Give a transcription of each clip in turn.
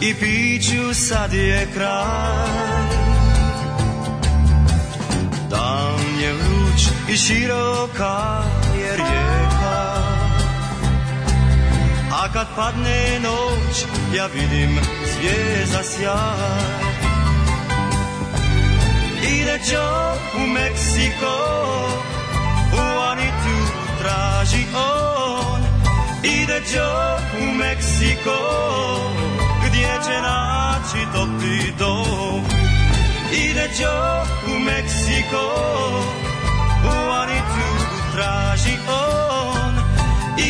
i piću sad je kraj Dan je vruć i široka je rijeka A kad padne noć ja vidim zvijezda sjaj Ide čo u Meksiko U Anitu traži on Ide čo u Meksiko Gdje će naći topli dom Ide čo u Meksiko U Anitu traži on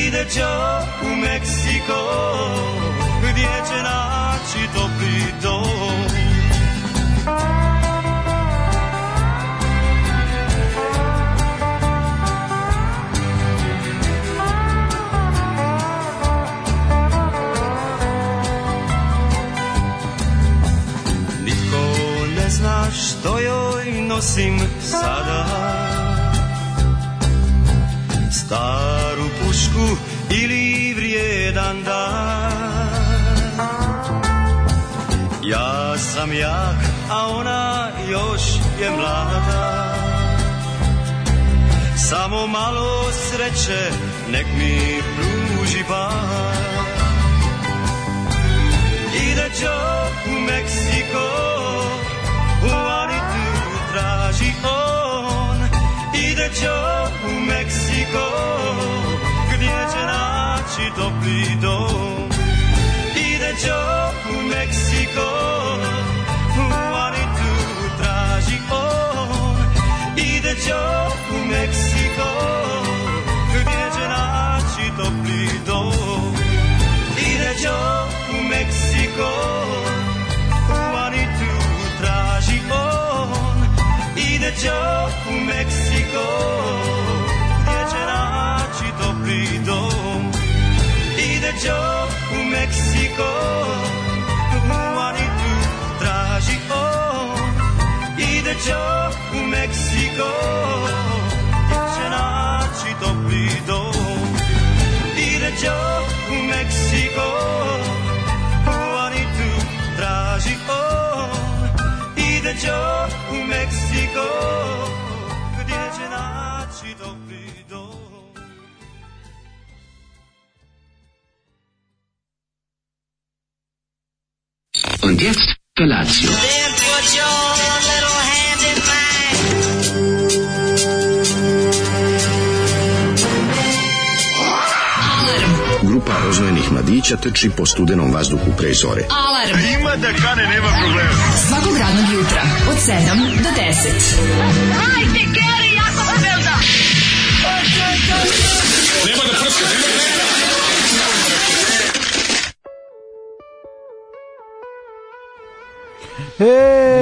Ide čo u Meksiko Gdje će naći topli dom zna što joj nosim sada Staru pušku ili vrijedan dan Ja sam jak, a ona još je mlada Samo malo sreće nek mi pruži bar Ide Joe u Meksiko Juanitu traži on Ide čo u Meksiko Gdje će naći topli dom Ide čo u Meksiko Juanitu traži on Ide čo u Meksiko Gdje će naći topli dom Ide čo u Meksiko Juanitu traži on Ide Joe u Meksiko Gdje će naći topli dom Ide Joe u Meksiko U Anitu traži on Ide Joe u Meksiko Gdje će naći topli dom Ide Joe u Meksiko U Anitu traži on ide Joe u Meksiko Gdje će naći topli dom Und jetzt Felatio. Then put your little hand in mine. Grupa roznojenih mladića teči po studenom vazduhu pre zore. Alarm. A ima da kane, nema problema. Svakog radnog jutra, od 7 do 10. Hajde, Geri, jako se velda. E,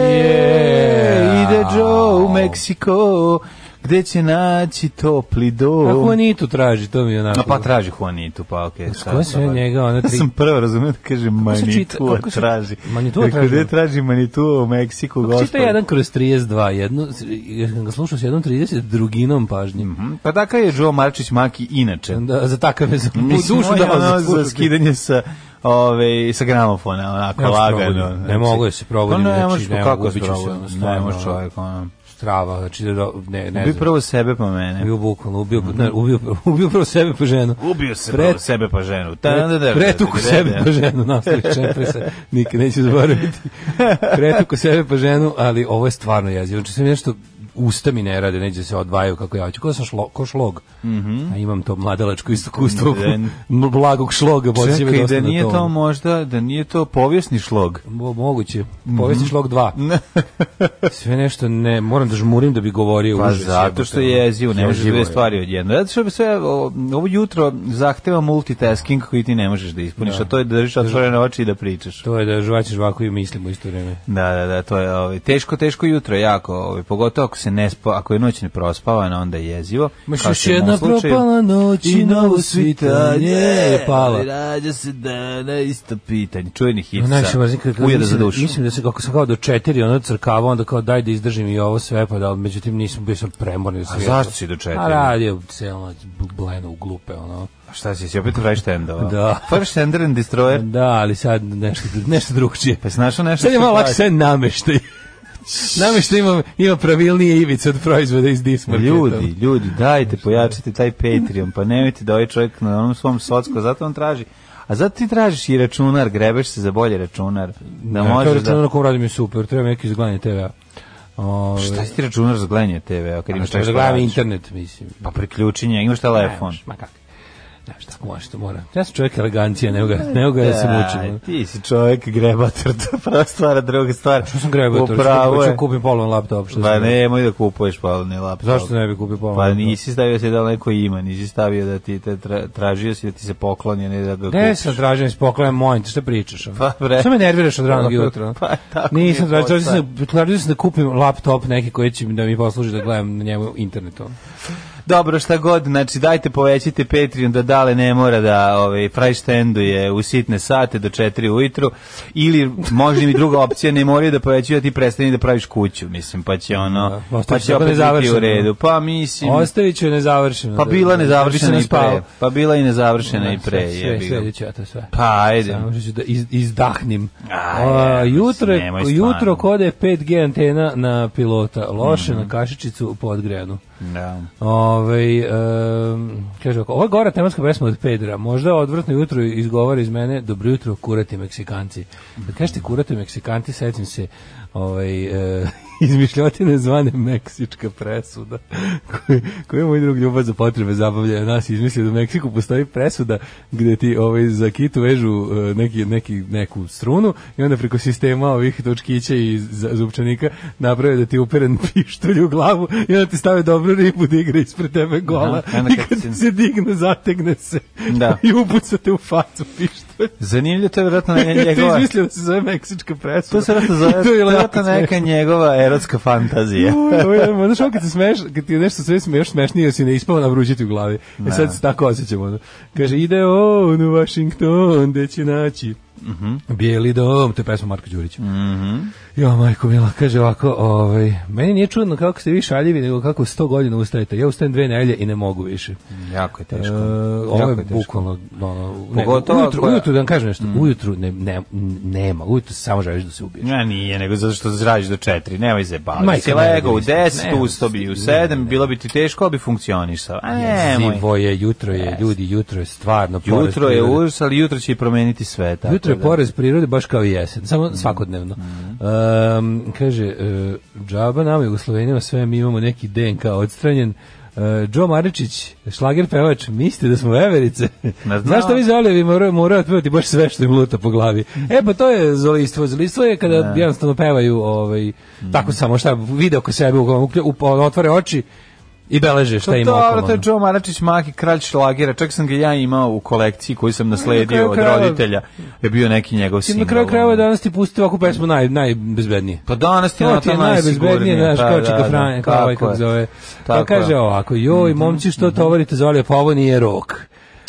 ide Joe u Meksiko, gde će naći topli A dom. Juanitu traži, to mi je onako. A pa traži Juanitu, pa okej. Okay, koja sve njega, ona Ja tri- sam prvo razumio da kaže čita- Manitua pa kako se- traži. Manitua Rekao, traži? Gde traži Manitua u Meksiku, Čita gospod? jedan kroz 32, jednu, jer sam ga slušao s jednom 30 druginom pažnjim. Pa takav je Joe Marčić Maki inače. Da, za takav je za u Mislim, dušu on da je ono vas za skidanje sa, ove, sa gramofona, onako Ja se lagano. probudim. Ne znači. mogu da se probudim, Pa ne, znači, možeš, ne pa mogu, kako se ubit ću se, probudim? ono, Ne stvarno, možeš ono. čovjek, ono. Strava, znači da, do- ne, ne Ubi znam. prvo sebe pa mene. Bio bukvalno, ubio, ne, ubio, ubio prvo sebe pa ženu. Ubio se Pret- prvo sebe pa ženu. Ta, da, da, da, Pre- Pretuku da, da, sebe da. pa ženu, nastavi čepre se, nikad neću zaboraviti. Pretuku sebe pa ženu, ali ovo je stvarno jezivo. Znači sve mi nešto, usta mi ne rade, neće da se odvajaju kako ja hoću. Ko sam šlo, ko šlog? Mhm. A imam to mladalačko istokustvo, Den. blagog šloga, boće me Čekaj, dosta ono- da na nije to tonu. možda, da nije to povijesni šlog. Mo- moguće. Mhm. Povesti šlog 2. Sve nešto ne, moram da žmurim da bi govorio. Pa užas, zato jebote, što je jezivo, ne ono. možeš Jezivo dve je. stvari odjedno. Zato što bi sve, o, ovo jutro zahteva multitasking koji ti ne možeš da ispuniš, a to je da držiš otvorene oči i da pričaš. To je da žvaćeš vaku i mislim u isto vreme. Da, da, da, to je ovaj, teško, teško jutro, jako, ovaj, pogotovo ako se se ne spa, ako je noć ne prospavana, onda je jezivo. Maš kao još što je u jedna mom slučaju. propala noć i novo svitanje E, je pala. Rađa se dana, isto pitanje. E, Čujeni hit Ima najviše sa mrzim ono, kad- kad Ujeda za mislim- dušu. Mislim da se kako sam kao do 4 ono crkava onda kao daj da izdržim i ovo sve pa da ali međutim nisam bio sam premorni. A zašto si do četiri? A Pa radio celo noć bleno u glupe ono. A Šta si, si opet Fresh Tendova? Da. Fresh Tender and Destroyer. Da, ali sad nešto nešto drugčije. Pa si našao nešto? Sad je što malo pravi? lakše sad nameštaj. nameštaj ima ima pravilnije ivice od proizvoda iz Dismarketa. Ljudi, ljudi, dajte, pojačite taj Patreon, pa nemojte da ovaj čovjek na onom svom socku, zato on traži. A zato ti tražiš i računar, grebeš se za bolji računar. Da Da može možeš da... da... Na kom radim je super, treba neki izgledanje TV-a. Ove, Šta si ti računar za gledanje TV-a? Kad imaš Ovaj. Šta da nešto gledam radiš? internet, mislim. Pa priključenje, imaš telefon. Ma kako? Znaš, tako može, to mora. Ja sam čovjek elegancija, nego ga, nego ga da se mučim. Da, E, ti si čovjek grebator, to je prva stvar, a druga stvar. Što sam grebao to? Upravo Upravo je. Ću kupim polovan laptop. Što Pa sam- nemoj da kupuješ palni laptop. Zašto ne bi kupio polovan Pa laptop? nisi stavio se da neko ima, nisi stavio da ti te tra, tražio si da ti se pokloni, a ne da ga Ne kupiš. sam tražio iz poklona mojn, šta pričaš? ono? Pa, bre. Što me nerviraš od ranog jutra? Pa, tako mi je Nisam tražio, tražio posao. sam, da- tražio sam da kupim laptop neki koji će mi da mi posluži da gledam na njemu internetom. Dobro, šta god, znači dajte povećite Patreon da dale ne mora da ovaj, frajštenduje u sitne sate do 4 ujutru ili možda im i druga opcija ne moraju da povećaju da ti prestani da praviš kuću, mislim, pa će ono, Da, pa ostaviš će tako opet biti u nezavršeno. redu. Pa mislim, Ostavit ću je nezavršeno. pa da- bila da- da bi se nezavršena i naspao. pre. Pa bila i nezavršena i Da, pre, sve- Sve, jebi ga. sve, sve, to sve. Pa, ajde. Samo što ću da iz, izdahnim. Aj, A, evo, jutro, mislim, nemoj stvarno. jutro kod je 5G antena na pilota, loše Mhm. na kašičicu pod grenu. Da. Ove, um, kaže ovako, ovo je gora tematska pesma od Pedra. Možda odvrtno jutro izgovara iz mene dobro jutro kurati Meksikanci. Kad kažete kurati Meksikanci, setim se ovaj, e, izmišljotine zvane Meksička presuda koju, koju je moj drug ljubav za potrebe zabavlja nas izmislio da u Meksiku postoji presuda gde ti ovaj, za kitu vežu e, neki, neki, neku strunu i onda preko sistema ovih točkića i za- zupčanika naprave da ti uperen pištolj u glavu i onda ti stave dobru ribu da igra ispred tebe gola Aha, i onda i kad kad si- se digne zategne se Da. i upucate u facu pištolj. Zanimljivo, to E, je vjerojatno Ja ti njegova... izmislio da se zove meksička presuda. To se vjerojatno I zove, to je jako vjerojatno neka smešno. njegova erotska fantazija. Uj, uj, uj, Znaš, ovo kad se smeš, kad ti je nešto sve smeš, još smešnije si ne ispava navrućiti u glavi. E sad se tako osjećam. Ono. Kaže, ide on u Washington, gde će naći Mhm. Bijeli dom, to je pesma Marka Đurića. Jo, majko mila, kaže ovako, ovaj, meni nije čudno kako ste vi šaljivi, nego kako 100 godina ustajete. Ja ustajem dve nelje i ne mogu više. Jako je E, teško. ovo Jako je je teško. bukvalno ono, ne, Pogotovo ako je- ujutru, Mhm. ujutru da vam kažem nešto, ujutru ne, ne, nema, ujutru samo želiš da se ubiješ. Ja nije, nego zato što zrađiš do četiri, nemoj se baviti. Majka, Si ne, ne, legao u ne, ne, deset, ne, ustao bi ne, u ne, sedam, ne. bilo bi ti teško, ali bi funkcionisao. E, A nemoj. Zivo je, jutro je, ljudi, jutro je stvarno poraz Jutro je prirode. urs, ali jutro će i promeniti sve. Tako Jutro je da. porez prirode baš kao i jesen, samo svakodnevno. Um, kaže, uh, džaba nama Jugoslovenima sve mi imamo neki DNK odstranjen. Uh, Joe Maričić, šlager pevač, mislite da smo veverice? znam. Znaš što vi zoljevi moraju, moraju otpevati baš sve što im luta po glavi? E pa to je zolistvo. Zolistvo je kada jednostavno pevaju ovaj, tako samo šta vide oko sebe, u, u, otvore oči i beleže šta To, ima Pa dobro, okolo. to je ono. Joe Maračić Maki, kralj šlagera. Čak sam ga ja imao u kolekciji koju sam kraju nasledio od krajeva- roditelja. Je bio neki njegov Ti singl. na kraju krajeva danas ti pusti ovakvu pesmu naj, najbezbednije. Pa danas ti je To na ti je to najbezbednije, najsigurnije. znaš, Pa, kao da, Čika da, Franja, kao tako ovaj kako je. zove. Tako Pa kaže je. Mhm, ovako, joj, momci, što tovarite zolje, pa ovo nije rok.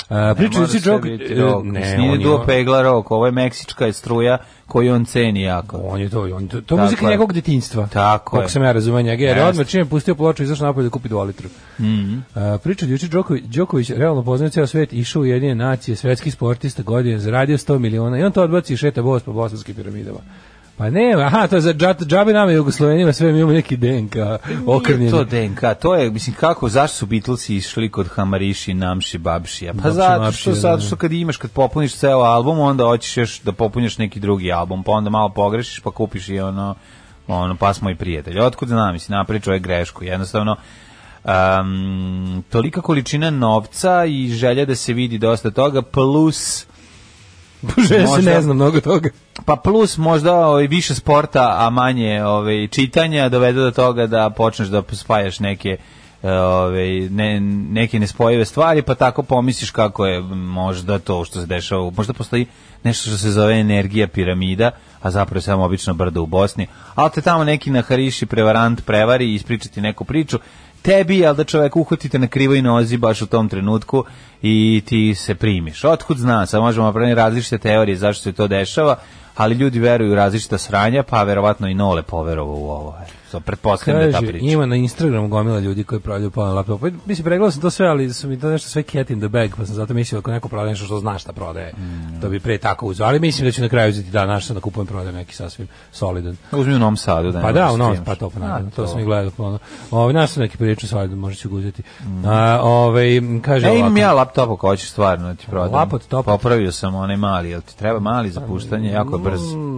A, pričaju mora si sve džok, biti e, rok. ne, Mislim, nije on je- ono- duo pegla rok, ovo je meksička je struja koju on ceni jako. On je to, on je to, to je Tako muzika je. njegovog detinjstva. Tako je. Kako sam ja razumeo njega, jer je Jeste. Mhm. odmah čim je pustio ploču, izašao napolje da kupi 2 litru. Mm priča juče Đoković, Đoković realno poznaje ceo svet, išao u jedine nacije, svetski sportista godine, zaradio 100 miliona i on to odbaci i šeta bos po bosanskim piramidama. Pa nema, aha, to je za džat- džabe nama Jugoslovenima, sve mi imamo neki DNK Nije okrnjeni. to DNK, to je, mislim, kako, zašto su Beatlesi išli kod Hamariši, Namši, Babšija? Pa Namši, zato Babšija, što, da, zato da. što kad imaš, kad popuniš ceo album, onda hoćeš još da popuniš neki drugi album, pa onda malo pogrešiš, pa kupiš i ono, ono, pa smo i prijatelji. Otkud znam, mislim, napravi čovjek grešku, jednostavno, um, tolika količina novca i želja da se vidi dosta toga, plus Bože, ja se Možda- ne znam mnogo toga. Pa plus možda ovaj, više sporta, a manje ovaj, čitanja dovede do toga da počneš da spajaš neke e, ove, ne, neke nespojive stvari, pa tako pomisliš kako je možda to što se dešava, možda postoji nešto što se zove energija piramida, a zapravo je samo obično brda u Bosni, ali te tamo neki nahariši, prevarant, prevari i ispričati neku priču, tebi, ali da čovek uhvatite na krivoj nozi baš u tom trenutku i ti se primiš. Otkud zna, sad možemo napraviti različite teorije zašto se to dešava, ali ljudi veruju u različita sranja, pa verovatno i Nole poverovao u ovo. So, pretpostavljam da je ta Kaže, priča. ima na Instagramu gomila ljudi koji pravljaju palan laptop. Pa, Mislim, pregledao sam to sve, ali su mi to nešto sve cat in the bag, pa sam zato mislio ako neko prodaje nešto što zna šta prodaje, Mm. to bi pre tako uzeo. Ali mislim da ću na kraju uzeti da naš sam da kupujem prodaje neki sasvim solidan. Uzmi u Novom Sadu. Da Pa ne da, možeš u Novom skinuš. pa to pa A, naravno, to sam i gledao pa ono. Ovaj naš sam neki prilično solidan, možda ću ga uzeti. Mm. A, ovaj, kaže E, imam ovako. ja laptop ako hoćeš stvarno da ti prodam. Lapot, topot. Popravio sam onaj mali, jel ti treba mali za puštanje, jako je brz. Mm,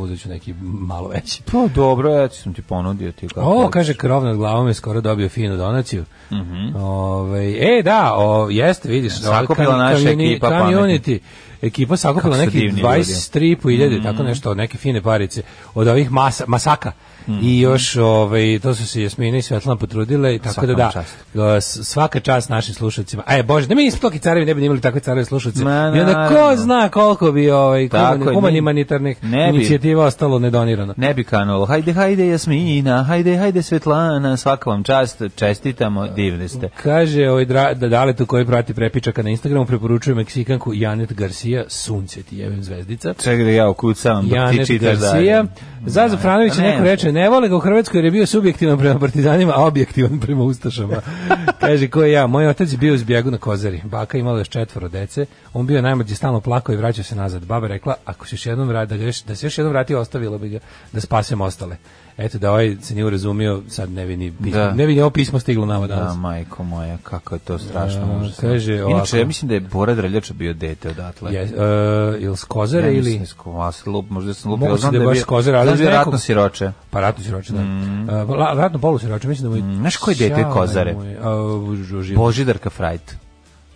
Uzet ću neki malo veći. Pa dobro, ja ti sam ti ponudio ti kako. O, hoćeš. kaže, krov nad glavom je skoro dobio finu donaciju. Mm e, da, o, jeste, vidiš. Mhm. Sakupila ovaj, naša kamioni- ekipa Community, ekipa sakupila Kako su neki divni Mhm. 23.500, tako nešto, neke fine parice od ovih masa, masaka. Mhm. I još, ovaj, to su se Jasmina i Svetlana potrudile, i tako Svaka da vam da, čast. o, s- svaka čast našim slušalcima. E, bože, da mi nismo toki carevi, ne bi imali takve careve slušalce. Ma, I onda ko naravno. zna koliko bi ovaj, Tako je, humani- ni- humanitarnih ne bi. inicijativa ostalo nedonirano. Ne bi kanulo. Hajde, hajde Jasmina, hajde, hajde Svetlana, svaka vam čast, čestitamo, divni ste. Kaže ovaj dra, da Daletu koji prati prepičaka na Instagramu preporučuje Meksikanku Janet Garcia, sunce ti jebem zvezdica. Čekaj da ja ukucam dok ti Janet čitaš Garcia. dalje. Za Zafranović Pa ne. neko reče, ne vole ga u Hrvatskoj jer je bio subjektivan prema partizanima, a objektivan prema ustašama. Kaže, ko je ja? Moj otac je bio u zbjegu na Kozari. Baka imala još četvoro dece. On bio najmlađi, stalno plakao i vraćao se nazad. Baba rekla, ako se još jednom vrati, da, ga još, da se još jednom vrati, ostavila bi ga da spasem ostale. Eto, da ovaj se nije urazumio, sad ne bi ni pismo, Da. ne bi ni ovo pismo stiglo nama danas. Da, majko moja, kako je to strašno. Da, užasno. kaže ovako. Inače, ja mislim da je Bora Drljača bio dete odatle. Je, uh, ili s Kozare Ja ili... mislim, sko- a, lup, možda sam lupio, Moguće ali znam da je da je baš bio- s Kozare, ali znam da je iz nekog- ratno siroče. Pa ratno siroče, da. Mm. Uh, ratno polu siroče, mislim da mu je... Mm. Znaš koje dete Kozare? Bož... Božidarka Frajt.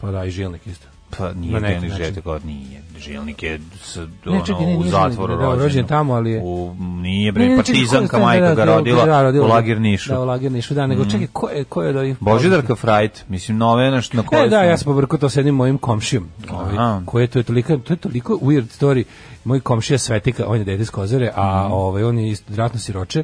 Pa da, i žilnik isto. Pa Na nije neki Denis način. Željko, nije. Žilnik je s, Ne, ono, čekaj, ne, u nije zatvoru Žilnik, da, da, rođen. rođen tamo, ali je- U, nije bre, Ne, ne, čekaj, ko partizanka je- majka ga da, rodila, da, rodila u ga. lagir Nišu. Da, u Lagir Nišu, da, nego čekaj, ko je, ko je od ovih... Božidarka Frajt, mislim, novena što na kojoj E, da, sam- ja sam pobrkao to s jednim mojim komšijom. Ovaj, Aha. koje to je toliko, to je toliko weird story. Moj komšija Svetika, on je dete iz Kozare, a Mhm. ovaj, on je isto ratno siroče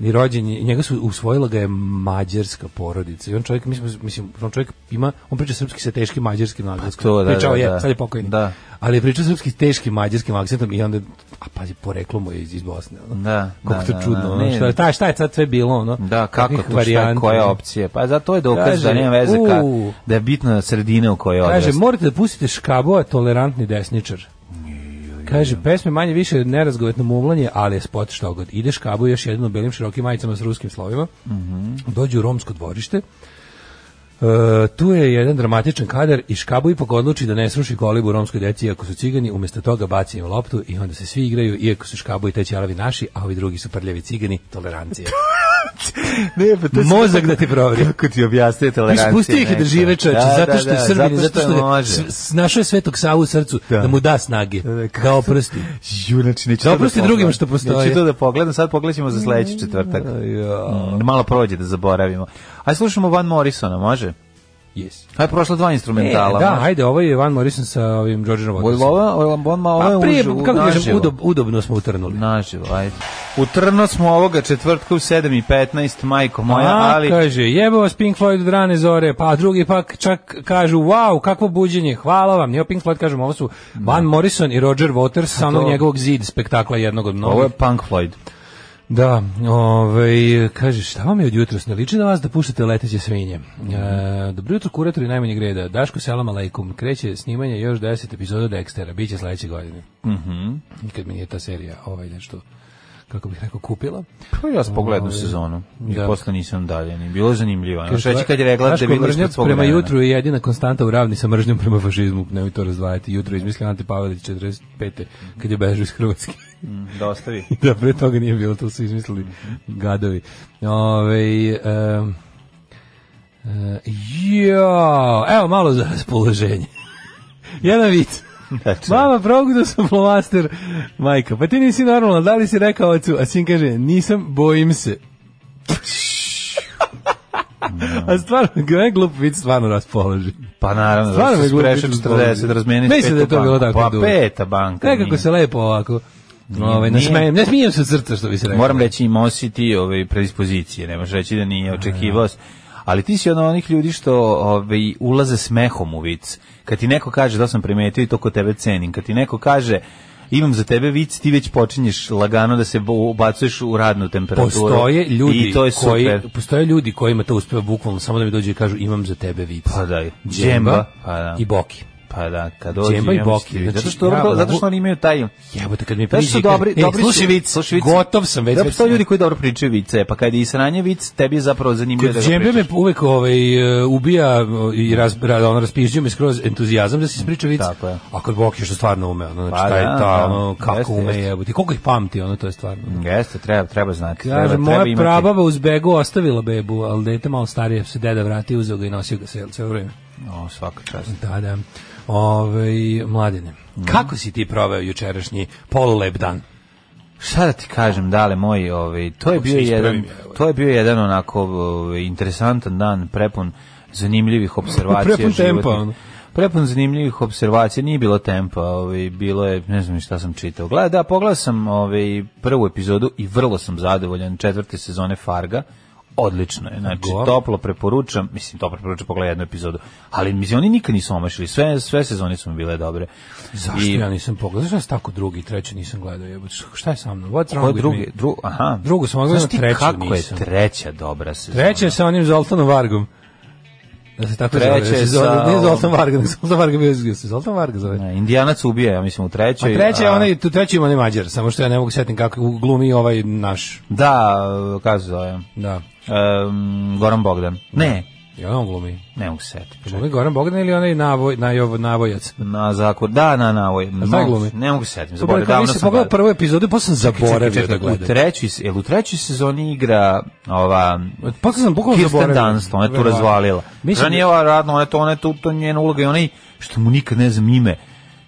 i rođen je, njega su usvojila ga je mađarska porodica i on čovjek mi smo, mislim on čovjek ima on priča srpski sa teškim mađarskim naglaskom Pa to, da, pričao da, je da. sad je pokojni Da. ali je pričao srpski s teškim mađarskim akcentom i onda a pazi poreklo mu je iz, iz Bosne ono. Da, kako da, to da, čudno da, ono, ne. šta je- taj- šta je sad sve bilo ono Da, kako kakvih to, šta je, varijanti, koja ono. opcija? Pa zato je dokaz Kaže, da nema veze ka, u. da je bitna sredina u kojoj odrasta. Kaže, morate da pustite Škaboa, tolerantni desničar. Kaže, pesme manje više nerazgovetno mumlanje, ali je spot što god. Ide Škabu još jedno u belim širokim majicama s ruskim slovima. Dođu u romsko dvorište. E, tu je jedan dramatičan kadar i Škabu ipak odluči da ne sruši kolibu romskoj deci iako su cigani, umjesto toga baci im loptu i onda se svi igraju iako su Škabu i te ćelavi naši, a ovi drugi su prljavi cigani, tolerancija. ne, pa to Mozak da ti provri. Kako ti objasnije tolerancija? Ispustio ih je da neka? žive čoveče, Da, zato da, što da, je Srbin, i zato što, ga, može. s- s- našao je Svetog Savu u srcu da, mu da snage, da, oprosti. Ju, znači, neću Da to oprosti pogledam. drugim što postoje. Neću to da pogledam, sad pogledaćemo za sledeći četvrtak. Mm, Malo prođe da zaboravimo. Aj slušamo Van Morrisona, može? Yes. Aj prošla dva instrumentala. E, da, može? ajde, ovo je Van Morrison sa ovim Georgeom Ovo Watkinsom. ovo- ovo- ovo- ovo je A Pa prije, uživo, kako da kažem, naživo. udob, udobno smo utrnuli. Naživo, ajde. Utrno smo ovoga četvrtka u 7.15, majko moja, A, ali... kaže, jebo vas Pink Floyd od rane zore, pa drugi pak čak kažu, wow, kakvo buđenje, hvala vam. Nije Pink Floyd, kažem, ovo su Van Morrison i Roger Waters, sa onog to- njegovog zid spektakla jednog od mnogih. Ovo je Punk Floyd. Da, ovaj, kaže, šta vam je od jutros? Ne liči na vas da puštate leteće svinje. E, dobro jutro, kuratori najmanjeg reda. Daško, selam alaikum. Kreće snimanje još 10 epizoda Dextera. Biće sledeće godine. Mhm. Nikad mi nije ta serija ovaj nešto kako bih rekao, kupila. Pa ja sam pogledao Ovaj, sezonu i da. posle nisam dalje. Ni bilo je zanimljivo. Još reći kad je Daško, regla da vidiš mržnja kod svog prema vremena. jutru je jedina konstanta u ravni sa mržnjom prema fašizmu. Nemoj to razdvajati. Jutro je izmislio Ante Pavelić 45. kad je bežao iz Hrvatske. Da ostavi. da pre toga nije bilo, to su izmislili gadovi. Ove, um, e, jo, evo malo za raspoloženje. Jedan vic. Mama, progudao sam flomaster. Majka, pa ti nisi normalna, da li si rekao ocu? A sin kaže, nisam, bojim se. A stvarno, gledaj glup vid stvarno raspoloži. Pa naravno, Stvarno zašto je si glupo prešao biti zgodan. 40, razmeniš Mislim da je to bilo tako Pa duro. peta banka. Nekako nije. se lepo ovako. Ovaj, nije. nasmejem, ne smijem se od srca što bi se rekao. Moram reći, imao si ti ove predispozicije, ne možeš reći da nije očekivao si. Ali ti si od onih ljudi što ove, ulaze smehom u vic. Kad ti neko kaže da sam primetio i to kod tebe cenim. Kad ti neko kaže imam za tebe vic, ti već počinješ lagano da se bo- ubacuješ u radnu temperaturu. Postoje ljudi I to je koji super. postoje ljudi kojima to uspeva bukvalno samo da mi dođu i kažu imam za tebe vic. Pa da, i džemba, džemba pa da. i boki. Pa da, kad dođe... Džemba i imam Boki, stivi. zato znači, što, ja zato što mogu- oni imaju taj... Jebote kad mi Znaš što priđe. i kaže, dobri- "E, dobri slušaj su- vic, slušaj vic." Gotov sam već. Zato već što sam- ljudi koji dobro pričaju vice, pa kad je i sranje vic, tebi je zapravo zanimljivo da Kod ga džembe me pričaš. uvek ovaj, e, ubija e, i raz, ra, on raspižđuje me skroz entuzijazam da se ispriča vic. Tako je. A kod Boki što stvarno ume, ono, znači Pa taj, da, ta, da. ono, kako Jeste, ume jeste. jebote. Koliko ih pamti, ono, to je stvarno. Jeste, treba, treba znati. Treba, Kaže, treba moja imati- prababa uz begu ostavila bebu, ali dete malo starije se deda vratio, uzeo ga i nosio ga sve, sve vreme. O, svaka čast. Da, da. Ove, mladine, Mhm. kako si ti proveo jučerašnji polulep dan? Šta da ti kažem, dale moj, ovaj, to je bio se ispravim, jedan, evo. to je bio jedan onako ovaj, interesantan dan, prepun zanimljivih observacija. Prepun tempa, životnih. ono. Prepun zanimljivih observacija, nije bilo tempa, ovaj, bilo je, ne znam ni šta sam čitao. Gleda, da, pogledao sam ovaj, prvu epizodu i vrlo sam zadovoljan četvrte sezone Farga. Odlično je, znači Go. toplo preporučam, mislim toplo preporučam pogledaj jednu epizodu, ali mislim oni nikad nisu omašili, sve, sve sezone su mi bile dobre. Zašto I- ja nisam pogledao? Zašto ja tako drugi, treći nisam gledao? Jebote, šta je sa mnom? What's wrong Ko with drugi? me? Dru, aha. Drugu sam odgledao, Znaš ti treću kako nisam. je treća dobra sezona? Treće sa onim Zoltanom Vargom. Da se tako Treće zove. sa Zol- Nije ovom- Zoltan Varga, nego Zoltan Varga bio izgledao. se Zoltan Varga zove. Ne, Indijanac ubija, ja mislim, u A trećoj. treće je onaj, tu treći ima onaj Mađar, samo što ja ne mogu setim kako glumi ovaj naš. Da, kako se zove? Da. Em, Goran Bogdan. Ne, I on glumi. ne mogu se setiti. Glumi Goran Bogdan ili onaj navoj, najov, navojac? Na zakon, da, na, na, ovoj. taj glumi? Ne mogu se setiti, Dobro, zaboravio, rekao, davno vi ste sam pogledali gledao. prvu epizodu, pa sam Čekaj, zaboravio da čekaj, u gledam. trećoj, se- jel u trećoj sezoni igra ova Pa sam bukvalno Kirsten zaboravio. Dunst, ona je tu Verovatno. razvalila. Mislim Mislim, nije ova radna, ona je to, ona je tu, to je njena uloga i onaj, što mu nikad ne znam ime,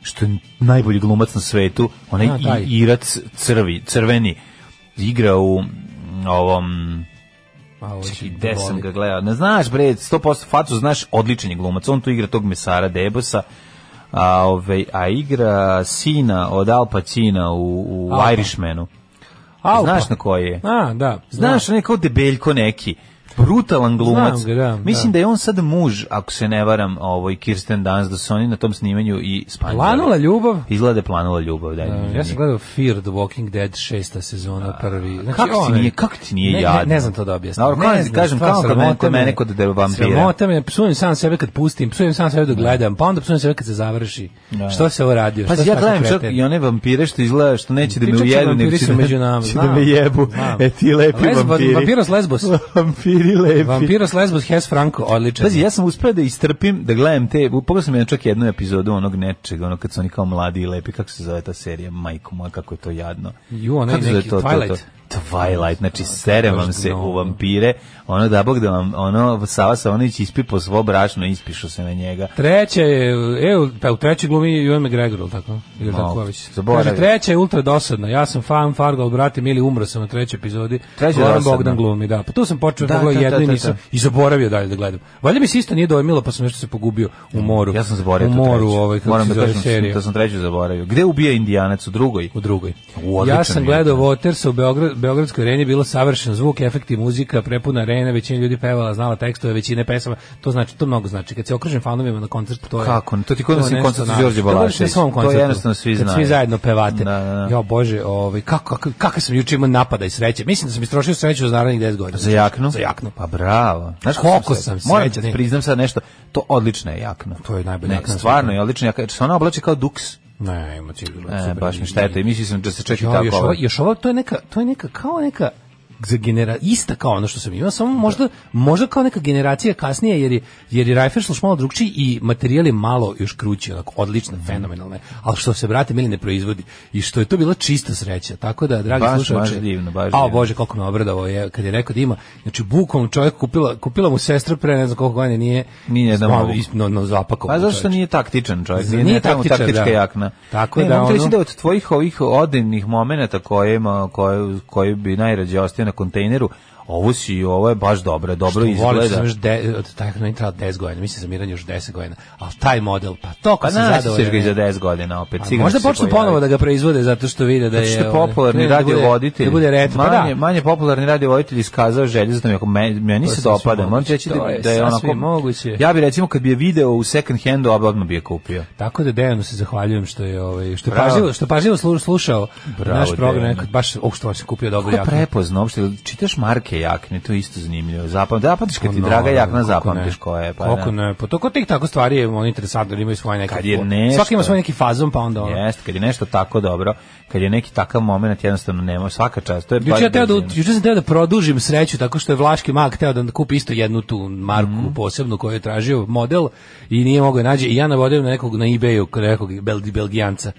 što je najbolji glumac na svetu, onaj A, taj. i, Irac crvi, crveni, igra u mm, ovom, A, ovo će čekaj, mi gde sam boli. ga gledao, ne znaš bre, 100% facu znaš, odličan je glumac, on tu igra tog mesara Debosa, a, ove, a igra sina od Al Pacina u, u Alpa. Irishmanu. Au, Znaš pa. na koji je? A, da. Znaš, onaj kao debeljko neki. Brutalan glumac. Znam ga, da, Mislim da. da. je on sad muž, ako se ne varam, ovoj Kirsten Dunst, da su oni na tom snimanju i spanjali. Planula ljubav? Izgleda da je planula ljubav, da. Uh, ja sam gledao Fear the Walking Dead šesta sezona prvi. Znači, kako ti onaj- nije- kako ti nije ne, Ne, jadno? ne znam to da objasnim. Dobro, Ne kao- znam, kažem, stvarno kao kod sramota mene- kod me. mene kod de- vampira. Sramota me, psujem sam sebe kad pustim, psujem sam sebe dok gledam, pa onda psujem sebe kad se završi. Što se ovo radio? Pazi, Što ja sam tako gledam čak kreten? i one vampire što izgleda što neće da Ti me čak i ujedu, vampiri nego će su da, među nama, će da znam, me jebu. znam. E ti lepi Lesbo- vampiri. Vampiros lesbos. vampiri lepi. Vampiros lesbos Hes Franco, odličan. Pazi, ja sam uspeo da istrpim, da gledam te, pogledao sam jedan čak jednu epizodu onog nečega, ono kad su oni kao mladi i lepi, kako se zove ta serija, majko moja, kako je to jadno. Ju, onaj Kako se zove neki Twilight. Twilight, znači serem vam se u vampire, ono da bog da vam, ono, Sava Savonić ispipo svo brašno, ispišu se na njega. Treća je, evo, pa u trećoj glumi Ivan McGregor, ili tako? Ili tako već. zaboravio. Kaže, treća je ultra dosadna, ja sam fan Fargo, ali brate, mili, umro sam na trećoj epizodi. Treća je Goran dosadna. Bogdan glumi, da. Pa tu sam počeo da, Da, pogledao da, da, jednu i da, nisam, da. i zaboravio dalje da gledam. Valjda mi se isto nije dojmilo, pa sam nešto se pogubio u moru. Ja sam zaboravio U tu moru, treću. ovaj, kako Moram se da zove kažem, da sam- serija. da sam treću zaboravio. Gde ubija indijanac u drugoj? u drugoj. U, odličan ja sam je. gledao Waters u Beograd, Beogradskoj areni, bilo savršen zvuk, efekti, muzika, prepuna arena, većina ljudi pevala, znala tekstove, većine pesama, to znači, to mnogo znači. Kad se okružim fanovima na koncertu, to je... Kako? To ti kod nas je nešto koncert naš- Đorđe Kad budeš na Balašević. svom To koncertu, jednostavno svi kad Svi znaju. zajedno pevate. Da, da, da. Jo, Bože, ovaj, kako, kako, kako sam juče imao napada i sreće. Mislim da sam istrošio sreću za narednih 10 godina. Za jaknu? Za jaknu. Pa bravo. Znaš Koliko sam srećan? Moram srećan. ti priznam sad nešto. To odlična je jakna. To je najbolja Ne, jakna na Stvarno svijetu. je odlična jakna. Se ona oblači kao duks. Ne, ima ti bilo E, super. baš mi šteta. I mislio sam da se čak i Jo, tako. još, ovo, ovaj. još ovo, to je neka, to je neka, kao neka za genera, ista kao ono što sam imao, samo možda, možda kao neka generacija kasnije, jer je, jer je Rajfers još malo drugčiji i materijal je malo još krući, onako, odlično, Mhm. fenomenalno je. ali što se, brate, mili ne proizvodi i što je to bila čista sreća, tako da, dragi Baš, slušalče, baš divno, baš a, divno. Bože, koliko me obradovao je, kad je rekao da ima, znači, bukom čovjek kupila, kupila mu sestra pre, ne znam koliko godina, nije, Nije jedna stvarno mogu. isp- no, no, zapakao. Pa zašto nije taktičan čovjek? Nije, Nije nije taktičan, taktičan, taktička da. jakna. Tako ne, da, mogu ti reći ono- da od tvojih ovih odevnih momenata koje, ima- koje, koji bi najrađe ostio na kontejneru, Ovo si, ovo je baš dobro, dobro Što volim, što izgleda. sam još de, od taj hrana trajala 10 godina, mislim sam Miran još 10 godina, ali taj model, pa Pa to kad sam naći zadovoljan. ćeš ga i ne. za 10 godina opet. A sigurno možda će se počnu pojaviti. ponovo da ga proizvode zato što vide da je... Zato što je ovaj, popularni ne, da bude- radio voditelj. Da bude retro, pa manje, da. manje popularni radio voditelj iskazao želju za tom, meni, meni To je se sasvim dopada. Moram moguće, ti reći to da, je da je onako... sasvim moguće. Ja bi recimo kad bi je video u second handu, oba odmah bi je kupio. Tako da Dejanu se zahvaljujem što je ovaj što je Bravo. pažljivo što je pažljivo slu- slušao Bravo, naš program Dejane. nekad baš oh, što se kupio dobru Kako je jaknu. prepozno, uopšte, čitaš marke jakne, to je isto zanimljivo. Zapam, da zapamtiš kad ti No, draga da, jakna, kako zapamtiš ono, ne. ko je. Pa da. Kako ne? Pa to kod tih tako stvari je on interesantno, jer imaju svoje neke. Kad je nešto- Svaki ima svoj neki fazon pa onda ono. Jeste, kad je nešto tako dobro, kad je neki takav moment, jednostavno nema, svaka čast. To je baš Juče ja teo da divno. juče sam teo da produžim sreću tako što je Vlaški mag teo da kupi isto jednu tu marku Mhm. posebnu koju je tražio model i nije mogao je naći i ja navodim na nekog na eBayu kod nekog Bel, Belgijanca.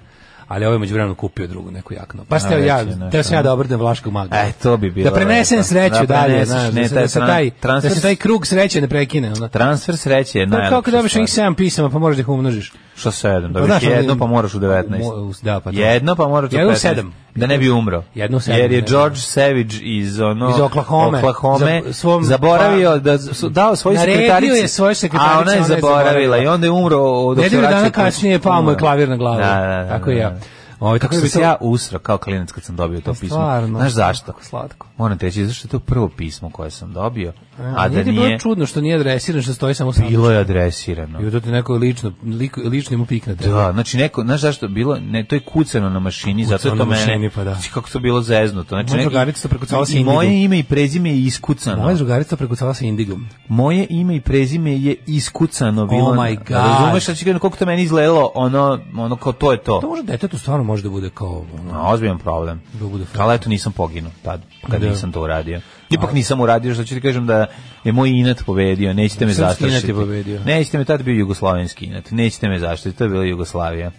Ali ovaj među vremenu kupio drugu neku jaknu. Pa ste već ja, je nešto, teo sam ja da obrnem Vlaškog maga. E, to bi bilo Da prenesem lepo. sreću Da dalje, preneseš, znaš, ne, da, se, taj da, se tran- taj, transfer- da se taj krug sreće ne prekine. Ono. Transfer sreće je To je najlepša kao kad dobiš stvar. onih 7 pisama, pa možeš da ih umnožiš. Što sedam? Pa Dobiš znaš, ono- jedno, pa moraš u 19. Mo- da, pa to. jedno, pa moraš u 15. Jedno u sedam. Da ne bi umro. Jedno u sedam, Jer je ne. George Savage iz, ono, Iz Oklahoma. Oklahome Za- svom- pa zaboravio da su, dao svoj Naredio sekretarici. je svojoj sekretarici, A ona je ona je zaboravila zaboravila. i onda je umro. dok se Nedelju vraćao dana kući. kasnije pao mu je Umro. klavir na glavu. Da, da, da, Tako i da, ja. da. Ovaj tako Kako da sam bi se to- ja usrao kao klinac kad sam dobio to pismo. stvarno. Znaš zašto? Kako slatko. Moram te reći, zašto je to prvo pismo koje sam dobio, a da E, ti bilo nije, čudno što nije adresiran, što stoji samo sam. bilo je adresirano. I to ti neko lično, lik, lično mu pikne. Da, znači neko, znaš zašto je bilo, ne, to je kucano na mašini, zato je Kucano to na mene. mašini, pa da. Znači, kako to bilo zeznuto. Znači, Moja neki- drugarica to prekucala sa I Indigom. moje ime i prezime je iskucano. Moja drugarica to prekucala sa Indigom. Moje ime i prezime je iskucano bilo. Oh my God. Razumeš šta ću kažem, koliko to meni izgledalo, ono, ono kao to je to. To može detetu stvarno može da bude kao... Ono, No, ozbiljan problem. Da bude fakat. Ali eto nisam poginuo tad, kad Da. nisam to uradio. Ipak nisam uradio, što ću ti kažem da je moj inat pobedio, nećete me Srpski zastrašiti. inat je pobedio. Nećete me, tad bio jugoslovenski inat, nećete me zaštiti, to je bila Jugoslavija.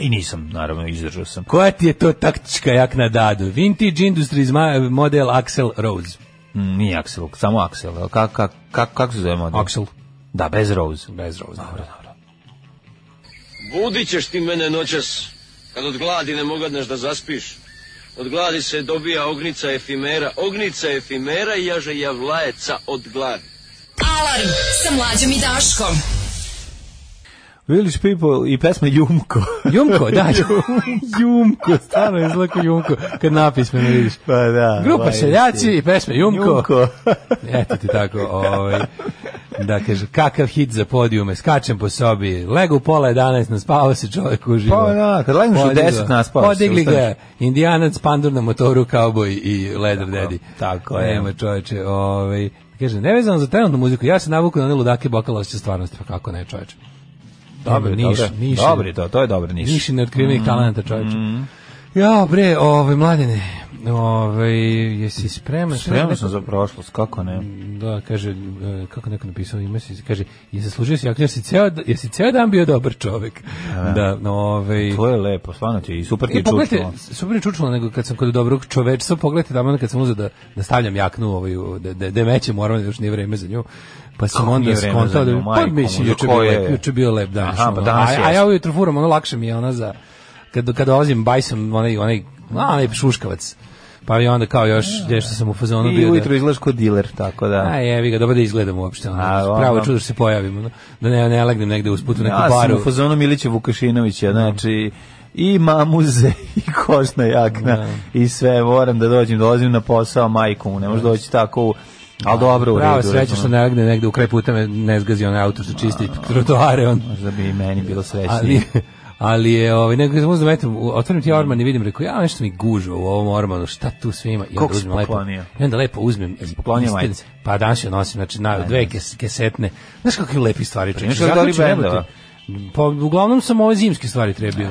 I nisam, naravno, izdržao sam. koja ti je to taktička jakna dadu? Vintage Industries ma- model Axel Rose. Mm, Nije Axel, samo Axel. Kako kak, kak, kako se zove model? Axel. Da, bez Rose. Bez Rose. Dobro, dobro. Budit ćeš ti mene noćas, kad od gladi ne mogadneš da zaspiš. Od gladi se dobija ognica efimera, ognica efimera i jaže javlajeca od gladi. Alarm sa mlađom i Daškom. Village People i pesma Jumko. Jumko, da. Jumko, stvarno je zlako Jumko. Kad napis me ne vidiš. pa da. Grupa seljaci i pesme Jumko. Jumko. Eto ti tako, ovaj. Da kaže, kakav hit za podijume, skačem po sobi, legu pola 11, naspava se čovjek uživo. Pa da, kad legneš u Podigla- 10 naspavaš se, Podigli ga, ustaneš. je, indijanac, pandur na motoru, kauboj i leder dedi. tako je. Nema čoveče, ovaj. Kaže, nevezano za trenutnu muziku, ja se navuku na one ludake bokala osjeća stvarnosti, pa kako ne čoveče. Dobro, Niš, dobro. niš. Dobro je to, to je dobro niš. Mm-hmm. Niši neotkrivenih talenta, čovječe. Ja, bre, ovaj, mladine, ovaj, jesi spreman? Spremno sam za prošlost, kako ne? Da, kaže, e, kako neko napisao ime, si, kaže, jesi služio si jaknja, jesi ceo, jesi ceo dan bio dobar čovek. Da, no, ovaj... To je lepo, stvarno ti je i super ti E, je pogledajte, čučilo. super je čučilo, nego kad sam kod dobrog čovečstva, pogledajte tamo kad sam uzeo da, da stavljam jaknu, ovaj, u- da, da, da mećem, moram, još nije vreme za nju. Pa sam Kako onda nije vreme za skontao da... nju, Pa majko mislim, moja, juče ko bio je? lep, juče bio lep dan. Aha, pa ono. danas a, a jeste. ja ujutru furam, ono lakše mi je ona za... Kad, kad dolazim bajsom, onaj, onaj, onaj šuškavac. Pa i onda kao još, gdje što sam u fazonu bio I da- ujutro izgledaš kod diler, tako da. A jevi ga, dobro da izgledam uopšte. Ono, A, ono. pravo čudo što se pojavimo. Ono, da ne, ne legnem negde usput u neku Ja sam baru. u fazonu Milića Vukašinovića, znači i mamuze i kožna jakna i sve, moram da dođem, dolazim na posao, majku mu, ne može doći tako u... Ali dobro u redu. Pravo sreće što razumem. ne legne negde u kraj puta me ne zgazi onaj auto što čisti trotoare. ono. On, Možda bi i meni bilo srećnije. ali, ali je, ovaj, nego sam uzem, eto, u- otvorim ti orman i vidim, rekao, ja nešto mi gužva u ovom ormanu, šta tu sve ima. I Koliko onda si uzmem lepo, poklonio? I onda lepo uzmem. poklonio istin- majice? Pa danas je nosim, znači, na, dve kes, kesetne. Znaš kakve lepi stvari čeče. Pa imaš Dori Bendova? Pa, uglavnom sam ove zimske stvari trebio.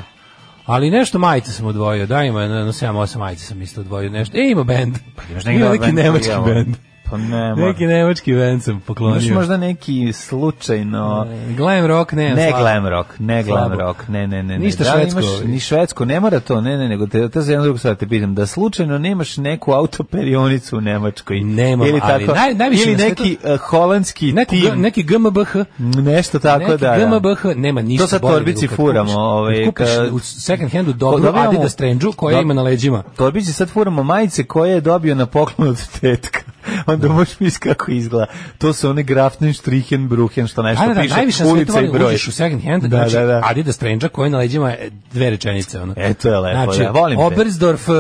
Ali nešto majice sam odvojio, da ima, na, na 7-8 majice sam isto odvojio nešto. E, ima bend. Pa Imaš neki Ima dobar neki bend? nemački Evo. bend. Pa ne, moram. Neki nemački bend sam Imaš poklonio. možda neki slučajno... Glam rock, ne. Ne slabo. glam rock, ne glam Slabo. rock, ne, ne, ne. ne. Ništa li švedsko. imaš Ni švedsko, ne mora to, ne, ne, nego te, to za jednu drugu stvar te pitam, da slučajno nemaš neku autoperionicu u Nemačkoj. Nemam, ili ali tako, naj- najviše Ili na svetu- neki eh, holandski Neki, tim, G- neki GMBH. nešto tako neki da. da. GMBH, nema ništa. To sad bolje torbici nego kad furamo, kupiš- ovaj, Kupiš kad- u second handu dobru Dobijamo- Adidas trendžu koja Dob- ima na leđima. Torbici sad furamo majice koje je dobio na poklon od tetka. onda možeš misliti kako izgleda. To su one Graften, Strichen, Bruchen, što nešto da, da, piše, najviše na svetu ulica i volim broj. uđeš u second hand, Da, znači da, da. Adidas Strange koji na leđima je dve rečenice. Ono. E, to je lepo, znači, da, volim te. Oberstdorf, e,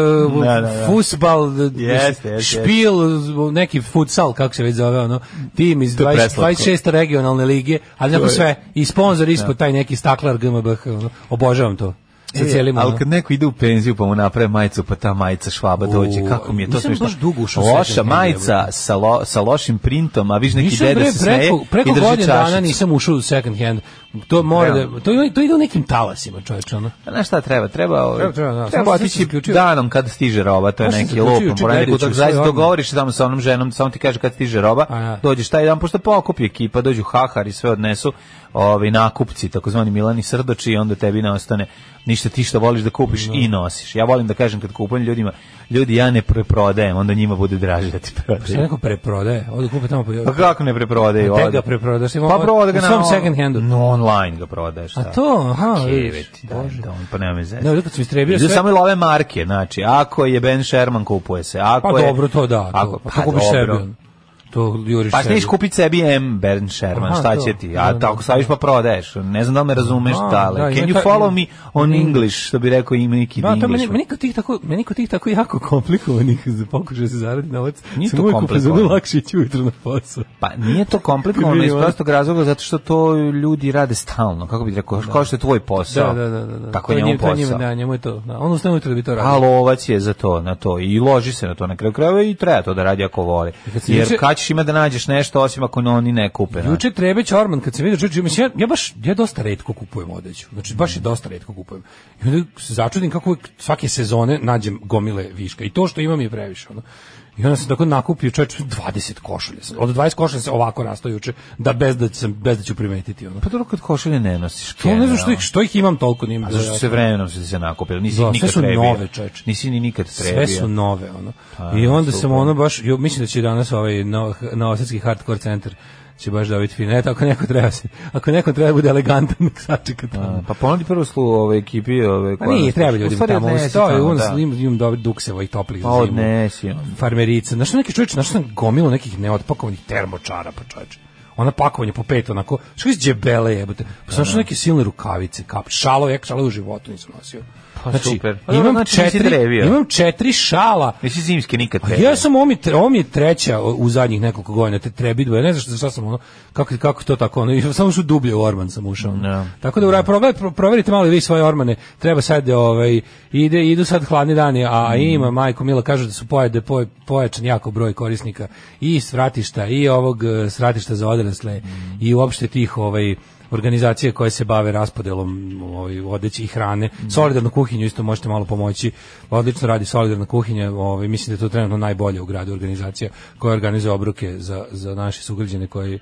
Da, da, da. fusbal, Jeste, jeste, špil, neki futsal, kako se već zove, ono, tim iz To je 20, preslatko. 26. regionalne lige, ali neko sve, i sponsor ispod taj neki staklar GmbH, ono, obožavam to. Sa cijelim, E, ali ono. kad neko ide u penziju pa mu naprave majicu pa ta majica švaba dođe U, kako mi je to nisam smešno baš dugo ušao u second loša hand, majica jebote. sa, lo, sa lošim printom a viš neki Nisam deda bre, se smeje preko, preko i drži godinu dana čašicu. nisam ušao u second hand. To mora Realno. da, to, ima- to ide u nekim talasima, čovječe, ono. A Pa Znaš šta treba? Treba, ovaj, Treba, treba, treba, da. Samo sam se otići zaključio. danom kad stiže roba, to je Baš sam neki zaključio lopom. juče Moram gledajući da u svoj zaista odmor. dogovoriš tamo sa onom ženom, samo ti kaže kad stiže roba, A, ja. dođeš taj dan, pošto pokupi ekipa, dođu hahar i sve odnesu ovi nakupci, takozvani Milani Srdoči i onda tebi ne ostane ništa ti što voliš da kupiš i nosiš. Ja volim da kažem kad kupujem ljudima, ljudi ja ne preprodajem, onda njima bude draže da ti Što prodajem. Pa neko preprodaje, ovdje kupe tamo po Pa kako ne preprodaje? Gde ga preprodaš? Ima Pa ovo- proda ga u na svom on- second handu. No, online ga prodaješ. A da. to, aha, vidiš, Keveti, da, Bože. da, on- pa nema me zezati. Ne, ovdje kad sam istrebio Idu sve... samo i love marke, znači, ako je Ben Sherman kupuje se, ako Pa je... dobro, to da. Ako, Ako, to, pa, kupiš sebi. dobro. ono. To juriš Pa sebi. smiješ kupiti sebi M Ben Sherman, Aha, šta to. će ti? Da, A da. tako staviš pa prodaješ. Ne znam da li me razumeš, A, da, da, Can ima you ta- follow me on Mm. English, što bi rekao ima neki Da, to English. meni, meni kod tih tako, meni kod tih tako jako komplikovanih za pokušaj da se zaradi novac. Nije sam to uvijek u fazonu, komplikovano. lakše ići ujutro na posao. Pa nije to komplikovano Vidi, iz ono. prostog razloga zato što to ljudi rade stalno, kako bih rekao, kao što je tvoj posao. Tako To je njemu to njemu, posao. Da, njemu je to. Da. On ustane ujutro da bi to A radio. lovac je za to, na to i loži se na to na kraju krajeva i treba to da radi ako voli. kad si juče- Jer kad ćeš ima da nađeš nešto osim ako oni ne kupe. znači. Juče Trebeć Orman, kad se vidio čuči, mislim, ja, ja baš, ja dosta redko kupujem odeću. Znači, baš je dosta redko kupujem. I onda se začudim kako uvijek svake sezone nađem gomile viška. I to što imam je previše. Ono. I onda sam tako nakupio čovječ 20 košulja. sam. Od 20 košulja se ovako rastao juče, da bez da, sam, bez da ću primetiti. Ono. Pa dobro kad košulje ne nosiš. To ne znam što generalno. ih, što ih imam toliko, nije mi A zašto dovoljno. se vremenom su ti se nakupili? Nisi Da, ih sve nikad su prebio. nove, čoveče. Nisi ni nikad prebio. Sve su nove, ono. I onda sam Pa, super. ono baš, jo, mislim da će danas ovaj no, Novosadski hardcore centar će baš dobiti fin. Eto, ako neko treba se, ako neko treba da bude elegantan, ono. nek sačeka tamo. A, Pa ponudi prvu slu ove ekipi. Ove, Pa koja nije, nas treba sluša. U ljudima stvari tamo. odnesi Stoji, tamo, ono da. da. imam, imam dobre dukseva i toplih Pa za zimu. odnesi. ono. Farmerica. Znaš, neki čovječ, znaš, sam gomilo nekih neotpakovanih termočara, pa čovječ. Ona pakovanje po pet, onako, što iz džebele jebote. Pa znaš, neke silne rukavice, kap, šalo, ja šalo u životu nisam nosio. Pa super. Pa dobro, imam, znači nisi četiri, drevio. imam četiri šala, Nisi zimske nikad a prebio. ja sam ovo mi, tre- ovo mi je treća u zadnjih nekoliko godina, te trebidba, ja ne znam što, šta sam ono, kako, kako to tako, ono, i samo što dublje u Orman sam ušao. Da. Tako da, ura, probaj, pro- proverite malo i vi svoje Ormane, treba sad, ovaj, ide, idu sad hladni dani, a ima, majko Mila, kažu da su pojede, poje, pojačan jako broj korisnika i svratišta, i ovog eh, svratišta za odrasle, i uopšte tih, ovaj, organizacije koje se bave raspodelom ovaj, odeće i hrane. Solidarnu kuhinju isto možete malo pomoći. Odlično radi Solidarna kuhinja. Ovaj, mislim da je to trenutno najbolje u gradu organizacija koja organizuje obruke za, za naše sugrađane koji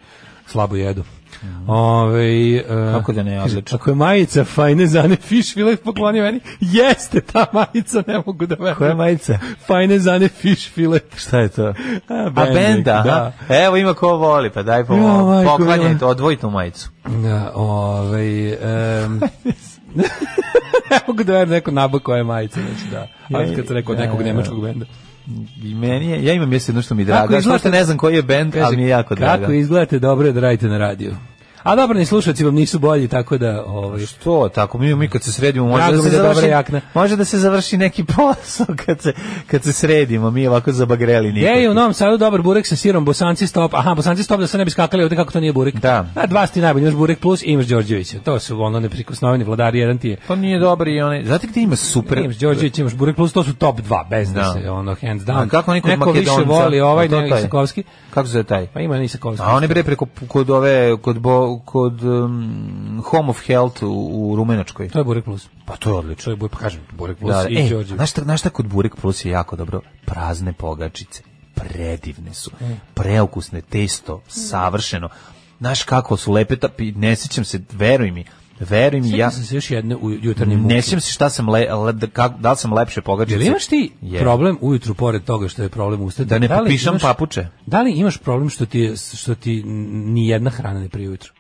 slabo jedu. Ovaj, e, Mhm. Kako da ne, kaže, odlično. Ako je majica fajne zane fiš filek poklonio meni, jeste ta majica, ne mogu da verujem. Koja majica? Fajne zane fiš filek. Šta je to? A, A benda, benda, da. da. Evo ima ko voli, pa daj po Jo, majko, poklanjaj mila. to, odvoji tu majicu. Da, ovaj, em, ne mogu da verujem neko nabako je majica, znači da. Ali kad se rekao od nekog Ja, ja. nemačkog benda. I meni je, ja imam mjesto jedno što mi je draga, izgleda- što ne znam koji je bend, ali mi je jako draga. Kako izgledate dobro je da radite na radiju. A dobro, ni slušalci vam nisu bolji, tako da... Ovaj, Što, tako mi mi kad se sredimo može da Drago mi se da je dobra završi, jakna. može da se završi neki posao kad se kad se sredimo, mi ovako zabagreli nikako. Gde je u Novom Sadu dobar burek sa sirom, bosanci stop, aha, bosanci stop da se ne bi skakali ovde kako to nije burek. Da. A dva sti najbolji, imaš burek plus i imaš Đorđevića. To su ono neprikosnoveni vladari, jedan ti je. To nije dobar i onaj. Znate gde ima super? Imaš Đorđević, imaš burek plus, to su top dva, bez da, Da. se, ono, hands down. A kako neko, od Neko više Makedonca? voli ovaj, A to nego taj. Isakovski. Kako se zove taj? Pa ima Isakovski. A on je bre preko kod ove kod bo, kod um, Home of Health u, u Rumenačkoj. To je burek plus. Pa to je odlično. To je burek, pa kažem, burek plus Da, da. i E, Đorđević. znaš šta, znaš šta kod Burek Plus je jako dobro? Prazne pogačice. Predivne su. E. Preukusne, testo, savršeno. Znaš kako su lepe, ta, pi- ne sjećam se, veruj mi, veruj mi, Sjetio ja sam se još jedne u jutarnje muke. ne sjećam se šta sam, le, le- da, kak- da li sam lepše pogačice. Jel imaš ti Je. problem ujutru pored toga što je problem ustati? Da ne li popišem imaš- papuče. Da li imaš problem što ti je- što ti ni jedna hrana ne prije ujutru?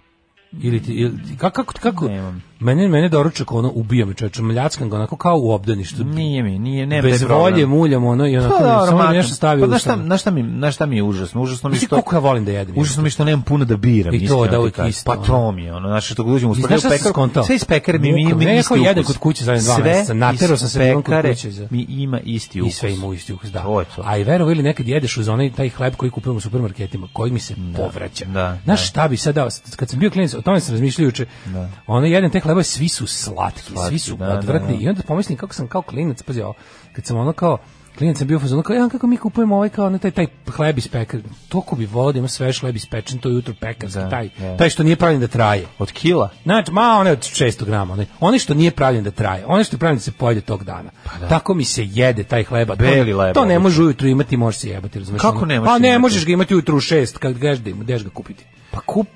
Ili ti, ili ti- kako, kako, kako? Nemam. Mene, mene doručak ono ubija me čoveče, mljackam ga onako kao u obdaništu. Nije mi, nije, nema Bez taj problem. volje muljam ono i onako Pa mi- dobro, samo mi makar. nešto stavi pa, u znaš šta, usta. znaš šta mi, znaš šta mi je užasno? Užasno mi je Znaš ti što... koliko ja volim da jedem? Užasno mi je što nemam puno da biram. I to, iskreno da, ti uvijek kažem. isto, Pa ono. to mi je, ono, znaš, što kad uđem u I stvari, znaš šta u sam pekar- skontao? sve iz pekare mi, mi Muka. ima Ne, isti neko ukus. jede kod kuće za jedan dva meseca. Naterao sam se iz jednom kod pekare kuće za- mi ima isti ukus. I sve ima isti ukus, da. To je to. A i verovo ili nekad jedeš uz onaj taj hleb koji kupujemo u supermarketima, koji mi se povraća. da, Znaš da. šta bi sad dao? S- Kad sam bio klinac, o tome sam razmišljao juče. Da. Ono jedan te hleba svi su slatki, svi su da, da, odvratni da. i onda pomislim kako sam kao klinac, pazi ovo, kad sam ono kao klinac sam bio u fazonu kao, ja, kako mi kupujemo ovaj kao onaj taj, taj hleb iz pekara. Toliko bi volao da ima svež hleb ispečen, to je jutro pekarski, Da, taj, da. taj što nije pravljen da traje. Od kila? Znači, ma one od 600 grama, one, one što nije pravljen da traje, one što je pravljen da se pojede tog dana. Tako mi se jede taj hleba. To- Pa Beli leba, To ne obično. može ujutru imati, može se jebati, razumeš? Kako Ono, ne možeš Pa ne imati? možeš ga imati ujutru u 6, kad gaš da ima, gdeš ga kupiti. Pa kup...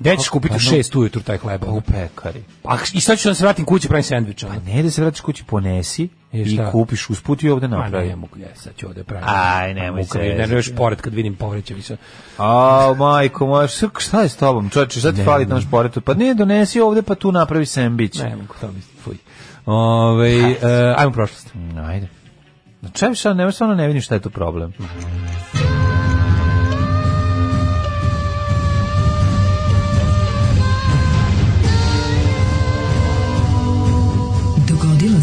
Gde ćeš kupiti u 6 ujutru taj hleba? Pa u pekari. Pa, i sad ću da se vratim kući, pravim sandvič. ono. Pa Ne da se vratiš kući, ponesi I i šta? kupiš usput i ovde Ma ne napravi. mogu, ja sad ću ovde pravim. Aj, nemoj Muka mi se je, jezati. nerviraš pored kad vidim povreće mi se. A, majko moja, šta- šta je s tobom? Čoveče, šta ti fali tamo šporetu? Pa ne, donesi ovde, pa tu napravi sembić. Ne mogu, to mi fuj. Ove, e, ajmo u prošlost. Mm, Ajde. Na čemu šta, ne, stvarno ne vidim šta je tu problem. Dogodilo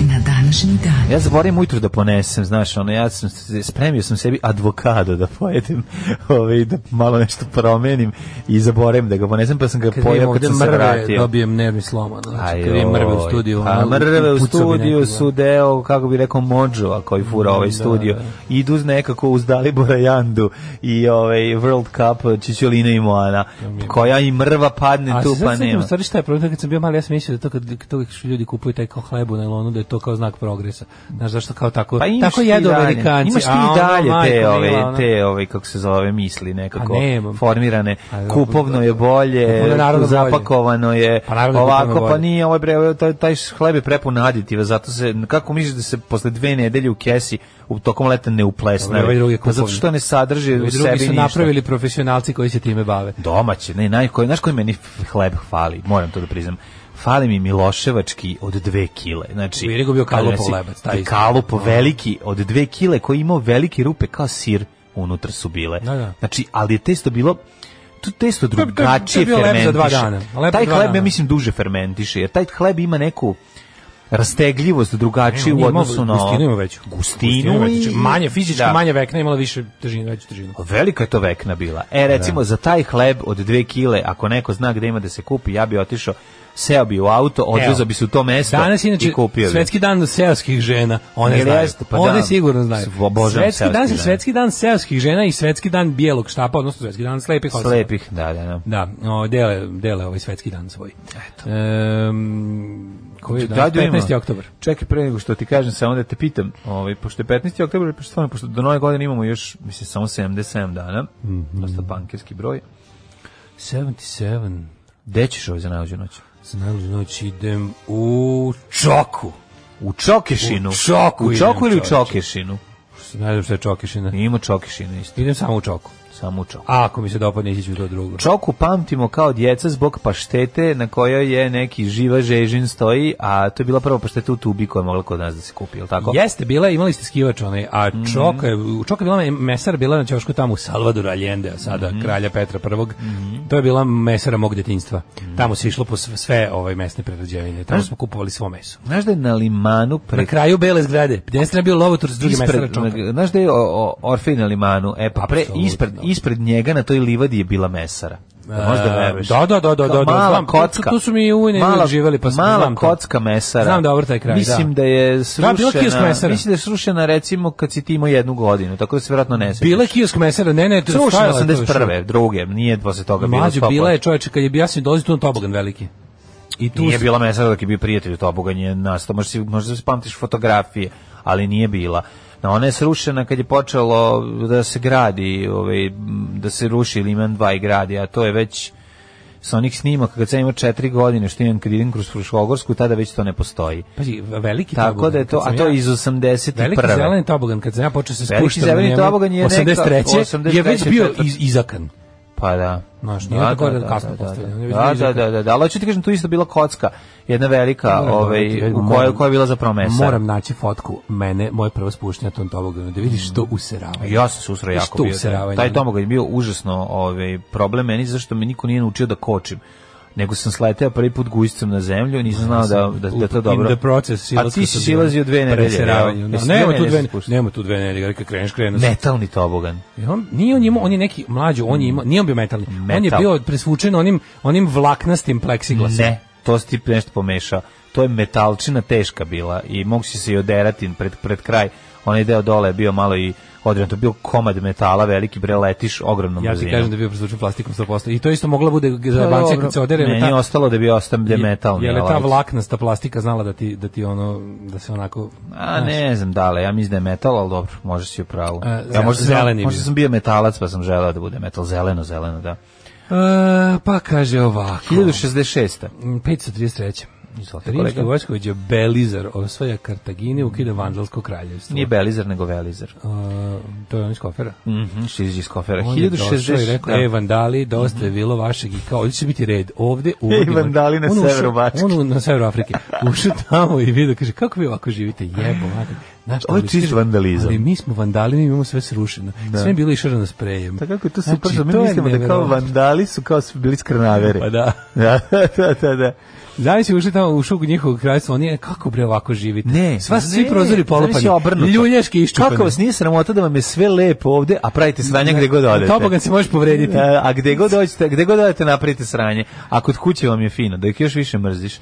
na današnji dan. Ja zaboravim ujutru da ponesem, znaš, ono, ja sam, se- spremio sam sebi advokado da pojedem, ovaj, da malo nešto promenim i zaboravim da ga ponesem, pa sam ga Kad vidim pojeo kad ovde sam se mrve, vratio. dobijem nervni slom. ono, Znači, Aj, kad vidim mrve u oj. studiju. A ono, mrve u pucao bi studiju nekoga. su deo, kako bi rekao, Mođova koji fura ovaj studio. Idu uz nekako uz Dalibora Jandu i ovaj World Cup Čičolina i Moana, koja i mrva padne A tu se pa sad sjećam nema. U stvari šta je problem, kad sam bio mali, ja sam mislio da to kad, kad to što ljudi kupuju taj kao hleb u nailonu, da je to kao znak progresa. Znaš zašto kao tako, Pa imaš tako ti jedu i dalje- Amerikanci. Imaš ti a ono, i dalje te, majko mila, ove, ono. te ove, kako se zove, misli nekako A nemam. formirane. A, Kupovno je bolje, Kupovno je naravno bolje. zapakovano je, Pa naravno je kupovno ovako, pa bolje. nije, ovaj bre, taj, taj hleb je prepun aditiva, zato se, kako misliš da se posle dve nedelje u kesi u tokom leta ne uplesne? Dobro, ovaj drugi je Pa zato kupovni. što ne sadrži Ovi u drugi sebi su ništa. napravili profesionalci koji se time bave. Domaće, ne, naj, koji, znaš koji meni f- hleb fali, moram to da priznam. Fali mi Miloševački od dve kile. Znači, U Irigu bio kalupov ali nasi- lebac, taj isto. Kalupo veliki od dve kile koji je imao velike rupe kao sir unutra su bile. Da, da. Znači, ali je testo bilo to testo je- to je drugačije bio lep za fermentiše. dva dana. Lep za Taj dva hleb, dana. ja mislim, duže fermentiše, jer taj hleb ima neku rastegljivost drugačiju u Imao odnosu na... ono Gustinu ima veću. Gustinu, ima i- veću. znači, Manje fizički, Da. manje vekna, imala više težinu, veću težinu. Pa Velika je to vekna bila. E, recimo, za taj hleb od dve kile, ako neko zna gde ima da se kupi, ja bi otišao, seo bi u auto, odvezao Evo. bi se u to mesto Danas i inače kupio bi. svetski dan seoskih žena, one Jel znaju. jeste? Pa One da. sigurno znaju. S- obožavam svetski seoske dan, žene. svetski dan seoskih žena i svetski dan bijelog štapa, odnosno svetski dan slepih osoba. Slepih, da, da, da. Da, o, dele, dele ovaj svetski dan svoj. Eto. Ehm, koji je dan? Da, da ima. 15. oktobar. Čekaj, pre nego što ti kažem, samo da te pitam, ovaj, pošto je 15. oktober, pošto, stvarno, pošto do nove godine imamo još, mislim, samo 77 dana, Mhm. dosta bankirski broj, 77. gde ćeš ovaj za najluđu noć? Za najluđu znači, noć idem u Čoku. U Čokešinu. U Čoku U Čoku idem, ili u čoveče. Čokešinu? Ne znam što je Čokišina. Ima Čokešinu isto, Idem samo u Čoku. samo u Čoku. A ako mi se dopadne, ići ću u to drugo. Čoku pamtimo kao djeca zbog paštete na kojoj je neki živa žežin stoji, a to je bila prva pašteta u tubi koja je mogla kod nas da se kupi, je li tako? Jeste, bila, je, imali ste skivač onaj, a Čoka je, u Čoka je bila me- mesara, bila je na Ćošku tamo u Salvadoru Allende, a sada Mhm. kralja Petra I. To je bila mesara mog detinjstva. Mhm. Tamo se išlo po sve, sve ove mesne prerađevine, tamo smo kupovali svo meso. Znaš da je na limanu Na pre... kraju bele zgrade, gdje je bio lovotor s drugim mesara Ispred, Čoka. znaš da je o, o, Orfej na limanu, e pa pre, Apsolutno. ispred, ispred njega na toj livadi je bila mesara. Da možda veruješ. E, da, da, da, da, Kao da, da, mala znam. Tu su- kocka. tu su mi i ujne i Mala- uvek živeli, pa sam- Mala znam to. kocka mesara. Znam dobro taj kraj, da. Mislim da je bila kiosk srušena, mesara. mislim da je srušena recimo kad si ti imao jednu godinu, tako da se vjerojatno ne sećaš. Bila je kiosk mesara, ne, ne, to je Srušena stajala je to još 81. druge, nije posle toga bilo Mlađo, stopa. bila je čovječe, kad je bio, ja sam dolazio tu na tobogan veliki. I tu Nije sam- bila mesara dok je bio prijatelj toboga, nije nastao. Možda, si, možda si pamtiš fotografije, ali nije bila. Na ona je srušena kad je počelo da se gradi, ovaj, m, da se ruši Liman 2 i gradi, a to je već sa onih snimaka kad sam imao četiri godine što imam kad idem kroz Fruškogorsku, tada već to ne postoji. Pazi, veliki Tako tobogan, da je to, kad sam a to je ja- iz 81. Veliki zeleni tobogan, kad sam ja počeo se Veliki spuštati zeleni tobogan je neka- 83. je već bio 84.. iz, izakan. Pa da. Znaš, nije tako da kasno postavljeno, ne bi Da, bliže da, da, da, da, ali hoću ti kažem, tu isto bila kocka, jedna velika, Da, da, da, ovaj, da, da, u kojoj, moram- koja je bila za promesa. Moram naći fotku mene, moje prvo spuštenje na tom toboganu, da vidiš što userava. Ja sam se usrao jako Što bio. useravanje? Taj tomogan je bio užasno ovaj, problem meni, zašto me niko nije naučio da kočim. Nego sam sleteo prvi put gujicom na zemlju, nisam znao da, da, da to dobro... In the process, A silaska ti sam si bio. silazio dve nedelje. Preseravanju. jel? Da, Jesi nema tu nedelje dve, se spuštao? nema tu dve nedelje, ali kad kreneš, kreneš. Metalni tobogan. Jer on nije on imao, on je neki mlađi, on je imao, nije on bio metalni. On je Metal. bio presvučen onim onim vlaknastim pleksiglasom. Ne, Pa to si ti nešto pomešao. To je metalčina teška bila i mogu si se i oderati pred, pred kraj. Onaj deo dole je bio malo i odredan, to je bio komad metala veliki, bre, letiš ogromnom Ja ti brzinom. kažem da je bio presvučen plastikom 100%. I to isto mogla bude Pa za banci dobro, kad se odere. Meni ta- je ostalo da bi ostam da je metalni. Je li ta alat. vlaknasta plastika znala da ti, da ti ono, da se onako... A znaš, ne znam da li, ja mislim da je metal, ali dobro, možda si u pravu. E, ja, možda, sam, zeleni možda bio. sam bio metalac, pa sam želeo da bude metal, zeleno, zeleno, da. E, pa kaže ovako. Mm, 1066. 533. Izvolite, Rimski kolega. vojskovođa Belizar osvaja Kartagine i ukida Vandalsko kraljevstvo. Nije Belizar, nego Velizar. E, to je on iz kofera. Mhm, što izađe iz kofera. On je došao i 1060. rekao, da. e, vandali, dosta je bilo vašeg i kao, ovdje će biti red, ovdje u... vandali na severu Bačke. On u- na severu Afrike. Ušao tamo i vidio, kaže, kako vi ovako živite, jebo, mate. Znaš, Ovo je ali- čist kaže, vandalizam. Ali mi smo vandali, mi imamo sve srušeno. Sve je bilo išarano sprejem. Pa kako je to Znači, super, znači, mi to je mislimo da kao neverovatno. vandali su kao su bili skrnaveri. Pa da. da, da, da, da. Znaš, ušli tamo u šugu njihovog krajstva, oni je, kako bre ovako živite? Ne, Sva, ne, svi prozori zamisli polupani, obrnuto. ljuljaški iščupani. Kako vas nije sramota da vam je sve lepo ovde, a pravite sranje gde god odete? Tobogan se možeš povrediti. E, A gde god dođete, gde god odete napravite sranje. A kod kuće vam je fino, da ih još više mrziš. E,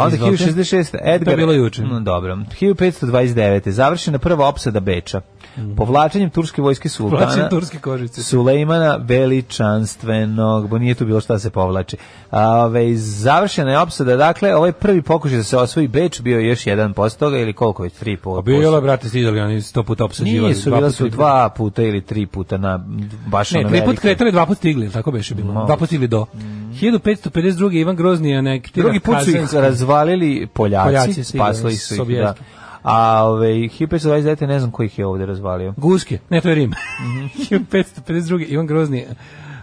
Onda izvolite. 1066. Edgar, To je bilo juče. No, dobro. 1529. Završena prva opsada Beča. Povlačenjem turske vojske sultana. Plaćam Mhm. turske kožice. Sulejmana veličanstvenog, bo nije tu bilo šta da se povlači. A, Ove, završena je opsada, dakle, ovaj prvi pokušaj da se osvoji Beč bio je još jedan posto toga, ili koliko već, tri po, Pa Bilo je, brate, stidali, oni sto puta opsađivali. Nisu, dva bila puta, su tri puta. dva puta ili tri puta na, baš Ne, ono tri put velike. kretali, dva put stigli, jel tako beše bilo. Dva put stigli do. 1552. Ivan Grozni anektira Mm. Drugi put su ih Kazanski. razvalili Poljaci, Poljaci su ih spasli razvalili, su ih, da. Sobieski. A ovaj, ove, 1529. ne znam koji ih je ovde razvalio. Guske, ne, to je Rim. Mhm. 1552. Ivan Grozni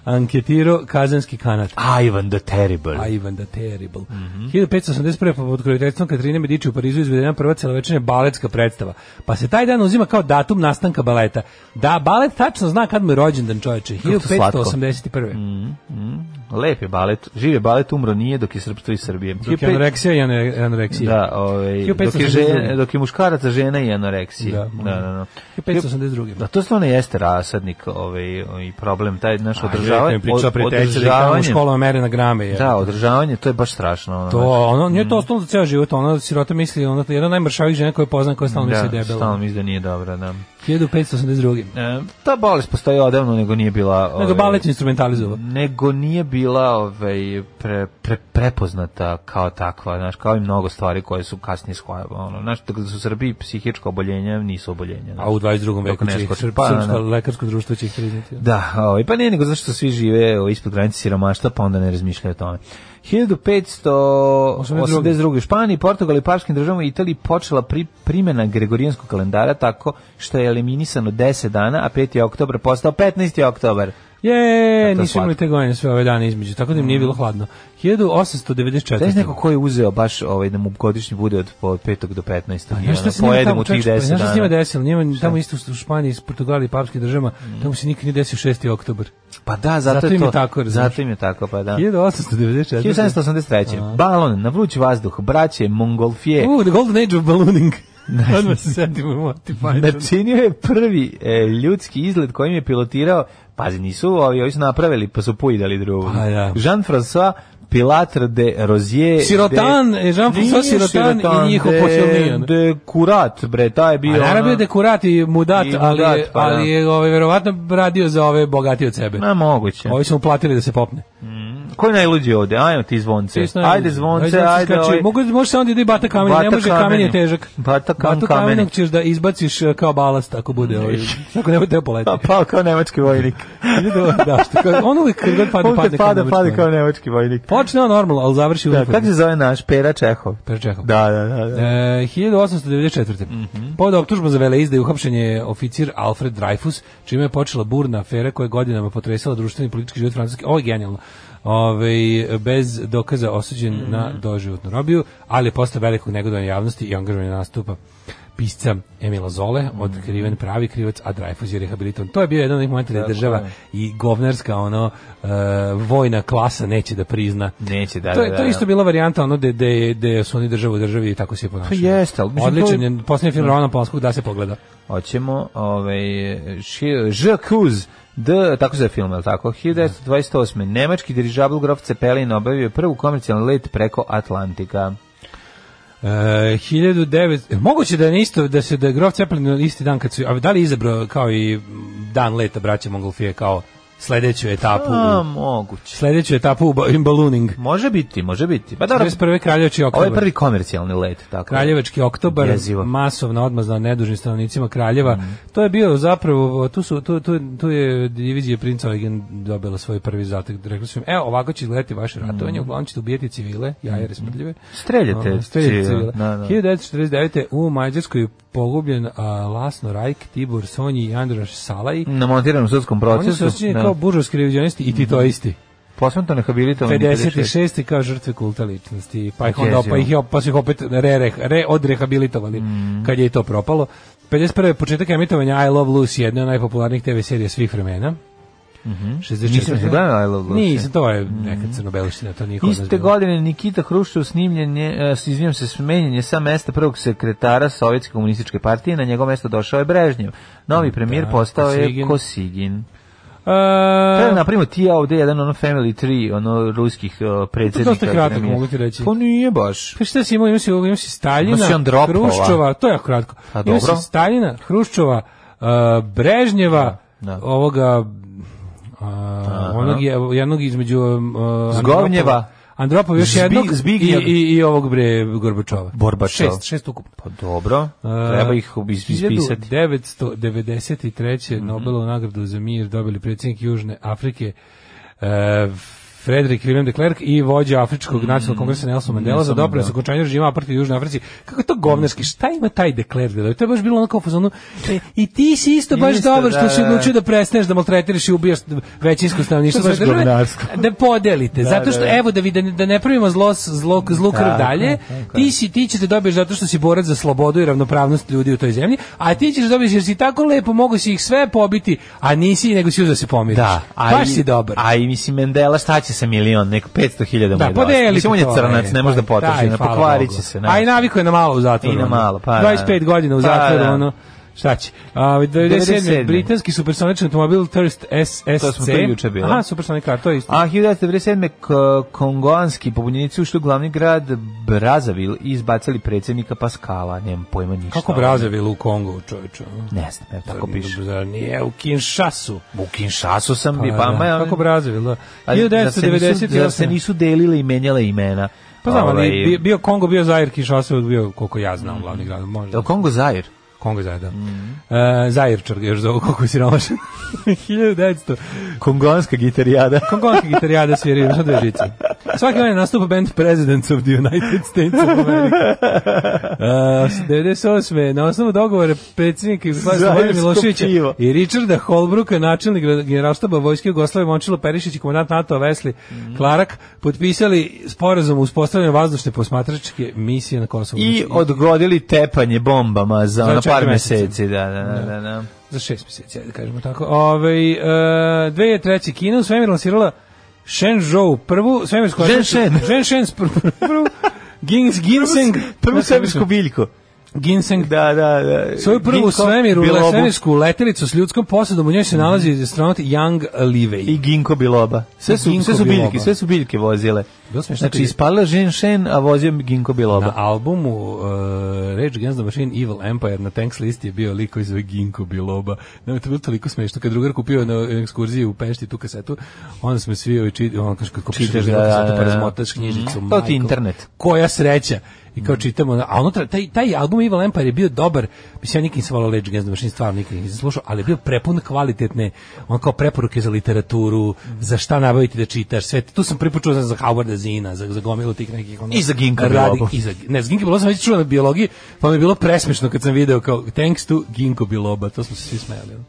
anketiro Kazanski kanat. Ivan the Terrible. A Ivan the Terrible. Mhm. 1581. po pod krojiteljstvom Katarine Medici u Parizu izvedena prva celovečanja baletska predstava. Pa se taj dan uzima kao datum nastanka baleta. Da, balet tačno zna kad mu je rođendan čoveče. to slatko. Mm, 1581. Lep je balet. Živ je balet, umro nije dok je srpstvo i Srbije. Dok je anoreksija i ane- anoreksija. Da, ovaj, dok, je 1582. žen, dok je muškaraca žena i anoreksija. Da. da, da. da. 1582. Da, to stvarno jeste rasadnik ovaj, i problem, taj naš Održavanje, održavanje. priča od- preteća da ih tamo u održavanje- školama mere na grame. Je. Da, održavanje, to je baš strašno. Ono, To, ono, njoj je to ostalo za ceo život, ona sirota misli, ona je jedna od najmršavih žena koju poznam, koja stalno misli da da, je stalno debela. mi da nije dobro, da. 1582. E, ta bolest postoji odavno, nego nije bila... Nego ovaj, balet instrumentalizova. nego nije bila ovaj pre, pre, prepoznata kao takva, znaš, kao i mnogo stvari koje su kasnije shvajava, ono, znaš, tako da su u Srbiji psihička oboljenja nisu oboljenja. znaš. A u 22. veku ne će ih skoči. srp- Pa, da, srpsko da. lekarsko društvo će ih priznati. Da, ovaj, pa nije nego zašto svi žive ovaj, ispod granice siromaštva, pa onda ne razmišljaju o tome. 1582. U Španiji, Portugal i Paškim državama i Italiji počela pri, primjena Gregorijanskog kalendara tako što je eliminisano 10 dana, a 5. oktober postao 15. oktober. Je, to je nisu imali slatko. te godine sve ove dane između, tako da im nije bilo hladno. Da je neko 1894. ko je uzeo baš ovaj, da mu godišnji bude od, po- od 5. do 15. i Pa, Znaš šta ono, se njima pojedem tamo, u tih čovječe, pa 10 znaš šta Mm. se njima dana. desilo? Njima tamo isto u Španiji, Portugali i papskim državama, tamo se nikad nije desio 6. oktober. Pa da, zato, Zato je im to. je tako, razumiješ? zato im je tako, pa da. 1894. 1783. Balon na vruć vazduh, braće Mongolfije. U, the golden age of ballooning. Odmah se setimo Monty Python. Načinio je prvi e, ljudski izlet kojim je pilotirao, pazi, nisu ovi, ovi su napravili, pa su pujdali drugo. Pa da. Jean-François Pilatre de Rozier. Sirotan, e, Jean-François Nije Sirotan i njihov de- posilnijan. De Kurat, bre, taj je bio... A naravno ono- je dekurat i mudat, I ali, mudat, je, pa ali je ovaj, verovatno radio za ove bogatije od sebe. Ma, moguće. Ovi su mu platili da se popne. Ko je najluđi ovde? Ajmo ti zvonce. Ti si najluđi. ajde zvonce, Ajde, ajde. skači. ovaj- Mogu, može se onda da i bata kamenje, Bata ne može kamen kamenje. je težak. Bata kam- Batu kamenje. kamenog ćeš da izbaciš eh, kao balast ako bude ovaj. Tako ne bude teo poleti. Pa pao kao nemački vojnik. da, da, što kao, on uvijek kad god padne, On kad padne. kao pada, nemački pada vojnik. kao nemački vojnik. ono. Počne on normalno, ali završi u Da, uniformi. kako se zove naš Pera Čehov? Pera Čehov. Da, da, da. da. E, 1894. Mm -hmm. Pod optužbom za veleizdaju uhapšen je oficir Alfred Dreyfus, čime je počela burna afera koja je godinama potresala društveni i politički život Francuske. Ovo je genijalno. Ove, bez dokaza osuđen na doživotnu robiju, ali je postao velikog negodovanja javnosti i angažovanja nastupa pisca Emila Zole, otkriven pravi krivac, a Dreyfus je rehabilitovan. To je bio jedan od onih momenta da je država i govnarska ono, e, vojna klasa neće da prizna. Neće, da, to, da, je- da. to je isto bila varijanta ono da da da su oni država u državi i tako se je ponašao. Pa jeste, ali mislim, odličan to je- je poslednji film Rovana Polskog da se pogleda. Hoćemo, ovaj, ši- Ž. Kuz, D, tako se je film, je li tako? 1928. Nemački dirižabl grof Cepelin obavio je prvu komercijalni let preko Atlantika. E, 1900 moguće da je na isto da se da je Grof Zeppelin na isti dan kad su a da li je izabrao kao i dan leta braće Mongolfije kao sledeću etapu A, u, moguće. sledeću etapu u, ba- in ballooning. Može biti, može biti. Pa dobro, 21. kraljevački ovo je oktobar. prvi komercijalni let, tako. Kraljevački oktobar, Jezivo. Mhm. masovna odmazna nedužnim stanovnicima Kraljeva. To je bio zapravo, tu, su, tu, tu, tu je divizija princa Eugen dobila svoj prvi zatek. Rekli su im, evo, ovako će izgledati vaše Mhm. ratovanje, uglavnom ćete ubijati civile, jajere smrdljive. Streljate A, streljate Mhm. civile, civile. da, da. 1949. u Mađarskoj je pogubljen a, Lasno Rajk, Tibor Sonji i Androš Salaj. Na montiranom sudskom Oni su procesu. osjećeni kao buržovski revizionisti i Mhm. titoisti. Posmrtno rehabilitovan. 56. kao žrtve kulta ličnosti, pa ih onda Jezivo. pa ih je op- pa su ih opet re, re, re odrehabilitovali Mm. kad je i to propalo. 51. početak emitovanja I Love Lucy, jedne od najpopularnijih TV serija svih vremena. Mm -hmm. 64. Mhm. Nisam se gledao I Love Lucy. Mm. Nisam, to je neka crnobeliština, to nije kod nas Iste bilo. godine Nikita Hruščov snimljen je, e, s- izvinjam se, smenjen je sa mesta prvog sekretara Sovjetske komunističke partije, na njegovo mesto došao je Brežnjev. Novi premijer Da, postao je Kosygin. Kosigin. E, Treba napravimo ti ja ovde jedan ono Family Tree, ono ruskih uh, predsjednika. dosta kratko, premijera. mogu ti reći. Pa nije baš. Pa šta si imao? Imao si, imao si Staljina, Imao si Andropova. Hruščova, to je jako kratko. ovaj. A, imao dobro. si Staljina, Hruščova, uh, Brežnjeva, Da, da. ovoga, uh, onog je, jednog između... Uh, Zgovnjeva. Andropova- Andropova još Zbi- jednog Zbignjev. i, i, i ovog bre Gorbačova. Borbačov. Šest, šest ukupno. Pa dobro, treba ih Uh, iz- ispisati. 1993. Nobelovu nagradu za mir dobili predsjednik Južne Afrike uh, Frederik Willem de Klerk i vođa Afričkog nacionalnog kongresa Nelson Mandela za Nelson doprinos Mandela. okončanju režima apartheid u Južnoj Africi. Kako je to govnerski? Šta ima taj de Klerk? da dobije? To je baš bilo onako u fazonu e, i ti si isto baš Isto, dobar što da, si da, odlučio da prestaneš da maltretiraš i ubijaš većinsko stanovništvo To je svoje baš države. govnarsko. Da podelite. zato što evo da vi da, ne- da ne pravimo zlo s- zlo zlo krv Tako, dalje. tako je. Ti si ti ćeš da dobiješ zato što si borac za slobodu i ravnopravnost ljudi u toj zemlji, a ti ćeš da dobiješ jer si tako lepo, mogu si ih sve pobiti, a nisi nego si uzeo da se pomiriš. Da, a Baš i- si dobar. A i mislim Mendela šta će sa milion, nek 500.000 mu Da, je dosta. podeli e, Mislim on je crnac, ne može pa, da potroši, ne pokvarit će se. A i znaš. naviko je na malo u zatvoru. I na ono. malo, pa da. 25 godina u Pa zatvoru, da. ono. Šta će? A, 97. 97.. Britanski supersonični automobil Thirst SSC. To smo to juče bilo. Aha, supersonic car, to je isto. A 1997. k- kongoanski pobunjenici ušli u glavni grad Brazavil i izbacili predsjednika Paskala, nemam pojma ništa. Kako ono? Brazavil u Kongu, čoveče? ono? Ne znam, evo, tako piše. Zar Nije u Kinshasu. U Kinshasu sam bi, pa ma... Kako Brazavil, da. ali da se nisu- Da se 1998. nisu delile i menjale imena. Pa znam, ali Ovaj, Mm. bio- bio Kongo, bio Zair, Kinshasa je bio, koliko ja znam, glavni grad. je Možda. li Kongo Zair? Kongo je Zair, da. Mm. E, Zairčar ga još zovu, koliko si romašan. 1900. Kongonska gitarijada. Kongonski gitarijada sviraju na dve žice. Svaki onaj nastupa band Presidents of the United States of America. Uh, 98. Na osnovu dogovora predsjednika Jugoslavije Slobodana Zajedsko Miloševića pivo. i Richarda Holbruka, načelnik generalštaba Vojske Jugoslavije Momčilo Perišić i komandant NATO Vesli Klarak, potpisali sporazum o uspostavljanju vazdušne posmatračke misije na Kosovu. I odgodili tepanje bombama za, Za ono četiri par meseca. meseci, da, da, da, da. da. za šest mjeseci, ajde da kažemo tako. Ove, e, 2003. Kina u svemir lansirala Shenzhou, prvu svemirsku... Shenzhen. Shenzhen, prvu, prvu Gins, Ginseng. Prvu svemirsku biljku. Ginseng Da, da, da. Svoju prvu Ginkgo, svemiru, bilobu svemirsku letelicu s ljudskom posadom, u njoj se nalazi astronaut Young Livej. I ginko biloba. Sve su, Ginkgo sve su biljke, biloba. sve su biljke vozile. Bilo smiješno kad Znači, je- ispalila ženšen, a vozio ginko biloba. Na albumu uh, Rage Against the Machine Evil Empire na Tanks listi je bio lik koji se zove Ginko Biloba. Nam je to bilo toliko smešno. Kad drugar kupio na ekskurziji u Pešti tu kasetu, onda smo svi ovi čitali, ono kaže, kad kupiš Čitaš, jednu da, da, kasetu da, pa da. razmotaš knjižicu. Mhm. To ti majko, internet. Mhm. Koja sreća. I kao čitamo, a unutra, taj, taj album Evil Empire je bio dobar, mislim, ja nikad nisam volao Rage Against the Machine, stvarno nikad nisam slušao, ali je bio prepun kvalitetne, on kao preporuke za literaturu, za šta nabaviti da čitaš, sve, tu sam pripočuo za Howarda Zina, za, za gomilu tih nekih, ono, I za Ginka radi- bilobu. i za, ne, za Ginko Biloba sam već čuo na biologiji, pa mi je bilo presmešno kad sam video kao thanks to Ginko Biloba, to smo se svi smijali. ono.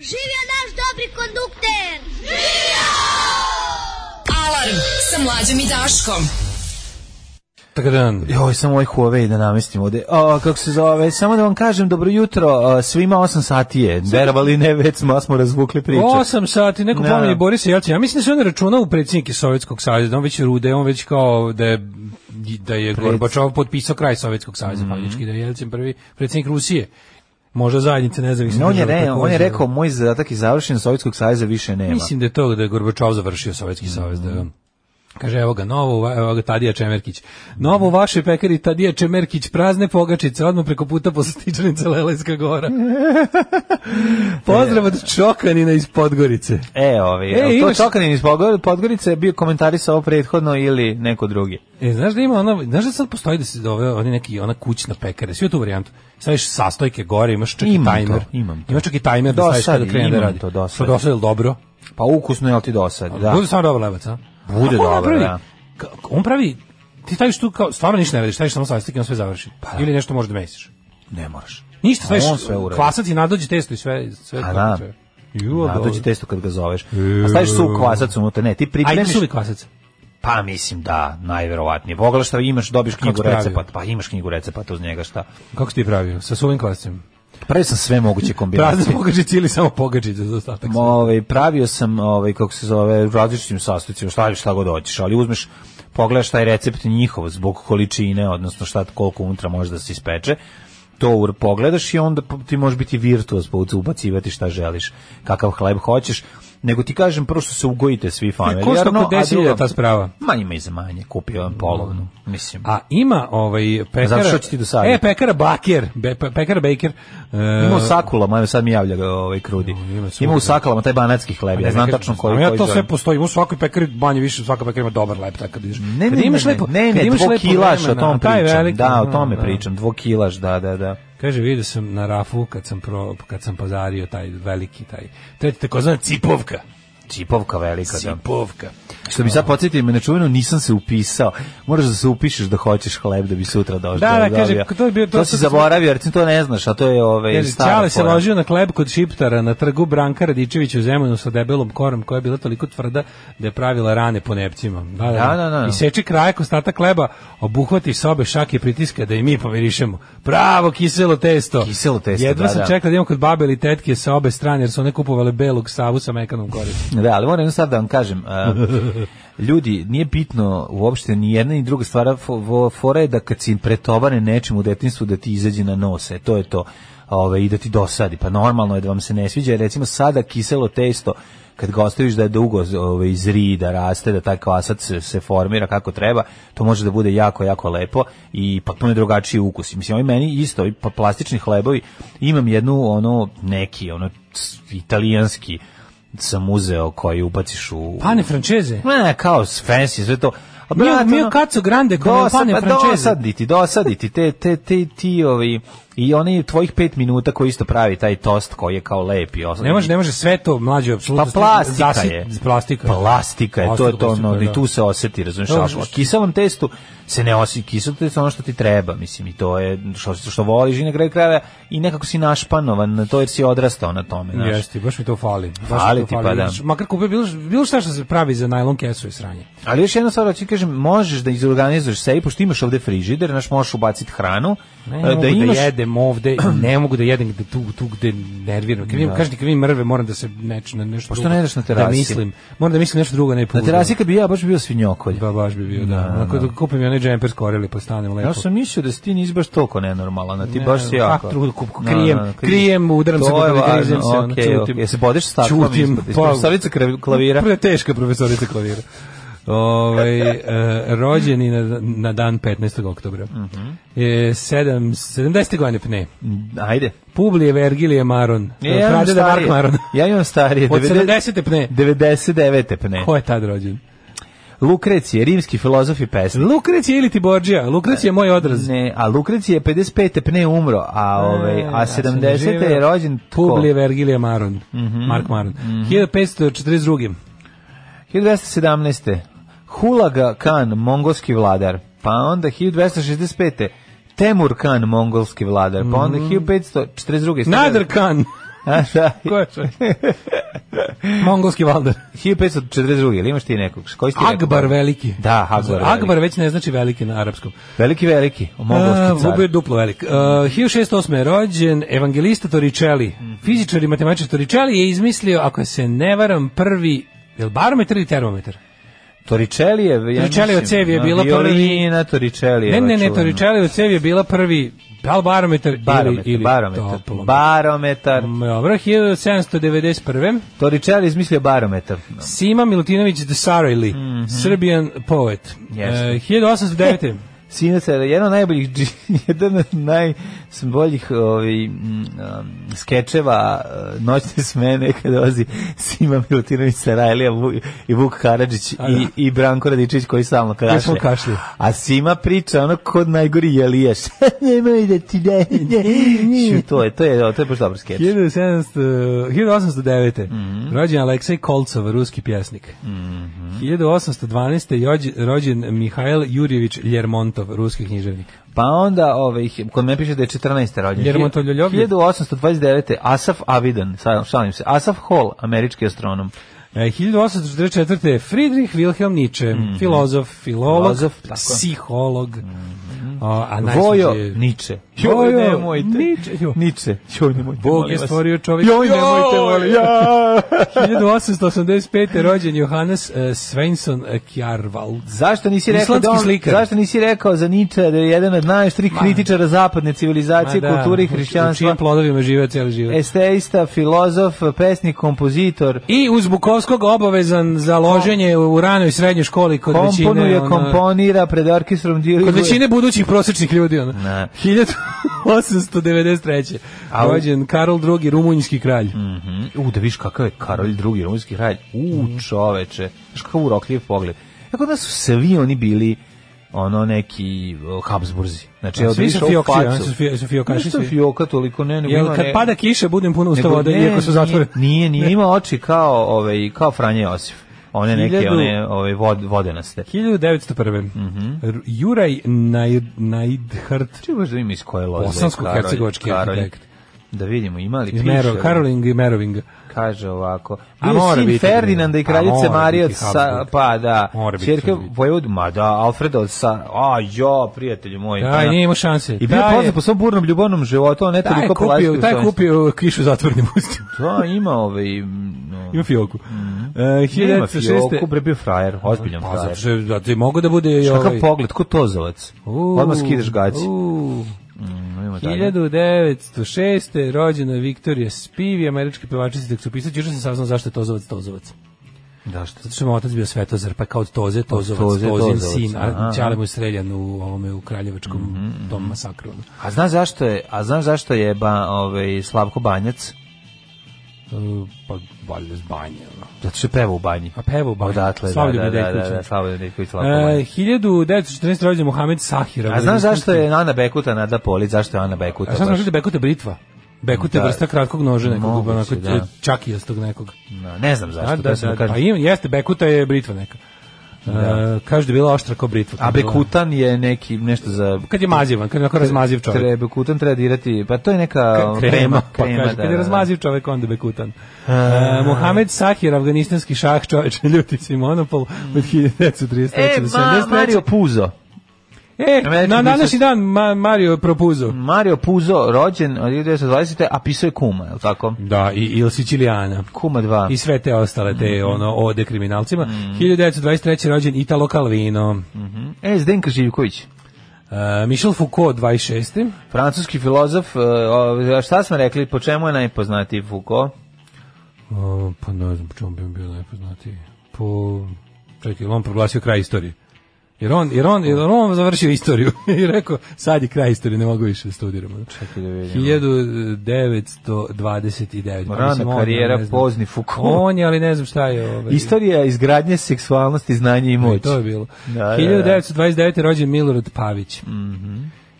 Živio naš dobri kondukter! Alarm sa mlađom i Daškom. Tako da, Joj, samo ovaj Huawei da namestim ovde. O, kako se zove, samo da vam kažem dobro jutro, o, svima 8 sati je. Verovali ne, već smo, smo razvukli priču. 8 sati, neko Da. pomeni Borisa Jelcina. Ja mislim da se on računa u predsjednike Sovjetskog saveza, da on već rude, on već kao da je, da je Gorbačov potpisao kraj Sovjetskog saveza, Mhm. faktički da je Jelcin prvi predsjednik Rusije. Možda zajednice nezavisne. No, on, je države re, on je također. rekao, moj zadatak je završen, Sovjetskog saveza više nema. Mislim da je to da je Gorbačov završio Sovjetski savez. Da je on. Kaže, evo ga, novo, u va- evo ga Tadija Čemerkić. Novo u vašoj pekari Tadija Čemerkić, prazne pogačice, odmah preko puta poslastičanica Lelajska gora. Pozdrav od Čokanina iz Podgorice. E, ovi, E, e, to imaš- imaš... Čokanin iz Podgor- Podgorice je bio komentarisao ovo prethodno ili neko drugi. E, znaš da ima ono, znaš da sad postoji da se zove oni neki ona kućna pekara, svi u tu varijantu. Staviš sastojke gore, imaš čak Imam i timer. to, imam to. Imaš čak i timer da staviš Dosad kada krene da imam radi. to, dosad. Pa dosad je li dobro? Pa ukusno je, ali ti dosad, Da. Pa da. Bude samo dobar lebac, a? Bude Kako dobar, on napravi? da. Ka- On pravi, ti staviš tu kao, stvarno ništa ne radiš, staviš samo sastojke i on sve završi. Ili nešto možeš da mesiš. Ne moraš. Ništa, Pa A staviš on sve uradi. kvasac i nadođe testo i sve. sve A da. sve. Ju, Da, dobro. dođe testo kad ga zoveš. A staviš suv kvasac unutra, ne, ti Ajde pripremiš... suvi kvasac. Pa mislim da, najverovatnije. Pogledaj šta imaš, dobiš knjigu si pravio? recepata, pa imaš knjigu recepata uz njega šta. Kako si ti pravio? Sa suvim kvascem. Pravio sam sve moguće kombinacije. Prazne pogađice ili samo pogađice za ostatak. Ma, ovaj, pravio sam, ovaj, kako se zove, različitim sastojcima, šta, šta god hoćeš, ali uzmeš, pogledaš taj recept njihov zbog količine, odnosno šta, koliko unutra može da se ispeče, to ur- pogledaš i onda p- ti možeš biti virtuoz, pa ubacivati šta želiš, kakav hleb hoćeš, nego ti kažem, prvo što se ugojite E, svi familijarno, Košta oko a 10.000 drugo- ta sprava. Mm. Ma ima i za manje, kupio vam polovnu, mislim. A ima ovaj pekara. Zato što će ti dosaditi. E, pekara Baker, be, pe- pekara Baker. E, Ima u sakulama, evo sad mi javlja ga ovaj krudi. ima Ima, svugdje. u sakulama taj banatski hleb, ja znam tačno koji Znam Ja koji to sve želim. postoji, u svakoj pekari manje više, svaka pekara ima dobar lep tako da ideš. Ne, Kad ne, imaš ne, lepo, ne, ne, kad imaš lepo dvokilaš, o vremena, tom taj pričam. veliki- da, o tome da. pričam, dvokilaš, da, da, da. Kaže, vidio sam na rafu kad sam, pro, kad sam pazario taj veliki, taj, taj takozvana cipovka. Čipovka velika, da. Cipovka. Što bi sad podsjetio me na čuvenu, nisam se upisao. Moraš da se upišeš da hoćeš hleb da bi sutra došao. Da, da, kaže, to je bio- to to, si sad- zaboravio, jer ti to ne znaš, a to je ovaj, ove, Kaže, Ćale se ložio na hleb kod Šiptara na trgu Branka Radičevića u Zemunu sa debelom korom koja je bila toliko tvrda da je pravila rane po nepcima. Da, da, Da, da, da. I seče krajak ostatak hleba, obuhvati sobe šake pritiska da i mi pomirišemo. Pravo kiselo testo. Kiselo testo, Jedva da, sam da. čekala da imam kod babe ili tetke sa obe strane jer su one kupovale belog savu sa mekanom koricom. Da, ali moram jednu stvar da vam kažem. a, ljudi, nije bitno uopšte ni jedna ni druga stvar. fo- vo- Fora je da kad si pretovane nečim u detinstvu da ti izađe na nose. To je to. Ove, I da ti dosadi. Pa normalno je da vam se ne sviđa. jer Recimo sada kiselo testo kad ga ostaviš da je dugo ove, izri, da raste, da taj kvasac se, se formira kako treba, to može da bude jako, jako lepo i potpuno je drugačiji ukus. Mislim, ovi meni isto, ovi pa plastični hlebovi, imam jednu, ono, neki, ono, c- italijanski, sam uzeo koji ubaciš u... Pane Franceze. Pa Ne, kao s fancy, sve to. A Mio- brate, mio ono, Cazzo Grande, come dosa- pane pa francese. Dosaditi, dosaditi, te, te, te, ti ovi, i oni tvojih pet minuta koji isto pravi taj tost koji je kao lep i osnovni. Ne može, ne može sve to mlađe apsolutno. Pa plastika Zasit- je. Plastika. Plastika je, to je to Plastika, ono, da. i tu se oseti, razumiješ, Dobro, a što- u kiselom testu se ne osjeti, kiselo testo je ono što ti treba, mislim, i to je što, što voliš i na kraju krajeva i nekako si našpanovan na to jer si odrastao na tome, znaš. Jeste, baš mi to fali. Baš mi Fali to ti, pa da. Znaš, Makar kupio bilo, bilo šta što se pravi za najlon kesu je sranje. Ali još jedna stvar, hoću kažem, možeš da izorganizuješ sebi, pošto imaš ovde frižider, znaš, možeš ubaciti hranu, Ne, e, ne mogu da imaš, jedem, jedem ovde, ne mogu da jedem gde tu, tu gde nerviram. Kad vidim, Da. da. kažete kad vidim mrve, moram da se neč, na nešto Pošto drugo- Pa ne ideš na Da terasi. mislim, moram da mislim nešto drugo, ne Na pouzdano. terasi kad bi ja baš bio svinjokolj. Ba, baš bi bio, da. Da, Onako da. da kupim i onaj džemper skoreli, pa stanem lepo. Ja sam mislio da si ti nisi baš toliko nenormalan, a ti baš si jako. kako drugo kup- krijem, krijem, udaram se To po je glavi, križem važno, se, ono, okej, ćutim. okej. Jesi bodeš staklom Ćutim, ispod- ispod pa- profesorice kre- klavira? Pre teška profesorica klavira. Ovaj e, rođen je na, na dan 15. oktobra. Mhm. e, 7 70. godine pne. Ajde. Publije Vergilije Maron. E, Ja imam Prade da Mark starije. Maron. Ja imam starije. Od 90 70. pne. 99. pne. Ko je tad rođen? Lukrecije, rimski filozof i pesnik. Lukrecije ili ti Borđija? Lukrecije je moj odraz. Ne, a Lukrecije je 55. pne umro, a, ovaj, a E, sam 70. je živeo. rođen tko? Mhm, Publije Vergilije Maron. Mark Maron. 1542. 1217. Hulaga Khan, mongolski vladar. Pa onda 1265. Temur Khan, mongolski vladar. Pa onda 1542. Mhm. Nader Khan. A, da. Ko je to? Mongolski valdar. 1542. Ili imaš ti nekog? Koji si ti rekao? Akbar veliki. Da, Akbar veliki. Akbar već ne znači veliki na arapskom. Veliki, veliki. A, Mongolski car. Vubio je duplo velik. Uh, 1608. je rođen evangelista Toricelli. Mhm. Fizičar i matematičar Toricelli je izmislio, ako se ne varam, prvi je li barometar ili termometar? Toricelli je... Ja Torricellijev mislim, cev je na bila prvi- Violina Toricelli. ne, ne, ne, Toricelli u cevi je bila prvi da li barometar, Barometar, ili, ili barometar, toplometar. barometar. Dobro, 1791. Toricelli izmislio barometar. Sima Milutinović de Sarajli, Srbijan poet. Mhm. Jeste. E, 1809. Sinac je jedan od najboljih, dži- jedan od najboljih ovaj, mm, um, skečeva e, noćne smene kada dolazi Sima Milutinović Sarajlija Vu- i Vuk Karadžić A, i, i Branko Radičić koji stalno Ja sam kašlje. kašlje. A Sima priča ono kod najgori jelijaš. Nemoj da ti ne, ne. Šu, to je, to je, to je baš dobar skeč. 1700, 1809. Mhm. Rođen Aleksej Kolcov, ruski pjesnik. 1812. je rođen- rođen Mihajl Jurjević Ljermontov, ruski književnik. Pa onda, ovaj, kod me piše da je 14. rođen. Ljermontov Ljoljovljev. 1829. Asaf Avidan, sa- šalim se, Asaf Hall, američki astronom. E, 1844. je Friedrich Wilhelm Nietzsche, filozof, filolog, Mhm. Filozof, tako. Mhm. psiholog. A, a najsnažniji Vojo je- Niče. Vojo, Joj, nemojte. Niče, joj. Niče. Joj, nemojte. Bog molim je vas. stvorio čovjeka. Joj, nemojte, molim. Ja. 1885. rođen Johannes e, Svensson e, Kjarvald. Zašto nisi rekao Islandski da on, slikar. zašto nisi rekao za Niče da je jedan od najštrih kritičara zapadne civilizacije, Ma da, kulture i u- U hrišćanstva? E, čijim plodovima žive cijeli život. Esteista, filozof, pesnik, kompozitor, I uz Bukovskog obavezan za loženje u ranoj srednjoj školi kod većine, komponuje, ono, komponira pred orkestrom diriguje. kod većine budućih prosječnih ljudi. Ono. Ne. 1893. Au. Rođen Karol II, rumunjski kralj. Mm. U, da viš kakav je Karolj II, rumunski kralj. Mhm. U, čoveče. Znaš kakav urokljiv pogled. Tako da su svi oni bili ono neki o, Habsburzi. Znači, A, evo da svi viš su ovu fioksi, facu. a? Su fio- su fiokaši Nisu svi? fioka toliko, ne, nego Jel ima kad ne- pada kiša budem puno usta nego- vode, ne, iako su zatvorene. Nije, nije, ima oči kao, ovaj, kao Franje Josif. One neke, Hiljadu- one ovaj, vod, vodenaste. 1901. Mhm. R- Juraj Naj, Najdhrt Če baš da ima iz koje loze? Bosansko-hercegovački Karolj- Karolj. arhitekt. Da vidimo, ima li iz piše? E, Mero, Karoling i Merovinga. kaže ovako. A A mora mora sin biti Ferdinanda i Crnilja. A kraljice mora Marije od biti sa, Habsburg. pa da, Mora biti ćerke Crnilja. vojvod, ma da, Alfreda od sa, a jo, prijatelju moj. pa Aj, na- nije imao šanse. I bio Taj je je- poznat po svom burnom ljubavnom životu, on ne Taj je toliko kupio, polazio. taj je kupio kišu zatvorenim ustima. Da, ima ovaj... m, no, Ima fioku. E, Mhm. Ima fioku, 1906. bre bio frajer, ozbiljan Pa zato frajer. što da ti mogu da bude i Kakav ovaj. pogled, ko tozovac? Uuu, Odmah skideš gaći. uuu. Mm, idemo dalje. 1906. je rođena Viktorija Spivi, američki pevačica i tekstopisac. Juče sam saznao zašto je Tozovac Tozovac. Da, što? Zato što mu je otac bio Svetozar, pa je kao od Toze, Tozovac, Toze, Tozin Tozovac, sin, aha. Mhm, a Ćale mu je streljan u ovome u Kraljevačkom tom masakru. ono. A znaš zašto je, a znaš zašto je ba, ovaj, Slavko Banjac? Uh, pa valjda z banje. ono. Zato što je peva u banji. A peva u banji. Odatle, da, Slavoljub da, da, da, Nedeljković. da, Slavoljub Nedeljković, E, Slavko Banjac. 1914. rođen Mohamed Sahir. ono, A znaš zašto je Ana Bekuta Nada Polić, zašto je Ana Bekuta? A sad baš? možete bekuta britva. Bekuta je Da. vrsta kratkog noža nekog, Moguće, onako da. da. čakijastog nekog. No, ono- ne znam zašto, Da, da, da, kažem. Pa ima, jeste, bekuta je britva neka. Da. kaže da je bila oštra kao britva. A Bekutan je neki nešto za Kad je mazivan, kad je onako razmaziv čovjek. Tre, bekutan treba dirati, pa to je neka K- krema, pa kaže, kad je razmaziv čovjek, onda bekutan. E, Mohamed Sahir, afganistanski Mm. šah, čovječ, ljuti si monopol od 1938. E, ma, Mario Puzo. E, Mm. Američki na pisac- današnji dan Ma- Mario je propuzo. Mario Puzo, rođen od 1920. a pisao je Kuma, je li tako? Da, i Il Sicilijana. Kuma 2. I sve te ostale, te ono, ode kriminalcima. 1923. rođen Italo Calvino. E, Zdenka Živković. E, Michel Foucault, 26. Francuski filozof, e, o, šta smo rekli, po čemu je najpoznatiji Foucault? O, pa ne znam po čemu bi on bio najpoznatiji. Po... Čekaj, jel on proglasio kraj istorije. Jer on, jer on, jer on završio istoriju i rekao, sad je kraj istorije, ne mogu više da studiramo. Čekaj da vidimo. 1929. Pa Rana mislim, on, karijera, ne znam. pozni Foucault. On je, ali ne znam šta je. Ovaj. Istorija izgradnje seksualnosti, znanja i E, moći. To je bilo. Da, Mhm. da, da. 1929. rođen Milorad Pavić.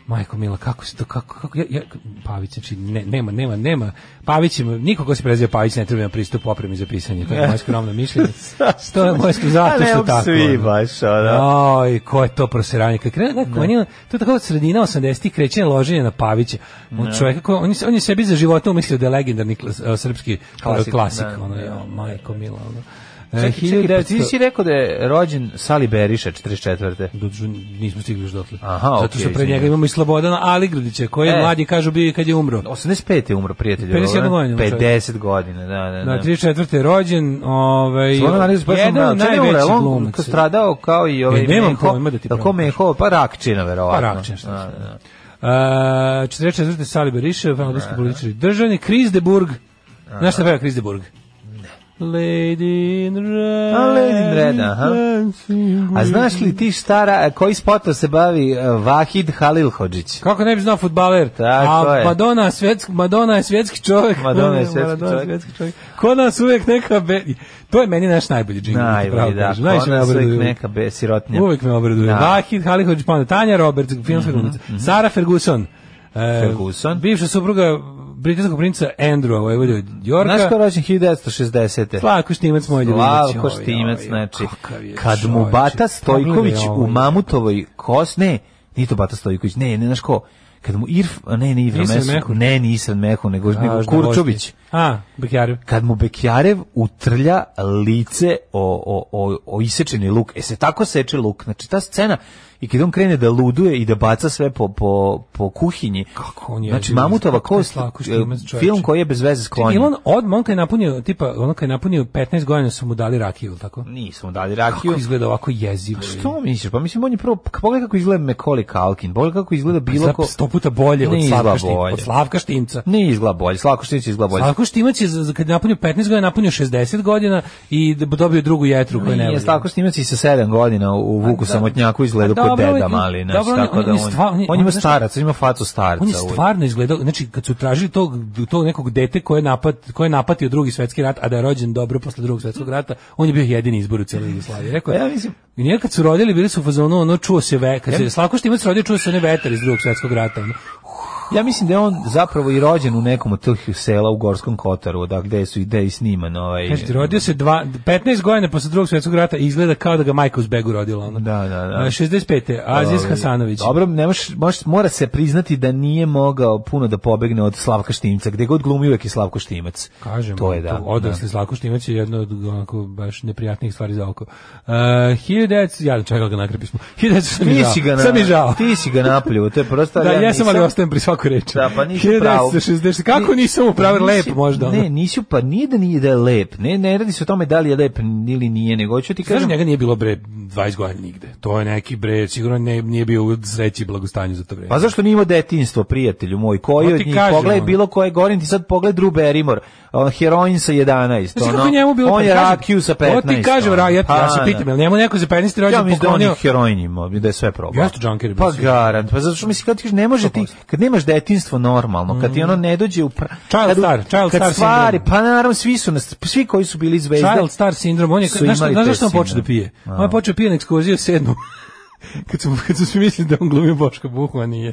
Majko Mila, kako se to, kako, kako, ja, ja, Pavić, znači, ne, nema, nema, nema, Pavić, je- niko ko se preziva Pavić ne treba na pristup opremi za pisanje, to je moje skromno mišljenje. to je moje skromno, zato A što ne, tako. pa svi ono. baš, a da. Oj, ko je to proseranje? Kad krene neko, on je, to je tako sredina 80-ih krećenje loženje na Pavića. On čovjek, koji- on, je, on je sebi za života umislio da je legendarni klas- eh, srpski Klasik, klasik, klasik da, ono, da, jo, majko Mila, ono. E, Čekaj, čekaj, pa ti 1900 si rekao da je rođen Sali Beriša, 44. Doduše nismo stigli još dotle. Aha, Zato što okej, pre izvinjam. njega imamo i Slobodana Aligrdića, koji je E. mladi kažu bio i kad je umro. 85. je umro, prijatelj. 51 godina, 50 godina, da, da, Na da. 34. je rođen, ovaj Slobodan Aleksić baš sam jedan mrao. od Čega je umro? najvećih Jel on glumaca. stradao kao i ovaj E, nemam Meho? pojma da ti Jel ko pravim. Meho? Pa rakčina, verovatno. Pa Rakčin, šta Da, sam. da, da. Uh, 44. Sali Berišev, francuski političar i državni Chris de Burg. Znaš šta peva Chris de Burg? Lady in red. A, Lady in red, aha. dancing A with- znaš li ti stara, koji spotom se bavi eh, Vahid Halilhodžić? Kako ne bi znao futbaler? Tako A je. Madonna, je svetski, Madonna je svjetski čovjek. Madonna je svjetski Maradona čovjek. svjetski čovjek. Kod nas uvijek neka... Be... To je meni naš najbolji džingl. Najbolji, da. Najviše me Ona se obraduje. neka be, sirotnja. Uvijek me obraduje. Da. Mhm, Vahid, Halihović, Panda, Tanja Robert, filmska glumica. Sara Ferguson. e, Ferguson. Bivša supruga britanskog princa Andrewa, ovaj vodi od Jorka. Znaš ko je rođen 1960. Slavko Štimec, moj ljubić. Slavko Štimec, znači, kad mu Pa Bata Stojković u Mamutovoj kos, ne, nije to Bata Stojković, ne, ne znaš ko, kad mu Irf, a ne, ne Ivra Nisam Mesu, Mehu. ne, nisam Mehu, nego, nego Každa Kurčović, A, Bekjarev. kad mu Bekjarev utrlja lice o, o, o, o isečeni luk, e se tako seče luk, znači ta scena, i kad on krene da luduje i da baca sve po, po, po kuhinji, Kako on je znači jeziv, Mamutova kako je kost, Slavko Štimec, e, čoveče. film koji je bez veze sklonjen. Ili on odmah, on kad je napunio, tipa, on kad je napunio 15 godina su mu dali rakiju, ili tako? Nisu mu dali Kako rakiju. izgleda ovako jezivo? Što misliš? Pa mislim on je prvo k- pogledaj kako izgleda Mekoli Kalkin, pogledaj kako izgleda bilo Bilo ko. Pa sto puta bolje Ne od Slavka, izgleda Štim, bolje. od Slavka Štimca. Ne izgleda bolje, Slavko Štić izgleda bolje. Slavko Štimac je, za- za- kad je napunio 15 godina, napunio 60 godina i d- dobio drugu jetru koja ne Nije valja. Slavko Snimac i sa 7 godina u Vuku Samotnjaku izgleda A kao dobro, deda on- mali, znači dobro, on je- tako on da je on, stvarno- on on ima je- starac, on ima facu starca. On je uvek. stvarno izgledao, znači kad su tražili tog, tog nekog dete koje je, napad, koje je napatio drugi svetski rat, a da je rođen dobro posle drugog svetskog rata, on je bio jedini izbor u cijeloj Jugoslaviji. Rekao, Pa ja mislim- I njega kad su rodili, bili su u fazonu, ono čuo se ve, kad se Slavko Štimac rodio, čuo se ne vetar iz drugog svetskog rata. Ono. Ja mislim da je on zapravo i rođen u nekom od tih sela u Gorskom Kotaru, da gde su i gde i sniman ovaj. Kaže, rodio se dva, 15 godina posle drugog svjetskog rata i izgleda kao da ga majka uz begu rodila. Ono. Da, da, da. E, 65. Aziz Ovaj, Hasanović. Dobro, ne moš, moš- mora se priznati da nije mogao puno da pobegne od Slavka Štimca, gde god glumi uvek je Slavko Štimac. Kažem, ono, to je da. odrasli da. Slavko Štimac je jedno od onako baš neprijatnijih stvari za oko. Uh, 1900, ja čekam ga nakrpi smo. 1900 sam mi Ti žao. si ga na, Sam mi žao. Ti si ga napljuo, to je prosto. Da, ali ja sam ali nisam- ostajem pri svakoj reči. Da, pa nisi u pravu. 1960. Kako Ni- nisam upravio lep nisi- možda? ono? Ne, nisi, pa nije da nije da je lep. Ne, ne radi se o tome da li je lep ili nije, nego ću ti Kažem, kažem. njega nije bilo bre 20 godina nigde. To je neki bre, sigurno ne, nije bio u sreći i blagostanju za to vreme. Pa zašto nije imao detinjstvo, prijatelju moj? Koji Pa od ti njih? kažem, Pogledaj ono. bilo koje gorin, ti sad pogledaj Drew Barrymore, on, heroin sa 11. Znaš ono. kako je njemu bilo On kad je kažem- rakiju sa 15. To ti kažem, ono. ra, ja, Pa, ja se da. pitam, jel njemu neko za 15 Ja rođen mislim da on je poklonio? heroin imao, da je sve probao. Jeste džanker je bio Pa sigurno. garant, pa zato što mislim kad ti kažeš, ne može ti, kad nemaš detinjstvo normalno, kad ti ono ne dođe u... Pra... Mhm. Child kad u- star, child kad star stvari, sindrom. pa naravno svi su nas, svi koji su bili zvezde. Child star sindrom, on je, su znaš, imali znaš taj zašto on počeo da sindrom. pije? On je počeo da pije na ekskurziju u sedmu. kad su, kad su svi mislili da on glumi Boško Buhu, a nije.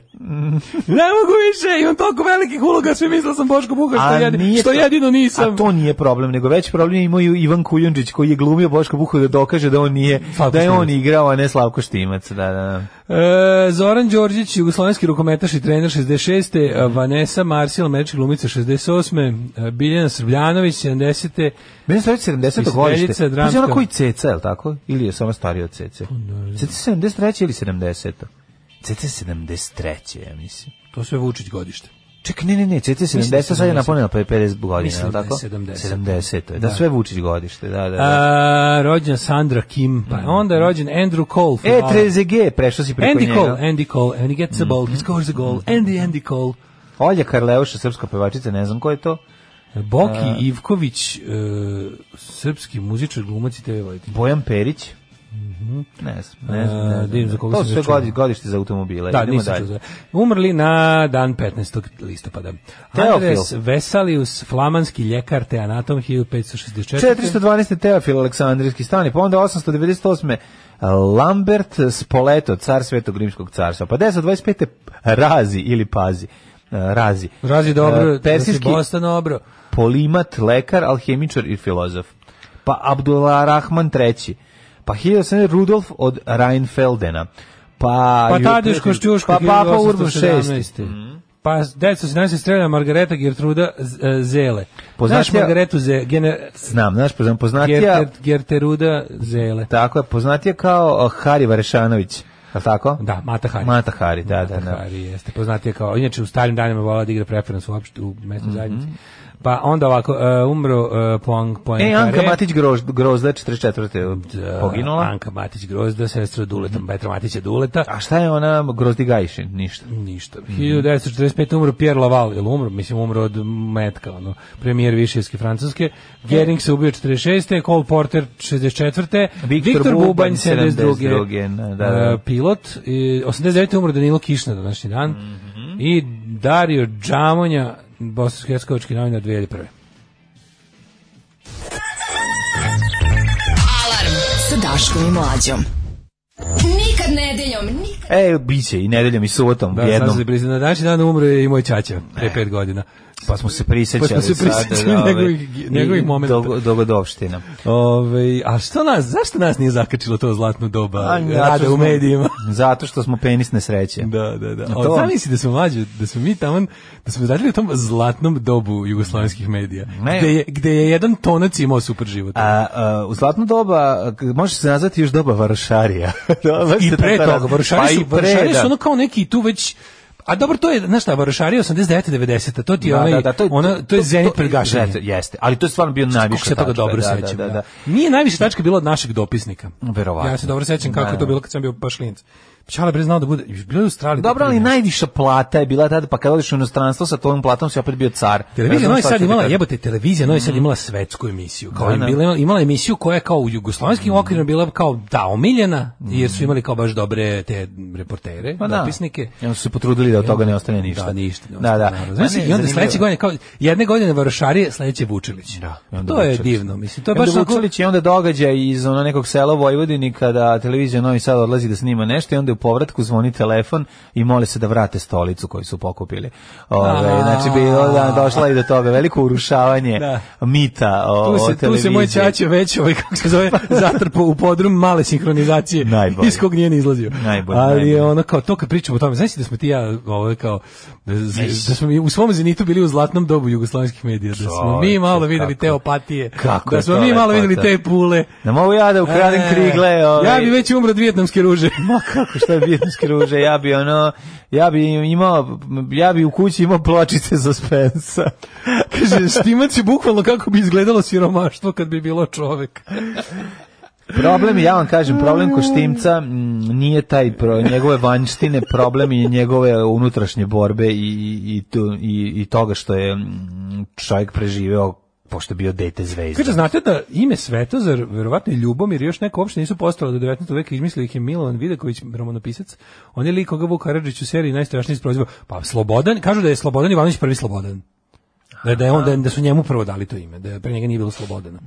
ne mogu više, imam toliko velikih uloga, svi mislili da sam Boško Buha, Pa što, A jedin, nije što to- jedino nisam. A to nije problem, nego veći problem je imao i Ivan Kujundžić koji je glumio Boško Buhu da dokaže da on nije, Slavko da je on Štimac. igrao, a ne Slavko Štimac. Da, da, da. E, Zoran Đorđić, jugoslovenski rukometaš i trener 66. Vanessa Marsil, američka glumica 68. e, Biljana Srbljanović 70. Meni je 70. Spisateljica, godište. Pa je dramska. Pa ona koji ceca, je li tako? Ili je samo stariji od cece? Ceca je 73. ili 70. CT73, ja mislim. To sve Vučić godište. Čekaj, ne, ne, ne, Mislim da CT70 je sad je 70. napunila pre 50 godina, Mislim je li da je tako? 70. 70. Da, da, Da. sve Vučić godište, da, da. da. A, rođen Sandra Kim, pa je onda je rođen Andrew Cole. e, fudbaler. 3ZG, prešao si preko Andy njega. Cole, Andy Cole, and he gets the ball, he scores the goal. Andy, Andy Cole. Olja Karleuša, srpska pevačica, ne znam ko je to. Boki Ivković, e, srpski muzičar, glumac i TV voditelj. Bojan Perić. Ne znam, ne znam. A, Ne da znam. im Mhm. E, za koga to sam sve već čuo. godi, godište za automobile. Da, Idemo nisam dalje. čuo za- Umrli na dan 15. listopada. Teofil. Andres Vesalius, flamanski ljekar, te anatom 1564. 412. Teofil Aleksandrijski stani, pa onda 898. Lambert Spoleto, car Svetog Rimskog carstva, pa 1025. Razi ili Pazi. eh, Razi. Razi dobro, Eh, Persijski. Persijski Bosta dobro. polimat, lekar, alhemičar i filozof. Pa Abdullah Rahman III. Pa 1700 Rudolf od Rheinfeldena. Pa, Pa Ju- Tadeš Košćuško, pa Papa Urban VI. Pa 1917. strelja Margareta Gertruda Z- e, Zele. Poznaš Poznatija- Margaretu Zele? Gene... Znam, znaš, poznam- poznatija, Gerter, Gerteruda Zele. tako je, poznatija kao eh, Hari Varešanović, je li tako? Da, Mata Hari. Mata Hari, da, da, Mata da. Hari jeste poznatija kao, inače u starim danima volala da igra preferans uopšte u Mhm. mesnoj zajednici. Pa onda ovako, e, umro uh, Poang Poang E, Anka Matić Groz, Grozda, 44. je poginula. e, Mhm. Anka Matić Grozda, sestra Duleta, Petra Matića Duleta. A šta je ona Grozdi Gajšin? Ništa. Ništa. 1945. umro Pierre Laval, ili umro, mislim umro od metka, ono, premijer Višijevske Francuske. Gering se ubio 46. Cole Porter 64. Viktor Bubanj, 72., da, da. E, Pilot. I 89. umro Danilo Kišna današnji dan. Mhm. I Dario Džamonja, bosansko-hercegovački novinar 2001. Alarm sa Daškom i Mlađom. Nikad nedeljom, nikad... E, biće i nedeljom i subotom, Da, jednom. E. sad se blizna. Na današnji dan umro je i moj čača, pre pet godina. Pa smo se prisjećali. Pa smo se sada, prisjećali ove, njegovih- njegovih i momenata. Dogo, dogodovština. Ove, Ovaj, a što nas, zašto nas nije zakačilo to zlatno doba zato rada što u smo- medijima? Zato što smo penisne sreće. Da, da, da. to- O, zamisli da smo mlađi, da smo mi tamo, da smo radili u tom zlatnom dobu jugoslovenskih medija, Ne. gde je, gde je jedan tonac imao super život. A, a, u zlatno doba, k- može se nazvati još doba varošarija. Doba I se pre tako toga, raz- varošari i su, pre, varošari da. su ono kao neki tu već A dobro, to je, znaš šta, Varošari 89. 90. To ti je, Da, onaj, da, da, to je, ono, to je zenit pred gašenjem. Jeste, Jeste, ali to je stvarno bio najviše Kako se toga dobro da, sećam. Da, da, da. Nije najviše tačka bila od našeg dopisnika. Verovatno. Ja se dobro sećam kako Da. je to bilo kad sam bio baš klinac. Čala bre znao da bude, bilo je u Australiji. Dobro, ali najviša plata je bila tada, pa kad odiš u inostranstvo sa tvojom platom si opet bio car. Televizija Razumem Novi šta Sad ću ti imala, kažem. Mhm. jebote, televizija Novi Sad imala svetsku emisiju. Kao Da, Mhm. je da. bila, imala je emisiju koja je kao u jugoslovenskim okvirima bila kao da omiljena, jer su imali kao baš dobre te reportere, Mhm. Pa da. dopisnike. I onda su se potrudili da od toga ne ostane ništa. Da, ništa. ne Da, ostane, da. naravno. Ne, Znaš, ne, I onda zanimljivo. sledeće godine, kao, jedne godine Varošari, sledeće Vučilić. Da, i onda to je Vučilić. divno, mislim. To je I onda baš onako- Vučilić i onda događaj iz ono nekog sela u Vojvodini kada televizija Novi Sad odlazi da snima nešto i onda u povratku zvoni telefon i mole se da vrate stolicu koju su pokupili. Ove, A. znači bilo da došla i do toga veliko urušavanje Da. mita o, Tu o se, tu se televiziji. moj ćaće već, ovaj, kako se zove, zatrpao u podrum male sinhronizacije, Najbolje. iz kog nije ni izlazio. Najbolje, Ali najbolje. je ono kao, to kad pričamo o tome, znaš li da smo ti i ja, ovo, kao, da, da smo mi u svom zenitu bili u zlatnom dobu jugoslavenskih medija, da smo mi Čovječe, malo videli kako- te opatije, kako je da smo to mi malo lepota. videli te pule. Da mogu ja da ukradem E, krigle. Ove, Ja bi već umro od vjetnamske ruže. Ma kako šta je vijetnamske ruže, ja bi ono, ja bi imao, ja bi u kući imao pločice za Spensa. Kaže, štimac je bukvalno kako bi izgledalo siromaštvo kad bi bilo čovek. Problem, je, ja vam kažem, problem Koštimca mm, nije taj pro, njegove vanjštine, problem je njegove unutrašnje borbe i, i, i tu- i, i toga što je mm, čovjek preživeo pošto je bio dete zvezda. Kaže, znate da ime Svetozar, verovatno i Ljubomir, još neko uopšte nisu postali do 19. veka, izmislio ih je Milovan Vidaković, romanopisac. On je lik koga Vuk Karadžić u seriji najstrašniji isprozivao. Pa Slobodan, kažu da je Slobodan Ivanović prvi Slobodan. Da, da, je on, da, da su njemu prvo dali to ime, da je pre njega nije bilo Slobodana.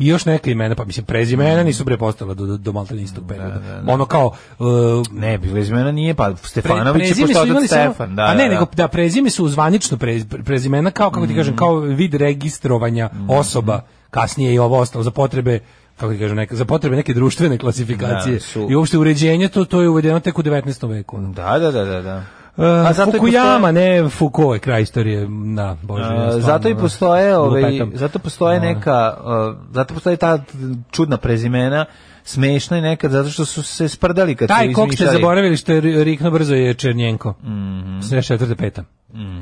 I još neka imena, pa mislim, prezimena nisu bre postala do, do, do maltene istog perioda. Ono kao... uh, Ne, bilo iz mene nije, pa Stefanović je prezime su pošto imali otac samo- Stefan. Da, a ne, da, Mhm. da. nego da prezime su zvanično prez- prezimena kao kako ti kažem, kao vid registrovanja Mhm. osoba. Kasnije i ovo ostalo za potrebe kako ti kažem, neka, za potrebe neke društvene klasifikacije Da, su- i uopšte uređenje, to, to je uvedeno tek u 19. veku. ono. Da, da, da, da, da. A E, zato i Fukuyama, postoje- ne Foucault je kraj istorije, da, bože. ja E, stvarno, zato i ono, postoje ovaj lupetam. zato postoje Da. neka e, zato postoje ta čudna prezimena smešna i nekad zato što su se sprdali kad su Taj kog ste izmišljali. zaboravili što je ri- rikno brzo je Černjenko. Mm Mhm. -hmm. četvrte peta.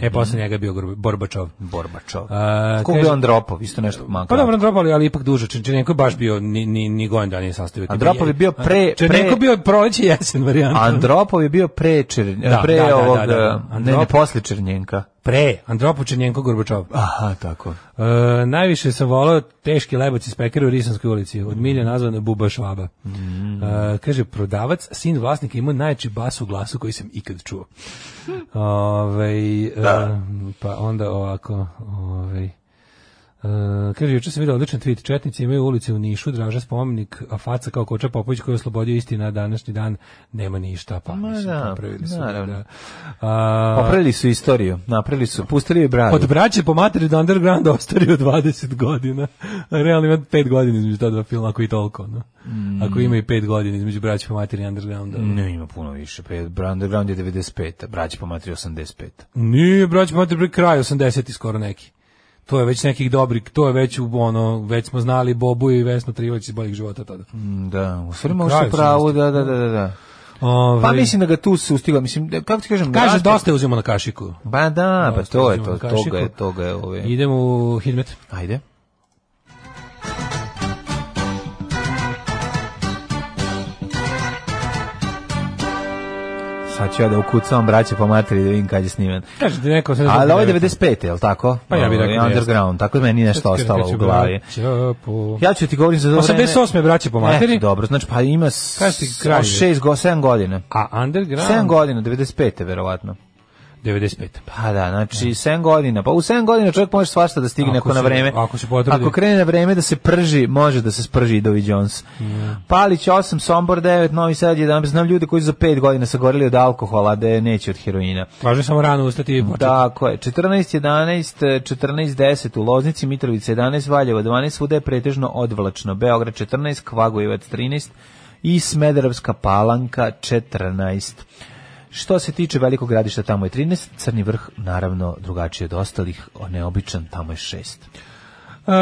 E, posle njega je bio Gorb- Borbačov. Borbačov. A, Mhm. Kog kaže- je Andropov, isto nešto manjka. Pa dobro, Andropov, ali ipak duže. Černjenko je baš bio, ni, ni, ni godin dan nije sastavio. tipa Andropov je bio pre- Černjenko pre- bio proleće i jesen varijanta. Andropov je bio pre Čer- Da, pre da, da, ovog da, da, da. e, ne, ne Andropov. posle Černjenka. Pre, Andropov, Černjenko, Gorbačov. Aha, tako. E, najviše sam volao teški lebac iz pekara u Risanskoj ulici, od milja nazvan Buba Švaba. Mm. E, kaže, prodavac, sin vlasnika ima najjači bas u glasu koji sam ikad čuo. Ovaj, e, pa onda ovako, ovaj, e, kaže, juče sam vidio odličan tweet, Četnici imaju ulice u Nišu, draža spomenik, a faca kao koča Popović koji je oslobodio istina na današnji dan, nema ništa, pa mislim, da, popravili su, naravno. Pa da. A, Popravili su istoriju, napravili su, pustili je bradu. od braće po materi do undergrounda ostario 20 godina. A Realno ima 5 godina između ta dva filma, ako i toliko. No? Mm. Ako ima i 5 godina između braće po materi i undergrounda. Ne, ima puno više. Pa je Underground je 95, braći pomatri 85. Nije, braće po materi pri kraj 80 i skoro neki. To je već nekih dobrih, to je već u ono, već smo znali Bobu i Vesnu Trivović iz boljih života tada. Mm. Da, u stvari možda kraju u pravu, 80. da, da, da, da, da. Ove, Pa mislim da ga tu se ustigla, mislim, da- kako ti kažem, Ovaj, Kaže, raspad- dosta je uzimo na kašiku. Ba da, pa Dosta to je uzimam to, kašiku. toga je, toga je ovaj. ove. Idemo u Hidmet. Ajde. Sad ću ja da ukucam braće po materi da vidim kad je snimen. Kaže, ti neko... se ne znam Ali ovo je da je- 95. je li tako? Pa ja bih Ovo je rekao da jeste. Underground, tako je meni nešto ostalo u glavi. Braća po- Ja ću ti govorim za dobro 88. braće po materi. dobro, znači pa ima s- Kaži ti kraj. 6 go 7 godina. A underground... 7 godina, 95. verovatno. 95. Pa da, znači 7 godina. Pa u 7 godina čovjek može svašta da stigne ako, Ako na se- vreme. ako se potrudi. Ako krene na vreme da se prži, može da se sprži i Dovi Jones. Palić 8, Sombor 9, Novi Sad 11. Znam ljude koji su za 5 godina sagorili od alkohola, da je neće od heroina. Važno je samo rano ustati i početi. Tako je. 14 11 14 10 u Loznici, Mitrovica 11, Valjevo 12, svuda je pretežno odvlačno. Beograd 14, Kvagojevac 13 i Smederevska Palanka 14. Što se tiče velikog gradišta, tamo je 13, Crni vrh naravno drugačiji od ostalih, on je običan, tamo je 6. E,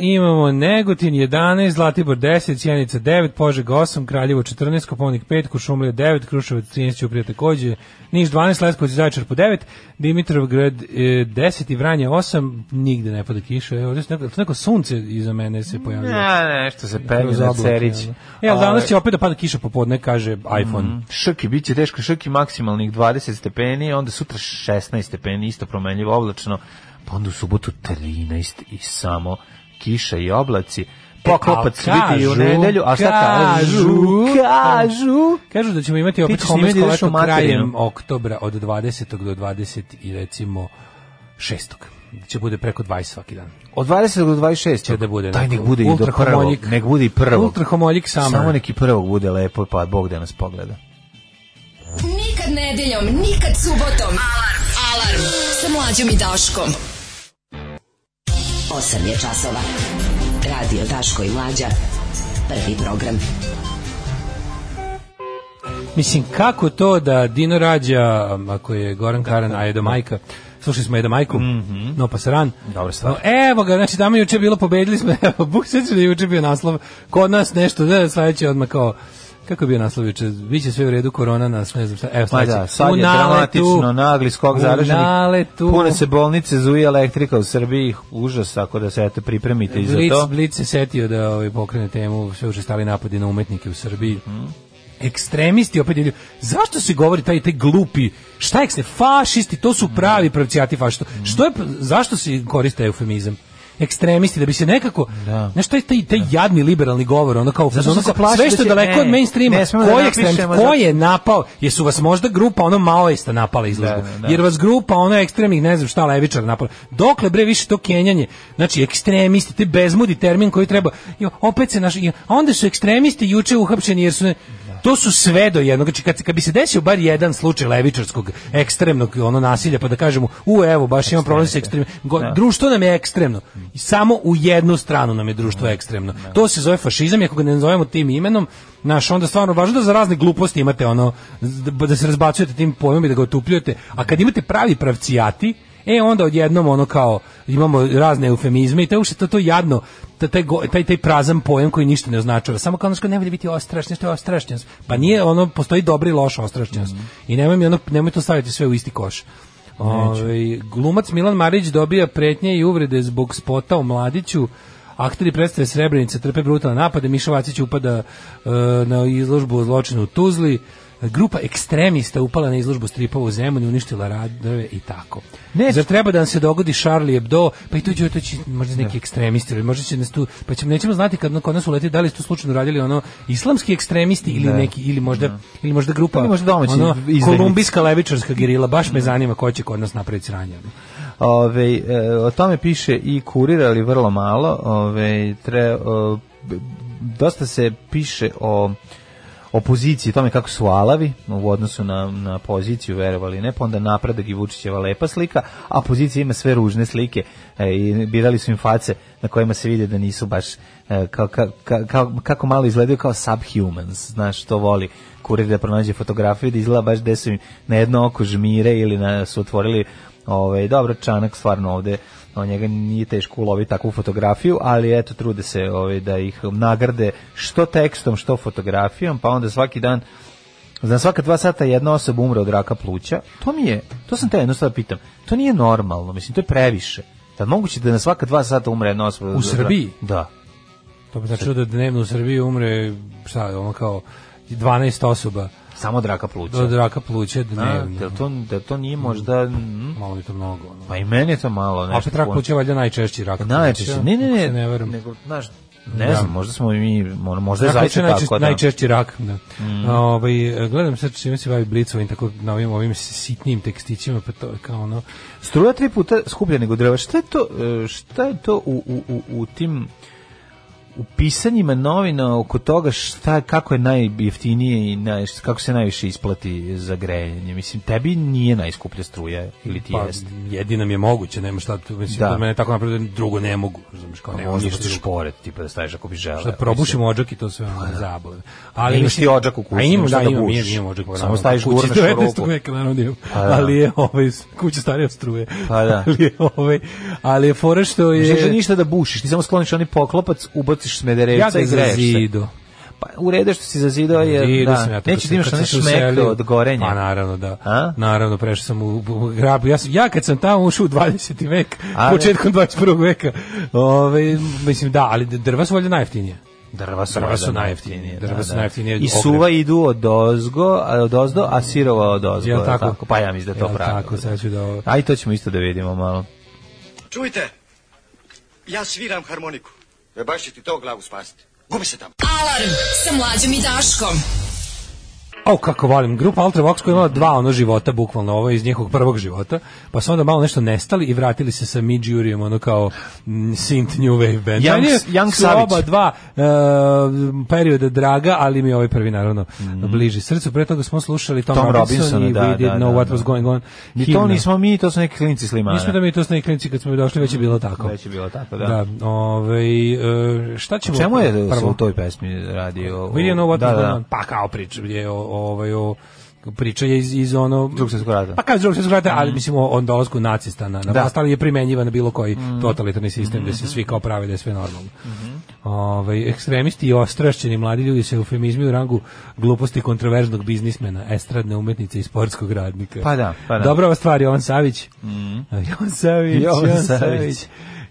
imamo Negotin 11, Zlatibor 10, Sjenica 9, Požeg 8, Kraljevo 14, Koponik 5, Kušumlija 9, Kruševac 13, Ćuprija takođe, Niš 12, Leskovac i Zaječar po 9, Dimitrovgrad e, 10 i Vranje 8, nigde ne pada kiša. Evo, ovdje se neko, jel se neko sunce iza mene se pojavilo. Ne, nešto se Kroz penje na oblake, Cerić. jel da? E, ali danas će opet da pada kiša popodne, kaže iPhone. Mhm. Šrki, bit će teško šrki maksimalnih 20 stepeni, onda sutra 16 stepeni, isto promenljivo oblačno, pa onda u subotu 13 i samo kiša i oblaci. Poklopac al kažu, vidi i u nedelju, a šta kažu? kažu, Kažu! Kažu da ćemo imati opet ćeš snimati homesko da ideš u leto krajem materinu. oktobra od 20. do 20. i recimo 6. će bude preko 20 svaki dan. Od 20 do 26. Će da bude Taj neko nek bude i do prvog. ultrahomoljik. Nek bude i prvog. Ultrahomoljik summer. Samo neki prvog bude lepo, pa Bog da nas pogleda. Nikad nedeljom, nikad subotom. Alarm. Alarm. Sa mlađom i Daškom. 8 je časova. Radio Daško i Mlađa. Prvi program. Mislim, kako to da Dino rađa, um, ako je Goran Karan, a Edo Majka, slušali smo Edo Majku, Mhm. no pa saran. Dobra stvar. No, evo ga, znači tamo je juče bilo, pobedili smo, evo, Bog seća da je juče bio naslov, kod nas nešto, da, sledeće odmah kao, kako je bio naslov juče, biće sve u redu, korona nas, ne znam šta, evo Pa sledeće. da, sad U je naletu. dramatično, nagli skok U zaraženih. naletu. Pune se bolnice, zuje elektrika u Srbiji. Užas, ako da se eto pripremite i za Blic, to. Blic se setio da ovaj, pokrene temu sve učestali napadi na umetnike u Srbiji. Mhm. Ekstremisti opet divljaju. Zašto se govori taj taj glupi? Šta je fašisti? To su pravi pravcijati fašisti. Mhm. Što je zašto se koriste eufemizam? ekstremisti da bi se nekako da. znaš taj taj taj jadni liberalni govor ono kao Zato što ono se kao, plaši sve da što je će- daleko ne, od mainstreama ne smemo da ko je napišemo ekstremist zato- ko je napao jesu vas možda grupa ono maoista napala izložbu Da, da, da. jer vas grupa ono ekstremnih ne znam šta levičar napala dokle bre više to kenjanje znači ekstremisti te bezmudi termin koji treba jo, opet se naš jo, a onda su ekstremisti juče uhapšeni jer su ne- To su sve do jednog. Znači, kad, kad bi se desio bar jedan slučaj levičarskog ekstremnog ono nasilja, pa da kažemo, u evo, baš imam problem sa ekstremnim. Go- Društvo nam je ekstremno. I samo u jednu stranu nam je društvo ekstremno. To se zove fašizam, i ako ga ne nazovemo tim imenom, naš onda stvarno važno da za razne gluposti imate ono da da se razbacujete tim pojmom i da ga otupljujete. A kad imate pravi pravcijati, E onda odjednom ono kao imamo razne eufemizme i to je uopšte to to jadno ta- taj go- taj taj prazan pojam koji ništa ne označava. Samo kao ono što ne valja biti ostrašćen, što je ostrašćenost. Pa nije ono postoji dobra i loša ostrašćenost. I nemoj mi ono nemoj to staviti sve u isti koš. Ovaj, glumac Milan Marić dobija pretnje i uvrede zbog spota o Mladiću. Akteri predstave Srebrenica trpe brutalne napade, Miša Vacić upada e, na izložbu o zločinu u Tuzli. Grupa ekstremista upala na izložbu stripova u Zemunu, uništila radove i tako. Ne, Zar treba da nam se dogodi Charlie Hebdo, pa i tu će otići možda neki ekstremisti, ili možda će nas tu, pa ćemo, nećemo znati kad kod nas uleti da li su tu slučajno radili ono islamski ekstremisti ili neki, ili možda, ili možda grupa, Ili možda domaći ono, izdajnici. kolumbijska levičarska gerila, baš me zanima ko će kod nas napraviti sranje. Ove, e, o tome piše i kurir, ali vrlo malo. Ove, tre, o, b- dosta se piše o opoziciji, tome kako su alavi u odnosu na, na poziciju, verovali ne, pa onda napredak i Vučićeva lepa slika, a pozicija ima sve ružne slike e, i birali su im face na kojima se vide da nisu baš e, kao, ka- ka- kao- kako malo izgledaju kao subhumans, znaš, to voli kurir da pronađe fotografiju da izgleda baš gde su im na jedno oko žmire ili na, su otvorili Ovaj dobro Čanak stvarno ovde on njega nije teško uloviti takvu fotografiju, ali eto trude se ovaj da ih nagrade što tekstom, što fotografijom, pa onda svaki dan Za svaka dva sata jedna osoba umre od raka pluća. To mi je, to sam te jedno stvar pitam. To nije normalno, mislim, to je previše. Da moguće da na svaka dva sata umre jedna osoba. od- od- Srbiji? Da. To bi značilo da dnevno u Srbiji umre, šta, ono kao 12 osoba Samo od raka pluća. od raka pluća A, dnevno. da to, da to nije možda... mm, Malo je to mnogo. Ono. Pa i meni je to malo A nešto. opet rak puno. pluća je valjda najčešći rak pluća. Najčešće. znači, Ne, ne, Znači, ako se ne. ne verujem. Nego, znaš, ne Da. Znači, znam, možda smo i mi, mo- možda je Rak pluća zaista je tako. najčešći, da. najčešći rak. Da. Ovaj, gledam sad čime se bavi Blicovim, tako na ovim, ovim sitnim tekstićima, pa to je kao ono... Struja tri puta skuplja nego drva. Šta je to, e, šta je to u, u, u, u tim u pisanjima novina oko toga šta, kako je najjeftinije i naj, kako se najviše isplati za grejanje. Mislim, tebi nije najskuplja struja ili ti Pa, jeste. jedina mi je moguće, nema šta, tu, mislim, Da. da. Pa mene tako napravio da drugo ne mogu, razumiješ, kao ne, Možda ništa pustiš drugo. šporet, tipa da staviš ako bi želeo. Pa Da probušimo odžak i to sve ono zabave. Ali Imaš Pa ti odžak u kući, A imam, imaš da, šta da imam, bušiš. imam, imam odžak. Samo naravno, staviš kući gurnaš iz 19. ruku. veka, naravno, da imam. Pa da. Ali je ovaj, kuća starija od struje. Pa da. Ali je, ovaj, ali je fora što Ne želiš je... ništa da bušiš, ti samo skloniš oni poklopac, ubaciš Ja smederevca ga i greješ se. zazido. Pa u redu je što si zazidao je, Vidio da, sam ja to kad neće sam- ti imaš kad sam onaj se uselio. šmeklo od gorenja. Pa naravno da. A? Naravno prešao sam u, u grab. Ja sam ja kad sam tamo ušao u 20. vek, A, ne. početkom 21. veka. Ovaj mislim da, ali drva su valjda najjeftinije. Drva su, Drva valjda su najjeftinije, drva su najjeftinije I ogrev. suva idu od dozgo, a od ozdo, a sirova od ozgo. Jel tako? Pa ja mislim da je to Jel pravo. tako, sad ću da ovo- Aj, to ćemo isto da vidimo malo. Čujte, ja sviram harmoniku. E baš će ti to glavu spasiti. Gubi se tamo. Alarm sa mlađom i Daškom. Au, kako volim. Grupa Ultravox koja je imala dva ono života, bukvalno ovo je iz njihovog prvog života, pa su onda malo nešto nestali i vratili se sa Midjurijem, ono kao mm, synth new wave band. Young- Meni Young su Savić. oba dva e, perioda draga, ali mi je ovaj prvi naravno bliži srcu. Pre toga smo slušali Tom, Mhm. Tom Robinson, Robinsona, i da, We Didn't da, Know da, What da. Was Going On. Ni to Himna. nismo mi, to su neki klinci slimana. Nismo da mi to snaj klinci kad smo mi došli, već je bilo tako. Već je bilo tako, da. Da, ovaj, e, šta ćemo... Čemu je se prvo? u toj pesmi radio? We didn't know what da, was da. going on. Pa kao priča je o, o, ovaj, o priča je iz, iz ono... Drugog svjetskog rata. Mm. Pa kao iz drugog svjetskog rata, ali mislim o, o dolazku nacista Da. na, na Mm. Mm-hmm. vlast, ali je primenjiva na bilo koji totalitarni sistem gde se svi kao prave da je sve normalno. Ovaj, ekstremisti i ostrašćeni mladi ljudi se eufemizmi u rangu gluposti kontroverznog biznismena, estradne umetnice i sportskog radnika. Pa da, pa da. Mm. Dobra ova stvar, Jovan Savić. Jovan Savić, Jovan Jovan, Savić. Savić.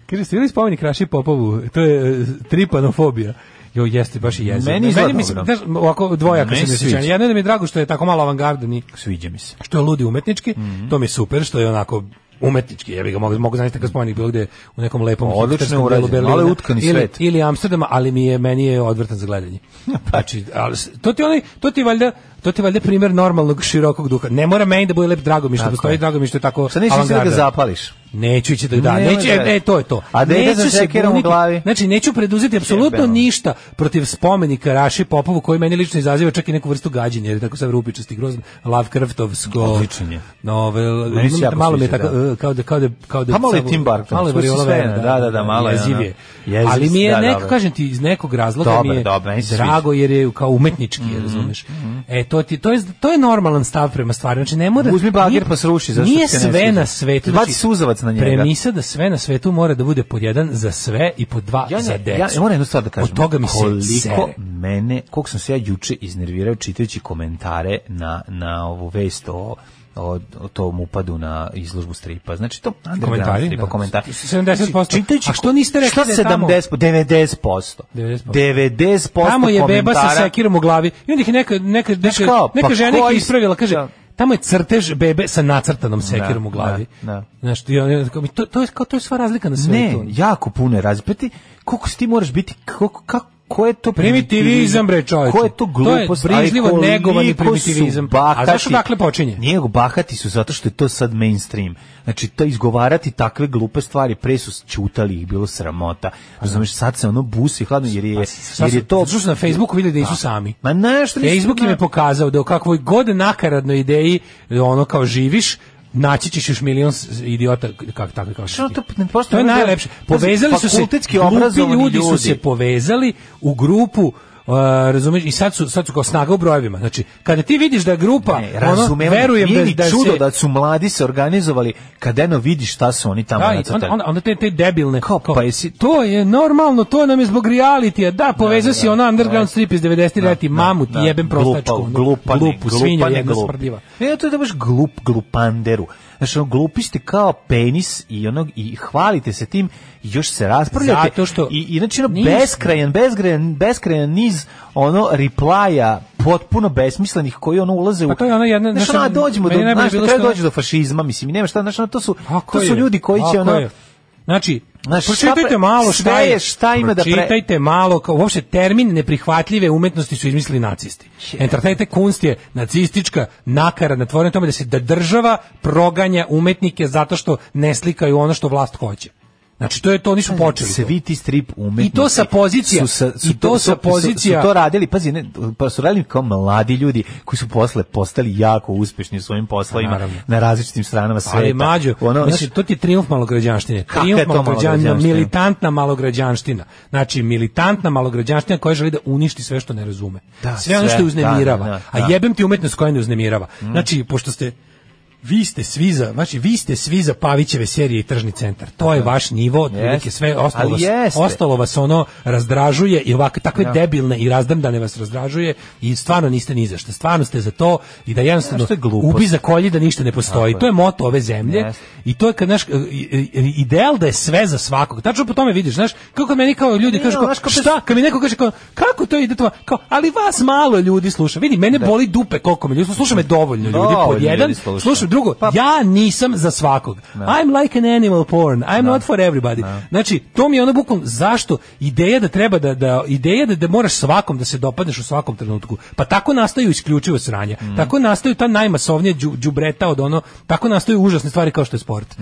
Kaže, ste bili spomenik Raši Popovu? To je e, tripanofobija. Jo, jeste, baš i jezio. Meni izgleda mislim, dobro. znaš, ovako dvojaka Meni se mi se sviđa. osjećanje. Jedno je da mi je drago što je tako malo avangardan i Sviđa mi se. što je ludi umetnički, Mhm. to mi je super, što je onako umetnički, ja bih ga mogu, mogu zamisliti kako spomenik bilo gde u nekom lepom Pa Odlično je hipsterskom urađeno, delu Berlina ali utkani ili, svet. pa- ili Amsterdama, ali mi je meni je odvrtan za gledanje. Znači, ali, s- to ti onaj, to ti valjda to ti valjda primer normalnog širokog duha. Ne mora meni da bude lep, drago mi je što Tako postoji, je. drago mi je što je tako Sad nisi mislio da ga avangardan. zapališ. Neću ići da da, Nemoj neću, da- e, e, to je to. A dete Neću sa se šekerom u buniti. glavi? Znači, neću preduzeti apsolutno Jebeno. ništa protiv spomenika Raši Popovu, koji meni lično izaziva čak i neku vrstu gađenja, jer je tako sve rupičasti, grozan, Lovecraftovsko. Odličan je. Novel, Meni se jako malo mi je sviđa, tako, da. e, kao da, kao da, kao da... Pa malo je samo- Tim Burton, Malo je tu si Variola sve, Vena, da, da, da, malo je, jeziv ono, je. jeziv Ali mi je, si, da, neko, dobro. kažem ti, iz nekog razloga Dobar, mi je dobar, meni se Mhm, drago, jer je kao umetnički, razumeš. E, to, ti, to, je, to je normalan stav prema stvari. Znači, ne mora... Uzmi bager nije- pa sruši, zašto Nije ti se ne sve sviđa? na svetu. znači, Baci suzavac na njega. Premisa da sve na svetu mora da bude pod jedan za sve i pod dva Ja, za ne, decu. ja, ja moram jednu stvar da kažem. Od toga mi se koliko sere. mene, koliko sam se ja juče iznervirao čitajući komentare na, na ovu vest o, o, o tom upadu na izložbu stripa. Znači to underground Komentari, stripa, da. komentari. 70%. Znači, čitajući A što niste rekli šta da je tamo? 70%? 90%. 90%. 90% Tamo je beba sa komentara. sekirom u glavi. I onda ih je neka, neka, neka, Znaš kao, neka pa žena ih koji- ispravila, kaže, Da. tamo je crtež bebe sa nacrtanom sekirom u glavi. da, da. Znaš, i on- i on- kao, to, to, je, kao, to je sva razlika na Ne, svetu. jako puno je razpeti. Koliko si ti moraš biti, kako, kako, ko je to Primitivizam, bre, čoveče. Ko je to glupost? To je brižljivo ali koliko negovani su primitivizam. Bahati, A znaš odakle počinje? Nije go bahati su zato što je to sad mainstream. Znači, to izgovarati takve glupe stvari, pre su ćutali ih, bilo sramota. Razumeš, sad se ono busi hladno, jer je, Sad jer je su- to... zato što su na Facebooku vidjeli da nisu sami. Ma ne, što nisu- Facebook im je pokazao da u kakvoj god nakaradnoj ideji ono kao živiš, naći ćeš još milion s- idiota kak takvi kao što Što ti. to- ne, prosto to je ne može- najlepše. Pazi, Povezali su se fakultetski glupi obrazovani ljudi su ljudi. se povezali u grupu Uh, razumeš i sad su sad su kao snaga u brojevima znači kada ti vidiš da je grupa Ne, ono razumevanje. verujem Nije da ni da čudo se da su mladi se organizovali kad eno vidi šta su oni tamo Da, i nacrtali. onda, onda, onda te, te debilne. Kao, pa jesi- To je normalno, to nam je zbog realitija. Da, povezao si ona underground strip iz 90. da, ti mamu, ti jebem prostačku. ono, glupa, glupu, svinju, jedna smrdljiva. Ne, E, to je da baš glup, glupanderu. Znači, ono, glupi ste kao penis i onog i hvalite se tim i još se raspravljate. Zato što I, i znači, ono, nismo. beskrajan, beskrajan, beskrajan niz ono replaja potpuno besmislenih koji ono ulaze u... Pa to je ono jedna- Znaš, znaš, ono, a dođemo do... meni je najbolje Znaš, bilo na kraju što ono- dođe do fašizma, mislim, i nema šta, znaš, ono, to su, Tako to su je, ljudi koji će, tako ono... je. Znači, Znaš, šta pročitajte pre- sve malo šta je, je, šta ima da pre- pročitajte malo, kao, uopšte termin neprihvatljive umetnosti su izmislili nacisti. Entertajte kunst je nacistička nakara na tvorenju tome da se da država proganja umetnike zato što ne slikaju ono što vlast hoće. Znači, to je to, oni su počeli. to. Svi ti strip umetnici. I to sa Su pozicija, sa, su i to sa su- pozicija- Su, to radili, pazi, ne, pa su radili kao mladi ljudi koji su posle postali jako uspešni u svojim poslovima Pa Naravno. na različitim stranama sveta. Ali mlađo, ono, mislim, znači, to ti je trijumf malograđanštine. Kakva Trijumf je to malograđanina, malograđanština? militantna malograđanština. Znači, militantna malograđanština koja želi da uništi sve što ne razume. Da, sve ono sve, što je uznemirava. da, da, A da. Mm. jebem ti umetnost koja ne uznemirava. Znači, pošto ste vi ste svi za, znači vi ste svi za Pavićeve serije i tržni centar. To je vaš nivo, otprilike sve ostalo Ali vas, jeste. ostalo vas ono razdražuje i ovakve takve debilne i razdrndane vas razdražuje i stvarno niste ni za šta. Stvarno ste za to i da jednostavno Znaš, to je glupost. ubi za kolje da ništa ne postoji. To je moto ove zemlje. Jeste. I to je kad naš e, ideal da je sve za svakog. Tačno po tome vidiš, znaš, kako meni kao ljudi kažu kao, znaš, kao šta, kad mi neko kaže kao, kako to ide to, kao, ali vas malo ljudi sluša. Vidi, mene boli dupe koliko me ljudi sluša, sluša me dovoljno ljudi pod Dovoljno jedan, ljudi Pa- sluša. slušam drugo, ja nisam za svakog. I'm like an animal porn, I'm not for everybody. Znači, to mi je ono bukvalno, zašto ideja da treba da, da ideja da, da moraš svakom da se dopadneš u svakom trenutku. Pa tako nastaju isključivo sranja. Mm. Tako nastaju ta najmasovnija đu- đubreta od ono, tako nastaju užasne stvari kao što je Mm. sport.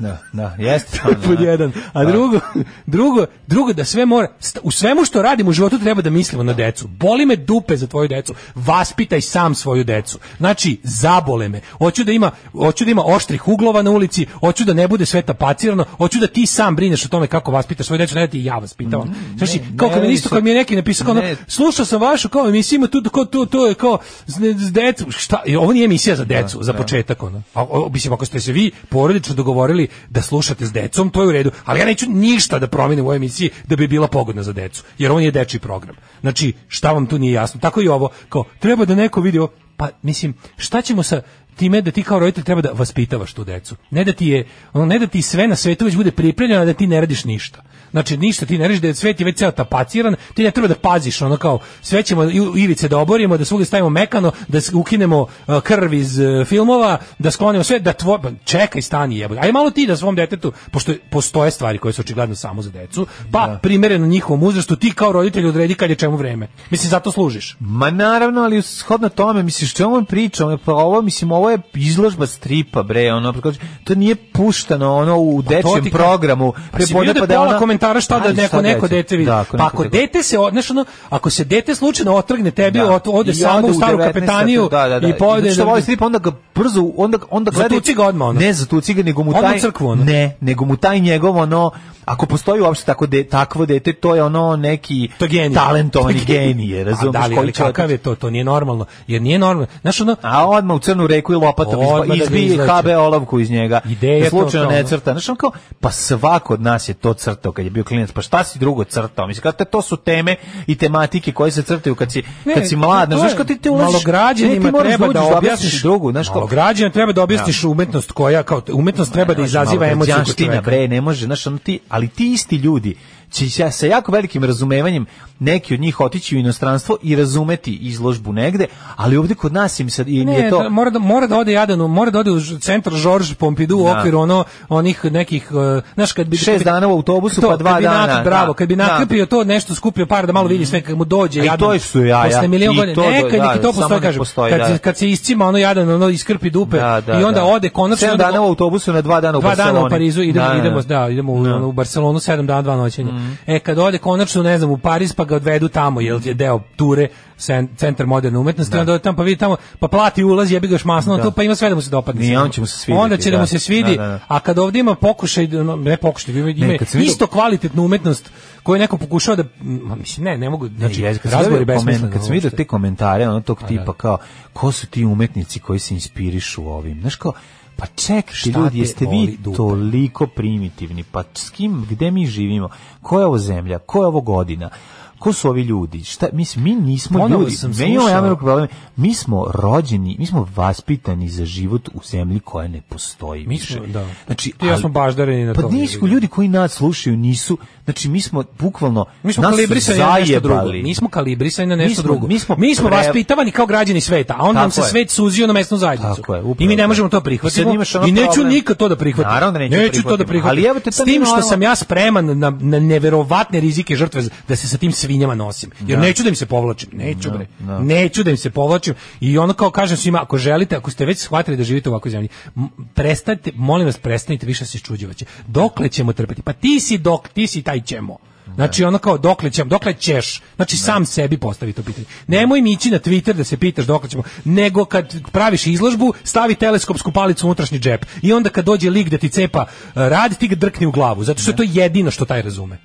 da, da, jeste. To je pod da. jedan. A drugo, drugo, drugo da sve mora, st- u svemu što radimo u životu treba da mislimo na decu. Boli me dupe za tvoju decu. Vaspitaj sam svoju decu. Znači, zabole me. Hoću da ima, hoću da ima oštrih uglova na ulici, hoću da ne bude sve tapacirano, hoću da ti sam brineš o tome kako vaspitaš svoju decu, ne da ti ja vaspitavam. znači, ne, kao kad ne, mi isto nisu- kad mi je neki napisao kao ono, ne. slušao sam vašu kao emisiju, ima tu kao tu to je kao z- z- decu, šta, i ovo nije emisija za decu, za početak ono. A, o, mislim ako ste se vi porodično dogovorili da slušate s decom, to je u redu, ali ja neću ništa da promenim u ovoj emisiji da bi bila pogodna za decu, jer ovo je dečiji program. Znači, šta vam tu nije jasno? Tako i ovo, kao treba da neko vidi ovo, pa mislim, šta ćemo sa time da ti kao roditelj treba da vaspitavaš tu decu. Ne da ti je, ono, ne da ti sve na svetu već bude pripremljeno, a da ti ne radiš ništa. Znači, ništa ti ne radiš, da je svet je već ceo tapaciran, ti ne treba da paziš, ono kao, sve ćemo i- ivice da oborimo, da svugde stavimo mekano, da s- ukinemo e, krv iz e, filmova, da sklonimo sve, da tvoj, ba, čekaj, stani jebote. Aj malo ti da svom detetu, pošto postoje stvari koje su očigledno samo za decu, pa primereno njihovom uzrastu, ti kao roditelj odredi kad je čemu vreme. Mislim, zato služiš. Ma naravno, ali shodno tome, misliš, što on priča, on, pa ovo, mislim, ovo ovo je izložba stripa, bre, ono, preko- to nije puštano, ono, u dečjem Pa ti ka- programu. Pa si vidio da je pola komentara šta da Ali neko, neko dete vidi. Da, pa ako neko- dete se, od- znaš ono, ako se dete slučajno otrgne tebi, Da. ot- ode I samo u ode staru 19 kapetaniju da, da, da. i povede. Zato što voli strip, onda ga brzo, onda, onda gleda... Zatuci ga odmah, ono. Ne zatuci ga, nego mu Odmah taj... u crkvu, ono. Ne, nego mu taj njegov, ono, ako postoji uopšte tako de, takvo dete, to je ono neki To je genije. talentovani genije, razumiješ? A da li, ali kakav je to? To nije normalno. Jer nije normalno. Znaš ono, A odmah u crnu reku i lopatom Odmah da izba, ga izbije izleče. KB olovku iz njega. Ideja da slučajno to kao, ne ono. crta. Znaš, on kao, pa svako od nas je to crtao kad je bio klinac. Pa šta si drugo crtao? Mislim, kad te, to su teme i tematike koje se crtaju kad si, Ne, kad si mlad. to Znaš, znaš, je- kad ti te ulaziš... malograđanima ne, ti moraš treba uđeš da objasniš drugu. Znaš, kao, malograđanima treba da objasniš umetnost koja kao umetnost treba da izaziva emociju kod Đanština, čoveka. bre, ne može, znaš, ono ti, ali ti isti ljudi će sa, sa jako velikim razumevanjem neki od njih otići u inostranstvo i razumeti izložbu negde, ali ovdje kod nas im sad i Ne, je to... da, mora da mora da ode jadan, u- mora da ode u ž- centar Georges Pompidou u Da. okviru ono onih nekih uh, znaš kad bi Šest kad bi- dana u autobusu, pa dva kad bi dana, nakr- bravo, da, kad bi da. Mhm. nakrpio to nešto skupio par da malo vidi sve kako mu dođe A i jadan. to su jaja, Posle milion i godina to do- neka da, neki to samo postoji nek kažem. postoji, kad, da, se- da. kad se iscima ono jadan ono iskrpi dupe Da, da, i onda da. ode konačno Sedam onda- dana u autobusu na dva dana u dva Barceloni. dana u Parizu idemo Da, da, idemo da. Mhm. da idemo u, ono, u Barcelonu 7 dana dva noćenja. E kad ode konačno ne znam u Pariz pa ga odvedu tamo jel je deo ture cen- centar moderne umetnosti onda ode tamo pa vidi tamo pa plati ulaz jebi ga još masno tu pa ima sve da mu se dopadne. Nije, on će mu se svidjeti, Onda će da mu da. se svidi. Da, da, da. A kad ovdje ima pokušaj no, ne pokušaj ima, ima kad sam vidio- isto kvalitetnu umetnost koju je neko pokušao da ma, mislim ne ne mogu znači Jezik, kad sam razgovor je vidio besmislen. Kad sam vidio te komentare, ono Pa tog tipa kao, ko su ti umetnici koji se inspirišu ovim? Znaš kao, pa čekajte Šta te ljudi, jeste boli vi dupe? toliko primitivni, pa s kim, gde mi živimo, koja je ovo zemlja, koja je ovo godina, ko su ovi ljudi, šta, mislim, mi nismo Ponovo ljudi, sam mi imamo slušao- jedan veliki problem, mi smo rođeni, mi smo vaspitani za život u zemlji koja ne postoji Mi više. smo, da. Znači, Ti i ja ali- smo baždareni na pa to. nisu ljudi koji nas slušaju, nisu, znači mi smo bukvalno, Mi smo nas su kalibrisani na nešto drugo. zajebali. Mi smo kalibrisani na Mi nešto smo- drugo. mi smo mi smo pre- vaspitavani kao građani sveta, a onda nam Tako se je. svet suzio na mesnu zajednicu. Tako je, upravo I mi ne tako. možemo to I prihvatiti. sad imaš ono I, neću problem- nikad to da prihvatim. Naravno da neću to da prihvatim. prihvatim. Ali evo te, to S tim nije što normalno. sam ja spreman na, na neverovatne rizike i žrtve da se sa tim svinjama nosim. Jer neću da im se povlačim. Neću, bre. Neću da im se povlačim. I ono kao kažem svima, ako želite, ako ste već shvatili da živite u ovakvoj zemlji, m, prestanite, molim vas, prestanite više se čuđivaće. Dokle ćemo trpeti? Pa ti si dok, ti si taj ćemo. Znači ono kao dokle ćemo, dokle ćeš. Znači sam sebi postavi to pitanje. Nemoj mi ići na Twitter da se pitaš dokle ćemo, nego kad praviš izložbu, stavi teleskopsku palicu u unutrašnji džep i onda kad dođe lik da ti cepa eh, rad, ti ga drkni u glavu, zato što je to jedino što taj razume.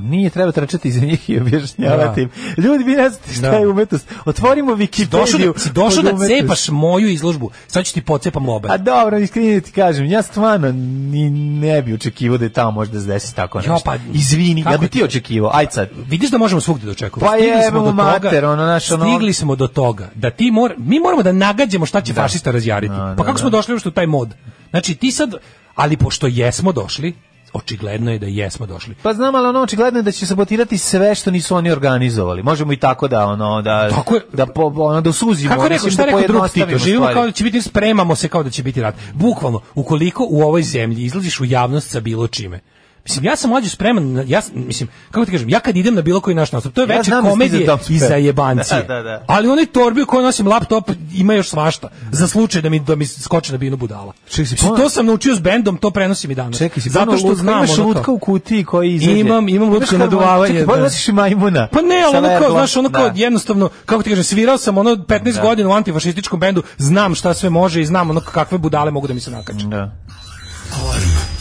Nije treba trčati iza njih i objašnjavati Da. im. Ljudi, vi ne znate šta Da. je umetnost. Otvorimo Došao Wikipediju. da, si došao pod da umetnost. cepaš moju izložbu, sad ću ti pocepam lobanj. A dobro, iskreno ti kažem, ja stvarno ni, ne bi očekivao da je tamo možda se desi tako nešto. pa- Izvini, ja kako bi ti- ti očekivao, aj sad. vidiš da možemo svugdje dočekati. Pa jebemo mater, ono, znaš, ono- Stigli smo do toga da ti mor, mi moramo da nagađamo šta će fašista razjariti. pa kako smo došli uopšte u taj mod? Znači ti sad, ali pošto jesmo došli, očigledno je da jesmo došli. Pa znam, ali ono očigledno je da će sabotirati sve što nisu oni organizovali. Možemo i tako da, ono, da, Tako je. da, po, ono, da suzimo. Kako je rekao, mislim, šta da je rekao drug pojednostavimo Tito? Živimo stvari. kao da će biti, spremamo se kao da će biti rat. Bukvalno, ukoliko u ovoj zemlji izlaziš u javnost sa bilo čime, Mislim, ja sam mlađe spreman, na- ja, sam- mislim, kako ti kažem, ja kad idem na bilo koji naš nastup, to je Ja veće znam da ste komedije za Dom Sprem. i zajebancije. Da, da, da. Ali onaj torbi u kojoj nosim laptop ima još svašta, za slučaj da mi, da mi skoče na binu budala. Čekaj, si Mislim, ponovo- to sam naučio s bendom, to prenosim i danas. Čekaj, si Zato što znam imaš ono lutka kao- u kutiji koji izađe. Imam- imam lutku Znaš kao, naduvavanje, Čekaj, pa da. nosiš i majmuna. Pa ne, ali Sa ono kao, verglom. znaš, ono kao Da. jednostavno, kako ti kažem, svirao sam ono 15 godina u antifašističkom bendu, znam šta sve može i znam ono kakve budale mogu da mi se nakače. Da.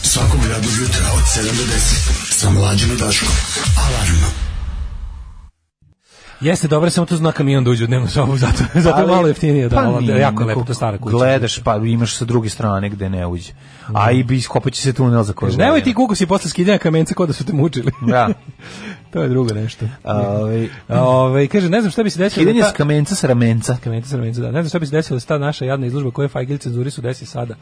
Svakog radnog jutra od 7 do 10 sa mlađom i Daškom. Alarm. Jeste, dobro, samo tu zna kamion da uđe u dnevnu sobu, zato, zato je Ali- malo jeftinije, da, pa ali nije, jako je neko- lepo, to je stara kuća. Gledaš, pa imaš sa druge strane gde ne uđe. A i bi iskopaće se tunel za koju. Nemoj ti kukusi posle skidanja kamenca kao da su te mučili. Da. to je drugo nešto. Ovaj Ove, kaže, ne znam šta bi se desilo. kidanje da s ta- kamenca s ramenca. Kamenca sa Ramenca, da. Ne znam šta bi se desilo s ta naša jadna izložba koja Fajgil cenzuri su desi sada.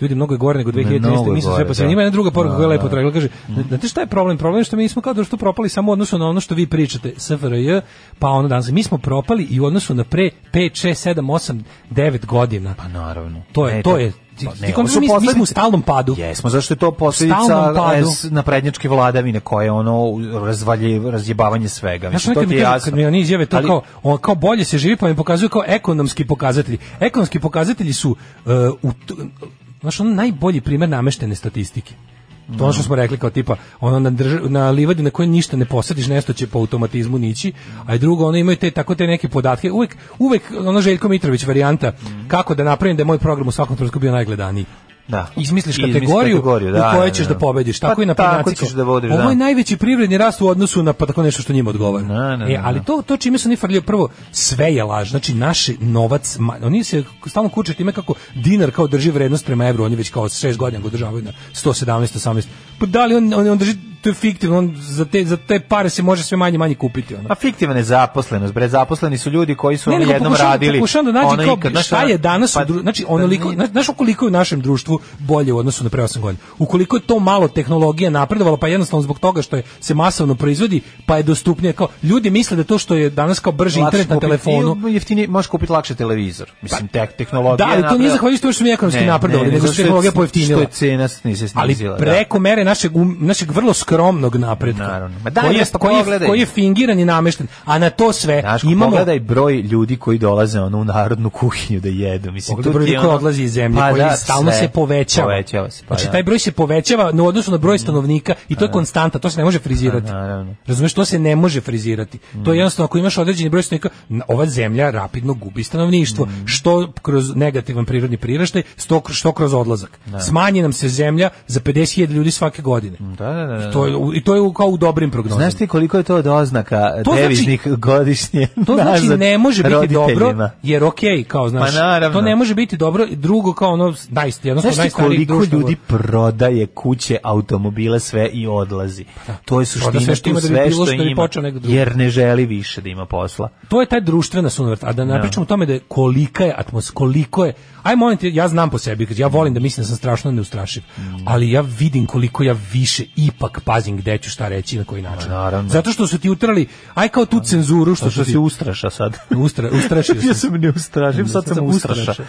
Ljudi mnogo je gore nego Mnogo 2013. je Mi smo gore, sve posle. da. Ima jedna druga poruka Da, koja je lepo da. Mhm. tragla. Kaže, znate šta je problem? Problem je što mi smo kao društvo propali samo u odnosu na ono što vi pričate, SFRJ, pa ono danas. Mi smo propali i u odnosu na pre 5, 6, 7, 8, 9 godina. Pa naravno. To je, Ne, to je, Ti- Pa ti ne, kontra- ovo su mi- mi smo posledice- u stalnom padu. Jesmo, zašto je to posledica stalnom padu. S- naprednjačke vladavine koja je ono razvalje, razjebavanje svega. Znaš, Mislim, to nekad ti mi je kažu, jasno. kad mi oni izjave to Ali- kao, on, kao bolje se živi, pa mi pokazuju kao ekonomski pokazatelji. Ekonomski pokazatelji su uh, u, t- znaš, ono najbolji primjer nameštene statistike. To je ono što smo rekli kao tipa, ono na, drž- na livadi na kojoj ništa ne posadiš, nešto će po automatizmu nići, a i drugo, ono imaju te, tako te neke podatke, uvek, uvek ono Željko Mitrović varijanta, kako da napravim da je moj program u svakom trenutku bio najgledaniji. Da. Izmisliš Izmisliš kategoriju, kategoriju, u da, kojoj da, ćeš da. da, pobediš. Pa Tako i na tako podnacima. ćeš da vodiš, Ovo da. je najveći privredni rast u odnosu na pa tako nešto što njima odgovara. Na, na, E, na, ali na. to to čime su oni farlio prvo sve je laž. Znači naš novac, ma- oni se stalno kuče time kako dinar kao drži vrednost prema evru, oni već kao 6 godina ga održavaju na 117, 18. Pa da li on on, on drži to je fiktivno, on za te za te pare se može sve manje manje kupiti ono. A fiktivna je zaposlenost, bre, zaposleni su ljudi koji su Ne, ono nego jednom pokušavam- radili. pokušavam da nađem ono kao ikad, znaš, šta ono- je danas, pa- u dru, znači onoliko, pa zna- znaš koliko je u našem društvu bolje u odnosu na pre 8 godina. Ukoliko je to malo tehnologija napredovala, pa jednostavno zbog toga što je se masovno proizvodi, pa je dostupnije kao ljudi misle da to što je danas kao brži lakše internet na kupiti- telefonu, Pa- i Jeftinije, možeš kupiti lakše televizor. Mislim, tek, tehnologija Da, ali to nije napravila- zahvaljujući tome što mi ekonomski Ne, napredovali, nego što je tehnologija što pojeftinila. Što je cena s- nije se ali snizila. da. preko mere našeg um- našeg vrlo skromnog napretka. Naravno. Ma daj, koji, je, jes, pa koji, je, pogledaj. koji je fingiran i namešten, a na to sve Znaš, imamo pogledaj broj ljudi koji dolaze ono u narodnu kuhinju da jedu. Mislim, Pogledaj tu broj ti je ljudi koji ono- odlazi iz zemlje, koji Pa stalno sve. se povećava. Povećava se, pa znači, da. Mm. taj broj se povećava u odnosu na broj stanovnika i to je konstanta, to se ne može frizirati. Pa, naravno. Mm. Razumeš, to se ne može frizirati. To je jednostavno, ako imaš određeni broj stanovnika, n- ova zemlja rapidno gubi stanovništvo, Mm. što kroz negativan prirodni priraštaj, što, kr- što kroz odlazak. Smanji nam se zemlja za 50.000 ljudi svake godine. Mm, Da, da, da, da. I to je, u- I to je u- kao u dobrim prognozama. Znaš ti koliko je to od oznaka To znači- deviznih godišnje To znači nazad ne može biti dobro, roditeljima? jer okej, kao znaš, Pa naravno. to ne može biti dobro, drugo kao ono, najst, jednostavno Znaš ti najstariji koliko društvo. ljudi prodaje kuće, automobile, sve i odlazi? To je Proda suština Pa sve što tu ima da bi sve bilo što što bi ima, počeo neko drugi. jer ne želi više da ima posla. To je taj društvena sunovrat, a da ne Da. pričamo o tome da je kolika je atmosfera, koliko je, aj molim te, ja znam po sebi, kad ja volim da mislim da sam strašno neustrašiv, Mm. ali ja vidim koliko ja više ipak pazim gde ću šta reći i na koji način. Pa naravno. Zato što su ti utrali, aj kao tu cenzuru što, To što su ti... si ustraša sad. Ustra, ustrašio sam ja se. sam ne ustrašim, sad sam ustraša.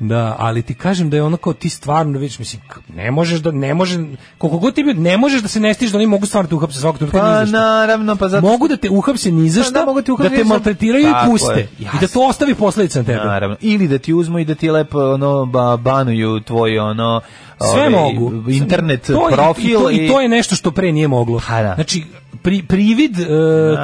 Da, ali ti kažem da je ono kao ti stvarno već mislim k- ne možeš da ne može koliko god ti bio, ne možeš da se ne stiš da oni mogu stvarno te uhapse svakog trenutka Pa ni za šta. naravno, pa zato... Mogu da te uhapse ni za Pa, šta, da, mogu te da uhapse te ni za- maltretiraju i Tako puste je, i da to ostavi posledice na tebe. Naravno. Ili da ti uzmu i da ti lepo ono, ba, banuju tvoj ono, Sve ovaj, mogu. internet To je- profil. i to, i to je nešto što pre nije moglo. Pa da. Znači pri, privid e,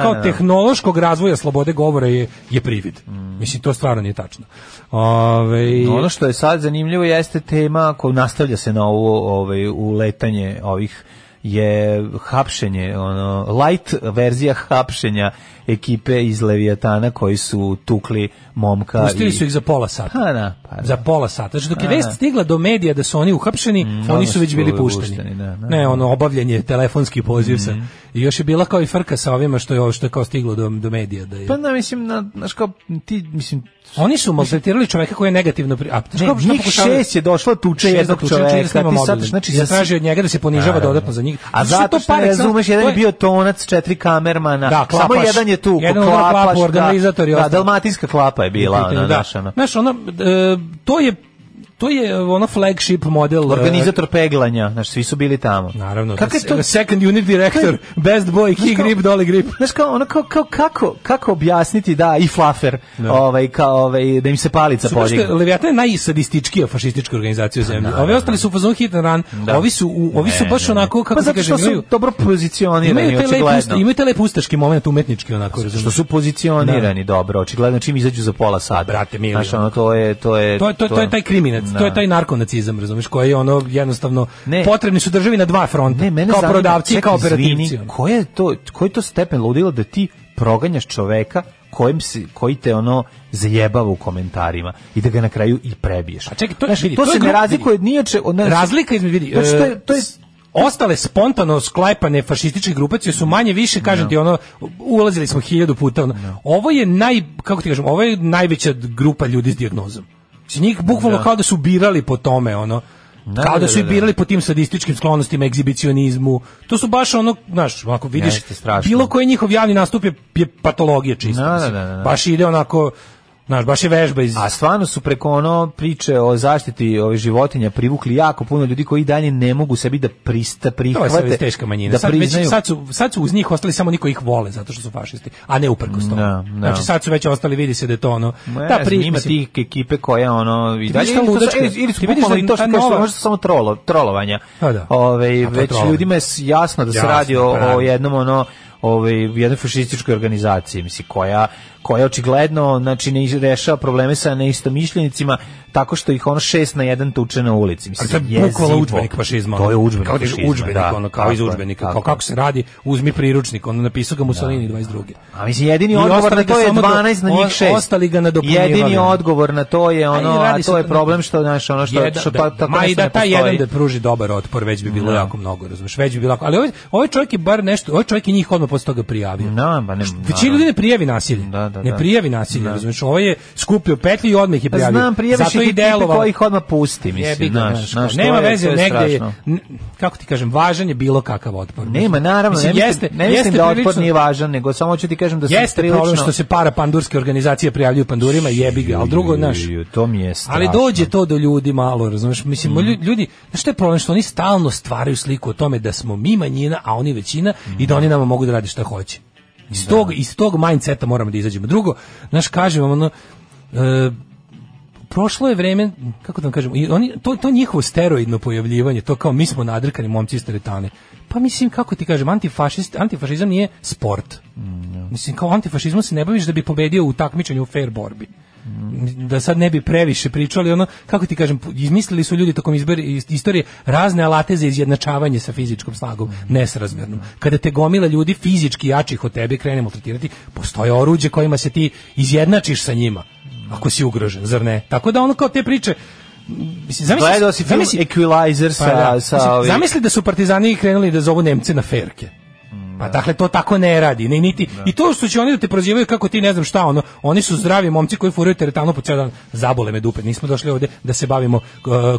kao da. tehnološkog razvoja slobode govora je je privid. Mislim to stvarno nije tačno. Ovaj Mm. No, ono što je sad zanimljivo jeste tema ako nastavlja se na ovo ovaj uletanje ovih je hapšenje ono light verzija hapšenja ekipe iz Leviatana koji su tukli momka Pustili i su ih za pola sata. Pa da, pa da. Za pola sata. Znači dok je Pa vest da. stigla do medija da su oni uhapšeni, oni onda su Mm, su već bili bili pušteni. pušteni, da, da. Mhm. Ne, ono obavljanje telefonski poziv sa. I još je bila kao i frka sa ovima što je ovo- što je kao stiglo do do medija da je. pa na mislim na znaš kao ti mislim Oni su maltretirali čoveka koji je negativno pri... A, znaš ne, kako- šta njih pokušavaju? šest je došlo tuče Šest jednog tuče, čoveka čovjek s njima ti sad mobilni. znači I da sa- traži od njega da se ponižava Naravno. dodatno za njih. A Zato što zato to što par ne excellence- razumeš, jedan to je bio tonac, četiri kamermana, Da, samo klapaš. jedan je tu, Jedan ono klapaš, klapu, organizator i da, ostalo. dalmatinska klapa je bila, pitanje, ona, da. znaš, ono. Znaš, ono, e, to je to je ono flagship model e, organizator peglanja, znaš, svi su bili tamo. Naravno, Kako je to? second unit director, best boy, key kao- grip, dolly grip. Znaš kao, ono, kao, kao, kako, kako objasniti da i flafer, ovaj, kao, ovaj, da im se palica Super što je podigne. Leviatan je najsadističkija fašistička organizacija u zemlji. Ovi ostali su u fazonu hit and run, Da. ovi su, u- ovi su Ne, baš ne, ne. onako, pa kako se zato kaže, što imaju, su dobro pozicionirani, imaju, taj lep očigledno. ust- imaju taj lep ustaški moment umetnički onako, razumiješ. što su pozicionirani dobro, očigledno čim izađu za pola sata. Brate mili, Znaš, ono, to je... To je, To je, to, je- to je taj kriminac, to je Da. taj narkonacizam, razumiješ, koji je ono jednostavno Ne. potrebni su državi na dva fronta, Ne, mene kao zanima- prodavci i čekaj, kao operativci. ono. izvini, Koji je to koji je to stepen ludila da ti proganjaš čoveka kojim si, koji te ono zajebava u komentarima i da ga na kraju i prebiješ. A čekaj, to, Znaš, vidi, to, to je se ne gru- razlikuje od nije od ne- Razlika između vidi. Znači, to e, je, to je s- ostale spontano sklajpane fašističke grupacije su manje više kažem ti ono ulazili smo hiljadu puta ono. ovo je naj kako ti kažem ovo je najveća grupa ljudi s dijagnozom Mislim, njih bukvalno kao da su birali po tome ono Da, kao da da, su i da, birali po tim sadističkim sklonostima, egzibicionizmu. To su baš ono, znaš, ako vidiš, Jeste, strašno. bilo koji njihov javni nastup je, je patologija čista. Da, da, mislim. da, da, da. Baš ide onako Znaš, baš je vežba iz... A stvarno su preko ono priče o zaštiti ove životinja privukli jako puno ljudi koji dalje ne mogu sebi da prista To je sad već prihvate. Ovaj teška manjina. Da sad, već- priznaju. sad, su, sad su uz njih ostali samo niko ih vole zato što su fašisti, a ne uprkos tome. Da, da. Znači sad su već ostali, vidi se da je to ono... Ma, ta ja, pri- ima mislim, tih ekipe koja ono i Ti dalje vidiš ta ili su- ludačka- ili- ili su ti vidiš bukvalno da i to što ta kažeš, nova- možda su samo trolo, trolovanja. A da. Ovaj A to je već trolovanje. ljudima je s- jasno da se Jasno, pa radi o, pravi. o jednom ono ovaj jednoj fašističkoj organizaciji, mislim koja koja očigledno znači ne rešava probleme sa neistomišljenicima tako što ih ono šest na jedan tuče na ulici. Mislim, Ali to je jezivo. bukvalo udžbenik fašizma. To je ono. udžbenik kao da je fašizma, udžbenik, da. ono, kao Tako iz je, udžbenika. Kao tako kako se radi, uzmi priručnik, ono napisao ga Mussolini 22. A mislim jedini I odgovor na ostali ga to je samo do- 12 na njih o- 6. ostali ga nadopunjivali. Jedini odgovor na to je ono, i radi a se to je to- problem što znaš ono što Jedan- što da, ta da, ta ma i da taj jedan postoji. da pruži dobar otpor već bi bilo Da. jako mnogo razumeš već bi bilo jako, ali ovaj ovaj čovjek je bar nešto ovaj čovjek je njih odmah posle toga prijavio Da, pa ne- većina ljudi ne prijavi nasilje Da, da, ne da. prijavi nasilje razumeš ovaj je skupio petlju i odmah je Pa prijavio znam, prijaviš Zato i i tipe delovalo. koji ih odmah pusti, mislim, Jebi ga, znaš, znaš, znaš, kao, to nema je- veze, to je negde je, strašno. n- kako ti kažem, važan je bilo kakav otpor. Nema, naravno, Mislim, ne mislim, jeste- ne mislim jeste da prilično- otpor nije važan, nego samo hoću ti kažem da sam Jeste problem što se para pandurske organizacije prijavljuju pandurima, jebi ga, ali drugo, znaš, Ju, to mi je strašno. ali dođe to do ljudi malo, razumeš? Mislim, lju- ljudi, znaš što je problem? Što oni stalno stvaraju sliku o tome da smo mi manjina, a oni većina i da oni nama mogu da radi šta hoće. Iz tog, iz tog mindseta moramo da izađemo. Drugo, znaš, kažem vam, ono, e, prošlo je vreme, kako da vam kažem, i oni, to, to njihovo steroidno pojavljivanje, to kao mi smo nadrkani momci iz teretane. Pa mislim, kako ti kažem, antifašist, antifašizam nije sport. Mm. Mislim, kao antifašizmom se ne baviš da bi pobedio u takmičenju u fair borbi. Mm. Da sad ne bi previše pričali, ono, kako ti kažem, izmislili su ljudi tokom izbor- is- istorije razne alate za izjednačavanje sa fizičkom snagom, Mm. nesrazmjernom. Kada te gomila ljudi fizički jačih od tebe krenemo tretirati, postoje oruđe kojima se ti izjednačiš sa njima, ako si ugrožen, zar ne? Tako da ono kao te priče, mislim, zamisli- Gledao si film zamisli- Equalizer sa, pa da. sa Mislim, ovim- Zamisli da su partizani krenuli da zovu Nemce na ferke. Pa dakle to tako ne radi, ne niti. I to što će oni da te prozivaju kako ti ne znam šta ono, oni su zdravi momci koji furaju teretanu po ceo dan, zabole me dupe. Nismo došli ovde da se bavimo e,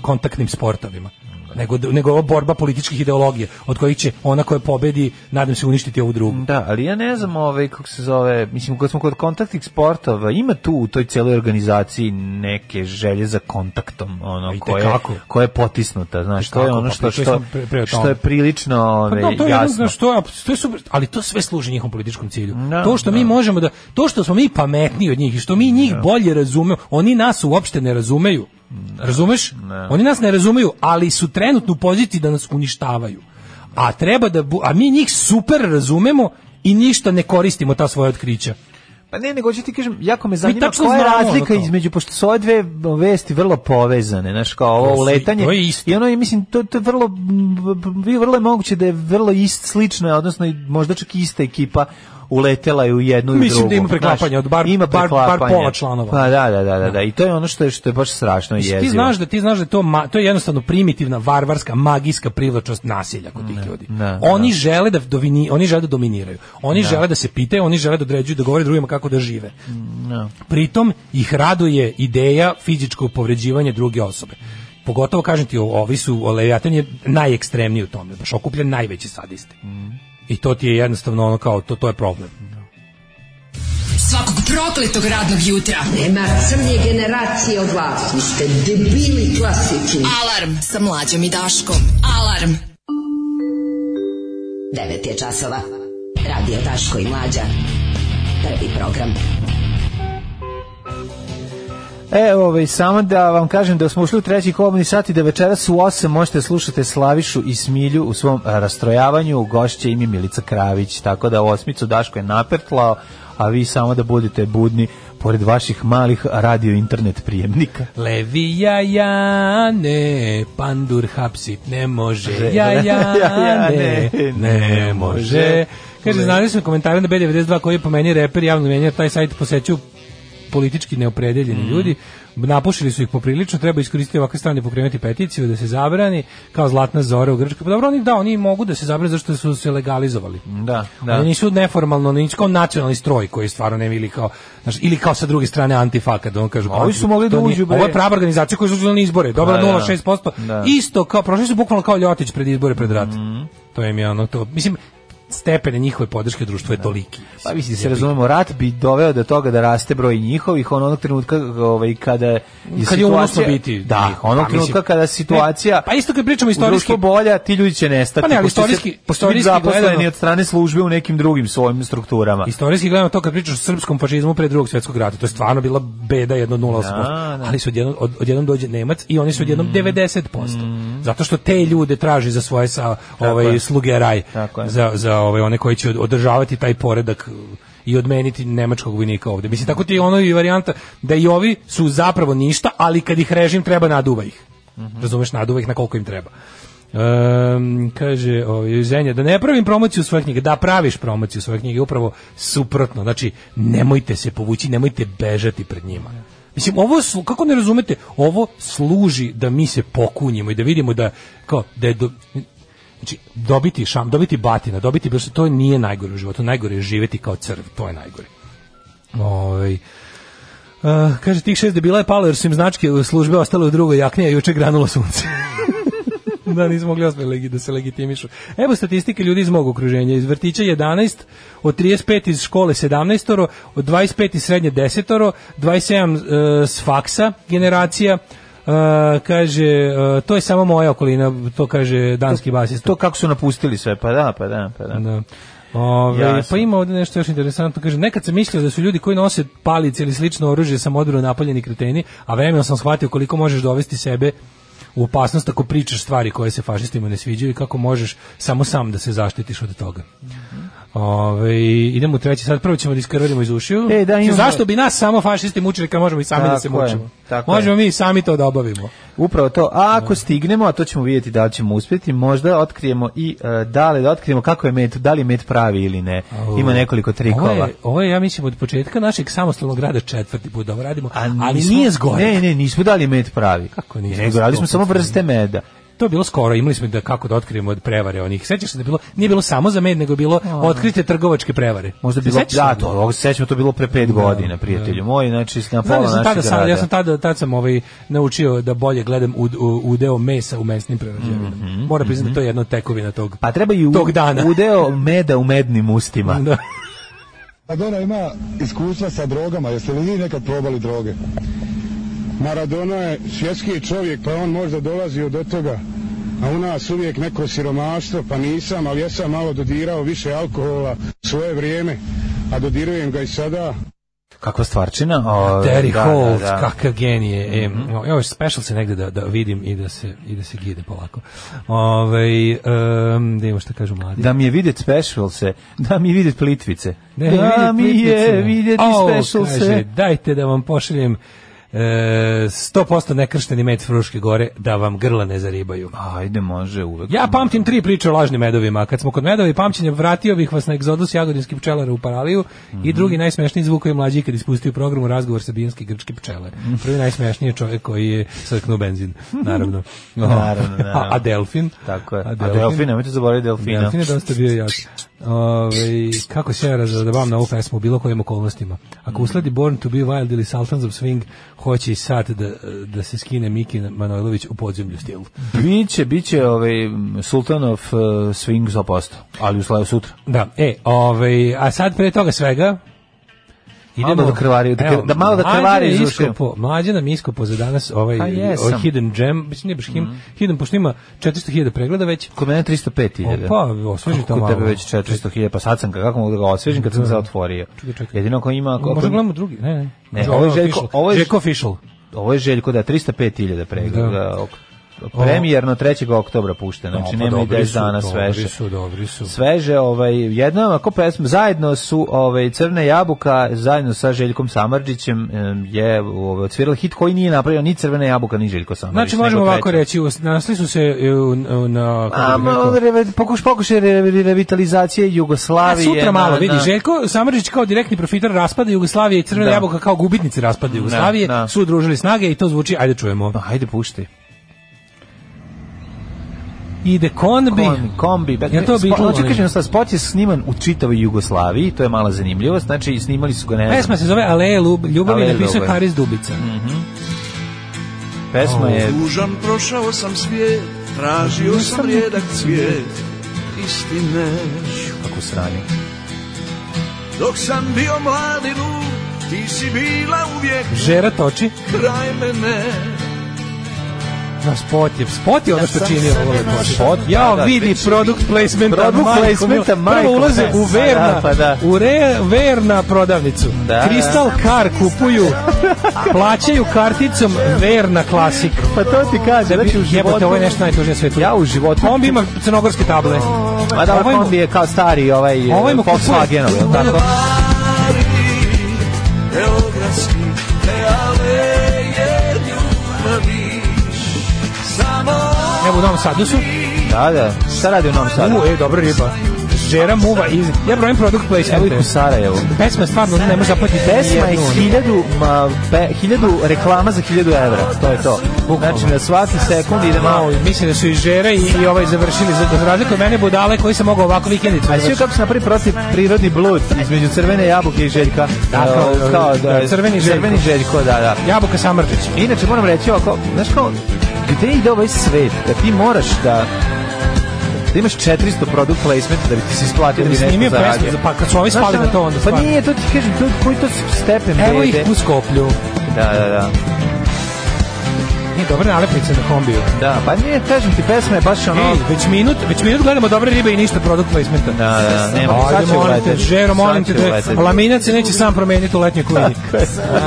kontaktnim sportovima. Nego nego ovo borba političkih ideologija od kojih će ona koja pobedi nadam se uništiti ovu drugu. Da, ali ja ne znam ovaj, kako se zove, mislim, kad smo kod kontaktnih sportova, ima tu u toj cijeloj organizaciji neke želje za kontaktom, ono, I te koje, kako. koja je potisnuta, znaš, to je kako, ono pa što, pričali što, smo pre- pre o tome. što je prilično Pa ovaj, da, to je jedno, jasno. znaš, to je, to je super, ali to sve služi njihovom političkom cilju. Da, to što mi možemo da, to što smo mi pametniji od njih i što mi njih bolje razumemo, oni nas uopšte ne razumeju. Razumeš? Oni nas ne razumeju, ali su trenutno u poziciji da nas uništavaju. A treba da, bu- a mi njih super razumemo i ništa ne koristimo ta svoja otkrića. Pa ne, nego ću ti kažem, jako me zanima tačno koja je znamo ono razlika kao. između, pošto su ove dve vesti vrlo povezane, znaš, kao To su- ovo uletanje. to je isto. I ono, je, mislim, to, to je vrlo, m, b- vrlo je moguće da je vrlo ist, slično, odnosno i možda čak i ista ekipa uletela je u jednu i u drugu. Mislim da ima znaš. preklapanja od bar- Ima bar- bar preklapanja. pola članova. Pa da, da, da, da, da. I to je ono što je, što je baš strašno i Mislim, jezivo. Ti znaš da ti znaš da je to ma- to je jednostavno primitivna, varvarska, magijska privlačnost nasilja kod tih ljudi. ne, oni žele da dovini, oni žele da dominiraju. Oni žele da se pitaju, oni žele da određuju, da govore drugima kako da žive. Pritom ih raduje ideja fizičkog povređivanja druge osobe. Pogotovo kažem ti, o- ovi su Leviatan je najekstremniji u tome, baš okupljen najveći sadisti. I to ti je jednostavno ono kao to to je problem. Svakog prokletog radnog jutra. Nema crnje generacije od vas. Vi ste debili klasični. Alarm sa mlađom i Daškom. Alarm. 9 je časova. Radio Daško i Mlađa. Prvi program. E, ovaj, samo da vam kažem da smo ušli u treći kobni sat i da večeras u 8 možete slušati Slavišu i Smilju u svom a, rastrojavanju. Gošće im je Milica Kravić, tako da u osmicu Daško je napertlao, a vi samo da budete budni pored vaših malih radio internet prijemnika. Levija jane, pandur hapsit ne može, Re- ja Ja jane, jane, ne može. Kaže, znali smo komentare na B92 koji je po meni reper javno menja, taj sajt posećuju politički neopredeljeni ljudi, napušili su ih poprilično, treba iskoristiti ovakve strane i pokrenuti peticiju da se zabrani, kao Zlatna Zora u Grčkoj. Pa dobro, oni da, oni mogu da se zabrani zašto su se legalizovali. Da, da. Oni nisu neformalno, oni nisu kao nacionalni stroj koji stvarno nema ili kao, znaš, ili kao sa druge strane antifa kad on kaže. A ovi su mogli da to nije- uđu, bre. Ovo je prava organizacija koja su uzeli na izbore, dobro Da, da. 0,6%. Da. Mhm. Isto kao prošli su bukvalno kao Ljotić pred izbore pred rat. To im je ono to. Mislim stepene njihove podrške društvo je toliki. Pa mislim, se razumemo, rat bi doveo do toga da raste broj njihovih on onog trenutka ovaj, kada je Kad je situacija- unosno biti. Da, njihov. onog Pa, mislim, trenutka kada situacija... Ne, pa isto kad pričamo u istorijski, društvu bolja, ti ljudi će nestati. Pa ne, ali pošto će- istorijski- pošto će biti istorijski zaposleni gledano- od strane službe u nekim drugim svojim strukturama. Istorijski gledano to kad pričaš o srpskom fašizmu pre drugog svjetskog rata, to je stvarno bila beda jedno od 0,8%. Da, Mm. da. Ali su odjednom, od, odjednom dođe Nemac i oni su odjednom 90%. Zato što te ljude traži za svoje sa, ovaj, Mm. je. sluge raj, Tako je. za, za ovaj, one koji će od- održavati taj poredak uh, i odmeniti nemačkog vojnika ovde. Mislim, tako ti je ono i varijanta da i ovi su zapravo ništa, ali kad ih režim treba naduva ih. Mhm. Razumeš, naduva ih na koliko im treba. Ehm, kaže ovaj, ženja, da ne pravim promociju svoje knjige, da praviš promociju svoje knjige, upravo suprotno, znači nemojte se povući, nemojte bežati pred njima. Mislim, ovo, slu- kako ne razumete, ovo služi da mi se pokunjimo i da vidimo da, kao, da je do- Znači, dobiti šam, dobiti batina, dobiti bilo što, to nije najgore u životu. Najgore je živeti kao crv, to je najgore. Ovaj, Uh, kaže, tih šest debila je palo jer su im značke službe ostale u drugoj jakni, a juče granulo sunce. da, nismo mogli osme legi, da se legitimišu. Evo statistike ljudi iz mog okruženja. Iz vrtića 11, od 35 iz škole 17, od 25 iz srednje 10, 27 uh, s faksa generacija, Uh, kaže, uh, to je samo moja okolina, to kaže danski basista. To kako su napustili sve, pa da, pa da, pa da. Da. Ove, Jasno. pa ima ovdje nešto još interesantno. Kaže, nekad sam mislio da su ljudi koji nose palice ili slično oružje sam odbro napaljeni kreteni, a vremenom sam shvatio koliko možeš dovesti sebe u opasnost ako pričaš stvari koje se fašistima ne sviđaju i kako možeš samo sam da se zaštitiš od toga. Ove, idemo u treći sad, prvo ćemo da iskrvimo iz ušiju. E, da, Mislim, imamo- Zašto bi nas samo fašisti mučili kad možemo i sami da se Tako je, mučimo? tako je. možemo mi i sami to da obavimo. Upravo to. A ako stignemo, a to ćemo vidjeti da li ćemo uspjeti, možda otkrijemo i e, da li da otkrijemo kako je met, da li je met pravi ili ne. Ima nekoliko Ovo trikova. je, ovo je, ja mislim, od početka našeg samostalnog rada četvrti put da ovo radimo, A ali nismo- nije zgore. Ne, ne, nismo dali med pravi. Kako nismo? Nego radili smo samo vrste Stopostotno. meda. To je bilo skoro, imali smo da kako da otkrijemo od prevare onih. Sećaš se da je bilo, nije bilo samo za med, nego je bilo otkrite trgovačke prevare. Možda Se bilo sećaš da, toga? to, ovo se sećamo, to je bilo pre pet godina, prijatelju moj, znači na Znam, pola ja sam tada, našeg sam, ja rada. sam tada, tad sam ovaj, naučio da bolje gledam u, u, udeo mesa u mesnim prerađevinama. Moram priznati da to je jedna od tekovina tog. Mhm, Pa treba i u, Tog dana. udeo meda u mednim ustima. Da. Maradona Pa ima iskustva sa drogama, jeste li vi nekad probali droge? Maradona je svjetski čovjek, pa je on možda dolazio do toga. A u nas uvijek neko siromaštvo, pa nisam, ali ja sam malo dodirao više alkohola svoje vrijeme, a dodirujem ga i sada. Kakva stvarčina? O, Terry Ovaj, da, Holt, da, Mhm. da. kakav genije. E, mm Evo, special se negde da, da vidim i da se, i da se gide polako. Ove, um, da imamo šta kažu mladi. Da mi je videt special se, da mi je videt plitvice. Da je vidjet mi je plitvice. videt Au, special kaže, se. Dajte da vam pošaljem e, 100% nekršteni med s Fruške gore da vam grla ne zaribaju. Ajde, može uvek. Ja pamtim tri priče o lažnim medovima. Kad smo kod medova i pamćenja, vratio bih vas na egzodus jagodinskih pčelara u Paraliju i drugi najsmešniji zvuk koji je mlađi kad ispustio u programu razgovor sa bijanski grčki pčelar. Prvi najsmešniji je čovjek koji je srknuo benzin, naravno. Naravno, naravno. A, a Delfin? Tako je. A A Delfin? Delfin, nemojte zaboraviti Delfina. Delfin je dosta bio jak. Ove, kako se ja razadobavam na ovu pesmu u bilo kojim okolnostima. Mm. Ako usledi Born to be Wild ili Sultans of Swing, hoće i sad da, da se skine Miki Manojlović u podzemlju stilu. Biće, biće ovaj, Sultanov uh, swing 100%, ali u slaju sutra. Da, e, ovaj, a sad pre toga svega Malo da krvari- da kr- evo, da malo da mlađe krvari nam iz iskopo- ušiju. Mlađe nam iskopo za danas ovaj, Pa jesam. Mhm. ovaj Hidden Gem, mislim nije baš him, Hidden, pošto ima 400.000 pregleda već, Kod mene 305.000. Opa, osveži to Kako kod malo. tebe već 400.000, pa sad sam ga, kako mogu da ga osvežim kad sam se otvorio. Čekaj, čekaj. Jedino ako ima... Ako, možda gledamo drugi, ne, ne, Ne, ovo je Željko- official. ovo je- Željko Official. Ovo je Željko, da, 305.000 pregleda. Da. Da. ok- Premijerno 3. oktobra pušteno, znači Pa, nema i dobri 10 su, dana sveže. Dobri su, dobri su. Sveže, ovaj, jednom ako pesma, zajedno su ovaj, Crne jabuka, zajedno sa Željkom Samarđićem em, je ovaj, odsvirali hit koji nije napravio ni Crvena jabuka, ni Željko Samarđić. Znači možemo nego ovako treća. reći, us- nasli su se e, u- u- na... kako A, bih ma, rekao, reve- pokuš, pokušaj re- revitalizacije A Jugoslavije. sutra malo, na- vidi, na- Željko Samrđić kao direktni profitar raspada Jugoslavije i Crvena Da. jabuka kao gubitnici raspada Jugoslavije, da. su udružili snage i to zvuči, ajde čujemo. Ma, Ajde, pušti. Ide Konbi. Kombi, kombi. Back- Ja to Spo- bi Hoću kažem, jednostavno, spot je sniman u čitavoj Jugoslaviji, to je mala zanimljivost, znači snimali su ga, ne znam. Pesma se zove Aleje Lub- ljubavi, Aleje Mhm. napisao je ljubavi. Haris Dubica. Pesma je... Tužan prošao sam svijet, tražio sam rijedak cvijet, istine. Kako u sranju. Dok sam bio mlad i lud, ti si bila uvijek Žera toči, kraj mene. na spot je, spot je ono što čini ovo lepo. Spot, Ja, da, da, vidi, već produkt placementa, Produkt majko placementa, mila. majko, Prvo ulaze da. u Pa verna, da, pa da. u re, verna prodavnicu. Da, Kristal kar kupuju, plaćaju karticom verna klasik. Pa to ti kaže, Da bi, jebote, ovo je nešto najtužnije na svetu. Ja u životu- Kombi ima crnogorske table. A da, Ovaj mu- kombi je kao stari ovaj, Ovaj ovaj mu kupuje- Volkswagenov, je li tako? Bari, beogradski, te aleje ljubavi. Samo Evo u Novom Sadu su. Da, da. Šta radi u Novom Sadu? U, e, dobra riba. Žera muva iz... Ja brojim produkt Evo ih placemente. u Sarajevu. Pesma stvarno ne može zapatiti. Pesma iz hiljadu, ma, pe, hiljadu reklama za hiljadu evra. To je to. Znači, na svaki sekund ide malo... ono. Malo, mislim da su i Žera i, i ovaj završili za, za razliku od mene budale koji se mogu ovako vikendicu A sve završiti. kako se napravi protiv prirodni blud između crvene jabuke i željka. Da, kao- E, kao, da, da, crveni željko. Crveni željko, da, da. Jabuka Samrđić. Inače, moram reći ovako, znaš kao, gde ide ovaj svet? Da ti moraš da da imaš 400 product placement da bi ti se isplatio da bi Da bi nešto snimio pesmu, zaradio. pa kad su ovi Znaš spali šta? na to, onda Pa stvarno. nije, to ti kažem, to, koji to stepen Evo ih bede. u Skoplju. Da, da, da. Nije dobra nalepnica na kombiju. Da, pa nije, kažem ti, pesma je baš ono... Ej, već minut, već minut gledamo dobre ribe i ništa produkt placementa. Da, da, nema, sad Ajde, će molim te, uleteti. Žero, molim te, Sad će te, uleteti. laminat se neće sam promeniti u letnjoj kuni.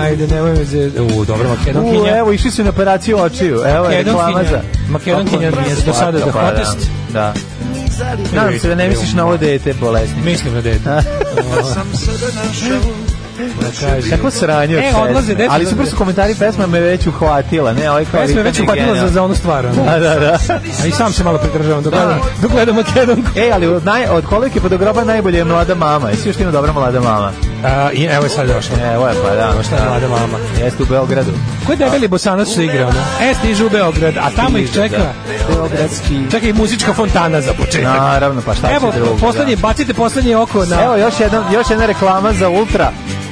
Ajde, nemoj me ze... U, dobro, U, Makedonkinja. evo, išli su na operaciju očiju. Evo je Makedonkinja. reklama za... Makedonkinja Kako nije do sada slatka, the pa da. hottest. Da. Nadam se da ne misliš na ovo dete bolesni. Mislim na dete. Kako sranje od E, pesme. odlaze deca Ali do- super su kommentari, pesma me već uhvatila. Ne, ovaj kao Pesma je ritam već je upatila za, genijalna. za onu stvar. ono. Da, da, da. A i sam se malo pridržavam dok gledam, dok gledam Makedonku. E, ali od, naj, od kolike pa do groba najbolje je mlada mama. Jesi još ti ima dobra mlada mama? A, i evo je sad došla. Evo je, pa da. Evo šta je mlada mama. Jeste u Beogradu. Ko je debeli bosanac što igra ono? E, stižu u Beograd, a tamo ih čeka. Beogradski. Čeka i muzička fontana za početak. Naravno, pa šta će Evo, drugo? poslednje, bacite poslednje oko Da. Evo na... još jedna, još jedna reklama za Ultra.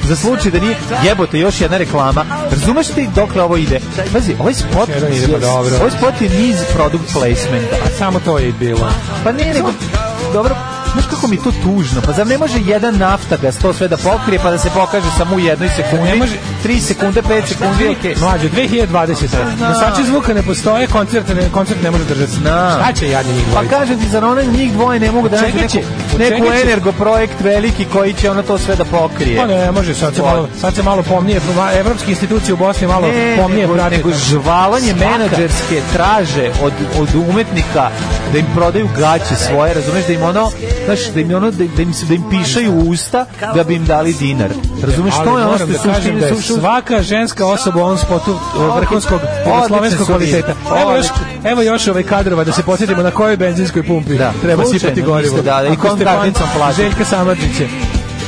Za slučaj da nije jebote još jedna reklama. Razumeš ti dokle ovo ide? Pazi, ovaj spot, Jedan ide, pa je- dobro. ovaj spot je niz product placementa. Samo to je i bilo. Pa ne, nego, dobro, znaš kako mi je to tužno? Pa zar ne može jedan naftagas to sve da pokrije, pa da se pokaže samo u jednoj sekundi? Ne može- 3 sekunde, 5 sekundi, okej. Mlađe, 2020. Nosači zvuka ne postoje, koncert ne, koncert ne može držati. Da. Šta će jadni njih Pa dvojica? kažem ti, zar ona njih dvoje ne mogu da nađu Čekaj neku, će, neku čekaj će. energo projekt veliki koji će ono to sve da pokrije? E, Pa ne, može, sad se malo, sad se malo pomnije, ma- evropske institucije u Bosni malo Ne, pa pomnije nego, prate. nego žvalanje Svaka. menadžerske traže od, od umetnika da im prodaju gaće svoje, razumeš, da im ono, znaš, da im, ono, da, da im, se, da im pišaju u usta da bi im dali dinar. Razumeš, Ali to je ono što moram je da kažem suština. da je suština- svaka ženska osoba u ovom spotu o, vrhunskog Odlične slovenskog su vidi. kvaliteta. Evo još, evo još ove kadrova da se podsjetimo na kojoj benzinskoj pumpi Da, treba slučajno, sipati gorivo. isto, da, da, i Ako kojom Stepan karticom platiti. Željka Samadžić je.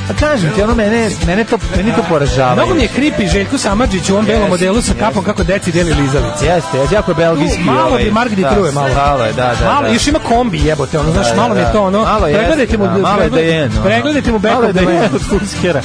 A kažem ti, ono mene, mene to, meni to poražava. Mnogo mi je kripi Željko Samadžić u ovom belom modelu sa kapom kako deci deli lizalice. Jeste, jeste, jako je belgijski. Tu, malo bi Mark di Truje, malo. Malo ovaj, je, da, da. malo, da. još ima kombi jebote, ono, znaš, Da, malo mi je da. to ono, Malo jeste, pregledajte mu, da, malo je pregledajte- Dayen, ono. pregledajte mu back Malo je of the Dayen end. od Fuskera.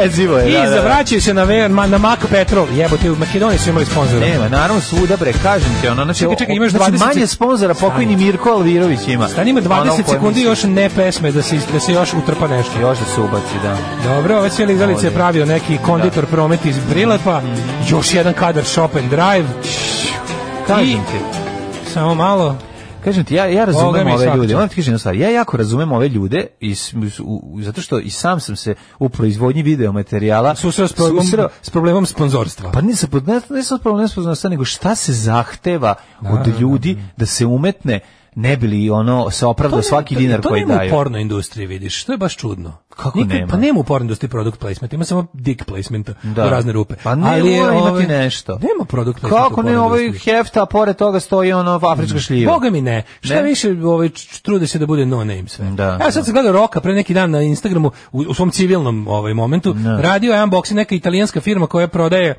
Jezivo je, da, da, I da. zavraćaju se na, ver, ma- na Mak Petrov, jebote, u Makedoniji su imali sponzora. Nema, naravno svuda bre, kažem ti, ono, znači, Čekaj, čekaj, imaš znači 20 manje sponzora, pokojni Mirko Alvirović ima. Stani ima 20 Ono, koji sekundi misli- još ne pesme da se, da se još utrpa nešto. Još da se ubaci, da. Dobro, ove sve lizalice je Ovdje. pravio neki konditor promet iz Brilepa, Mhm. još jedan kadar Shop and Drive, Kažem I- ti. samo malo. Kažem ti, ja, ja Boga razumem mi, ove svaka ljude. čast. Moram ti kažem jednu stvar. Ja jako razumem ove ljude i, s- u, u- zato što i sam sam se u proizvodnji videomaterijala Susreo s problemom, susreo s problemom sponzorstva. Pa nisam, pod- ne, ne sam problem nespoznanosti, nego šta se zahteva od ljudi da se umetne ne bi li ono se opravdao svaki Pa to- dinar to koji nema daju. u porno industriji, vidiš, to je baš čudno. Kako nema? Pa nema u porno industriji product placement, ima samo dick placementa Da. u razne rupe. Pa ne, je, mora imati ovaj, nešto. Nema product placementa Kako u ne, porno ovaj industriji. hefta, a pored toga stoji ono afrička šljiva. Mm. Boga mi ne. Šta Ne? više, ovaj, č- č- trude se da bude no name sve. Da, ja sad sam gledao Roka pre neki dan na Instagramu, u, u svom civilnom ovaj, momentu, radio je unboxing neka italijanska firma koja prodaje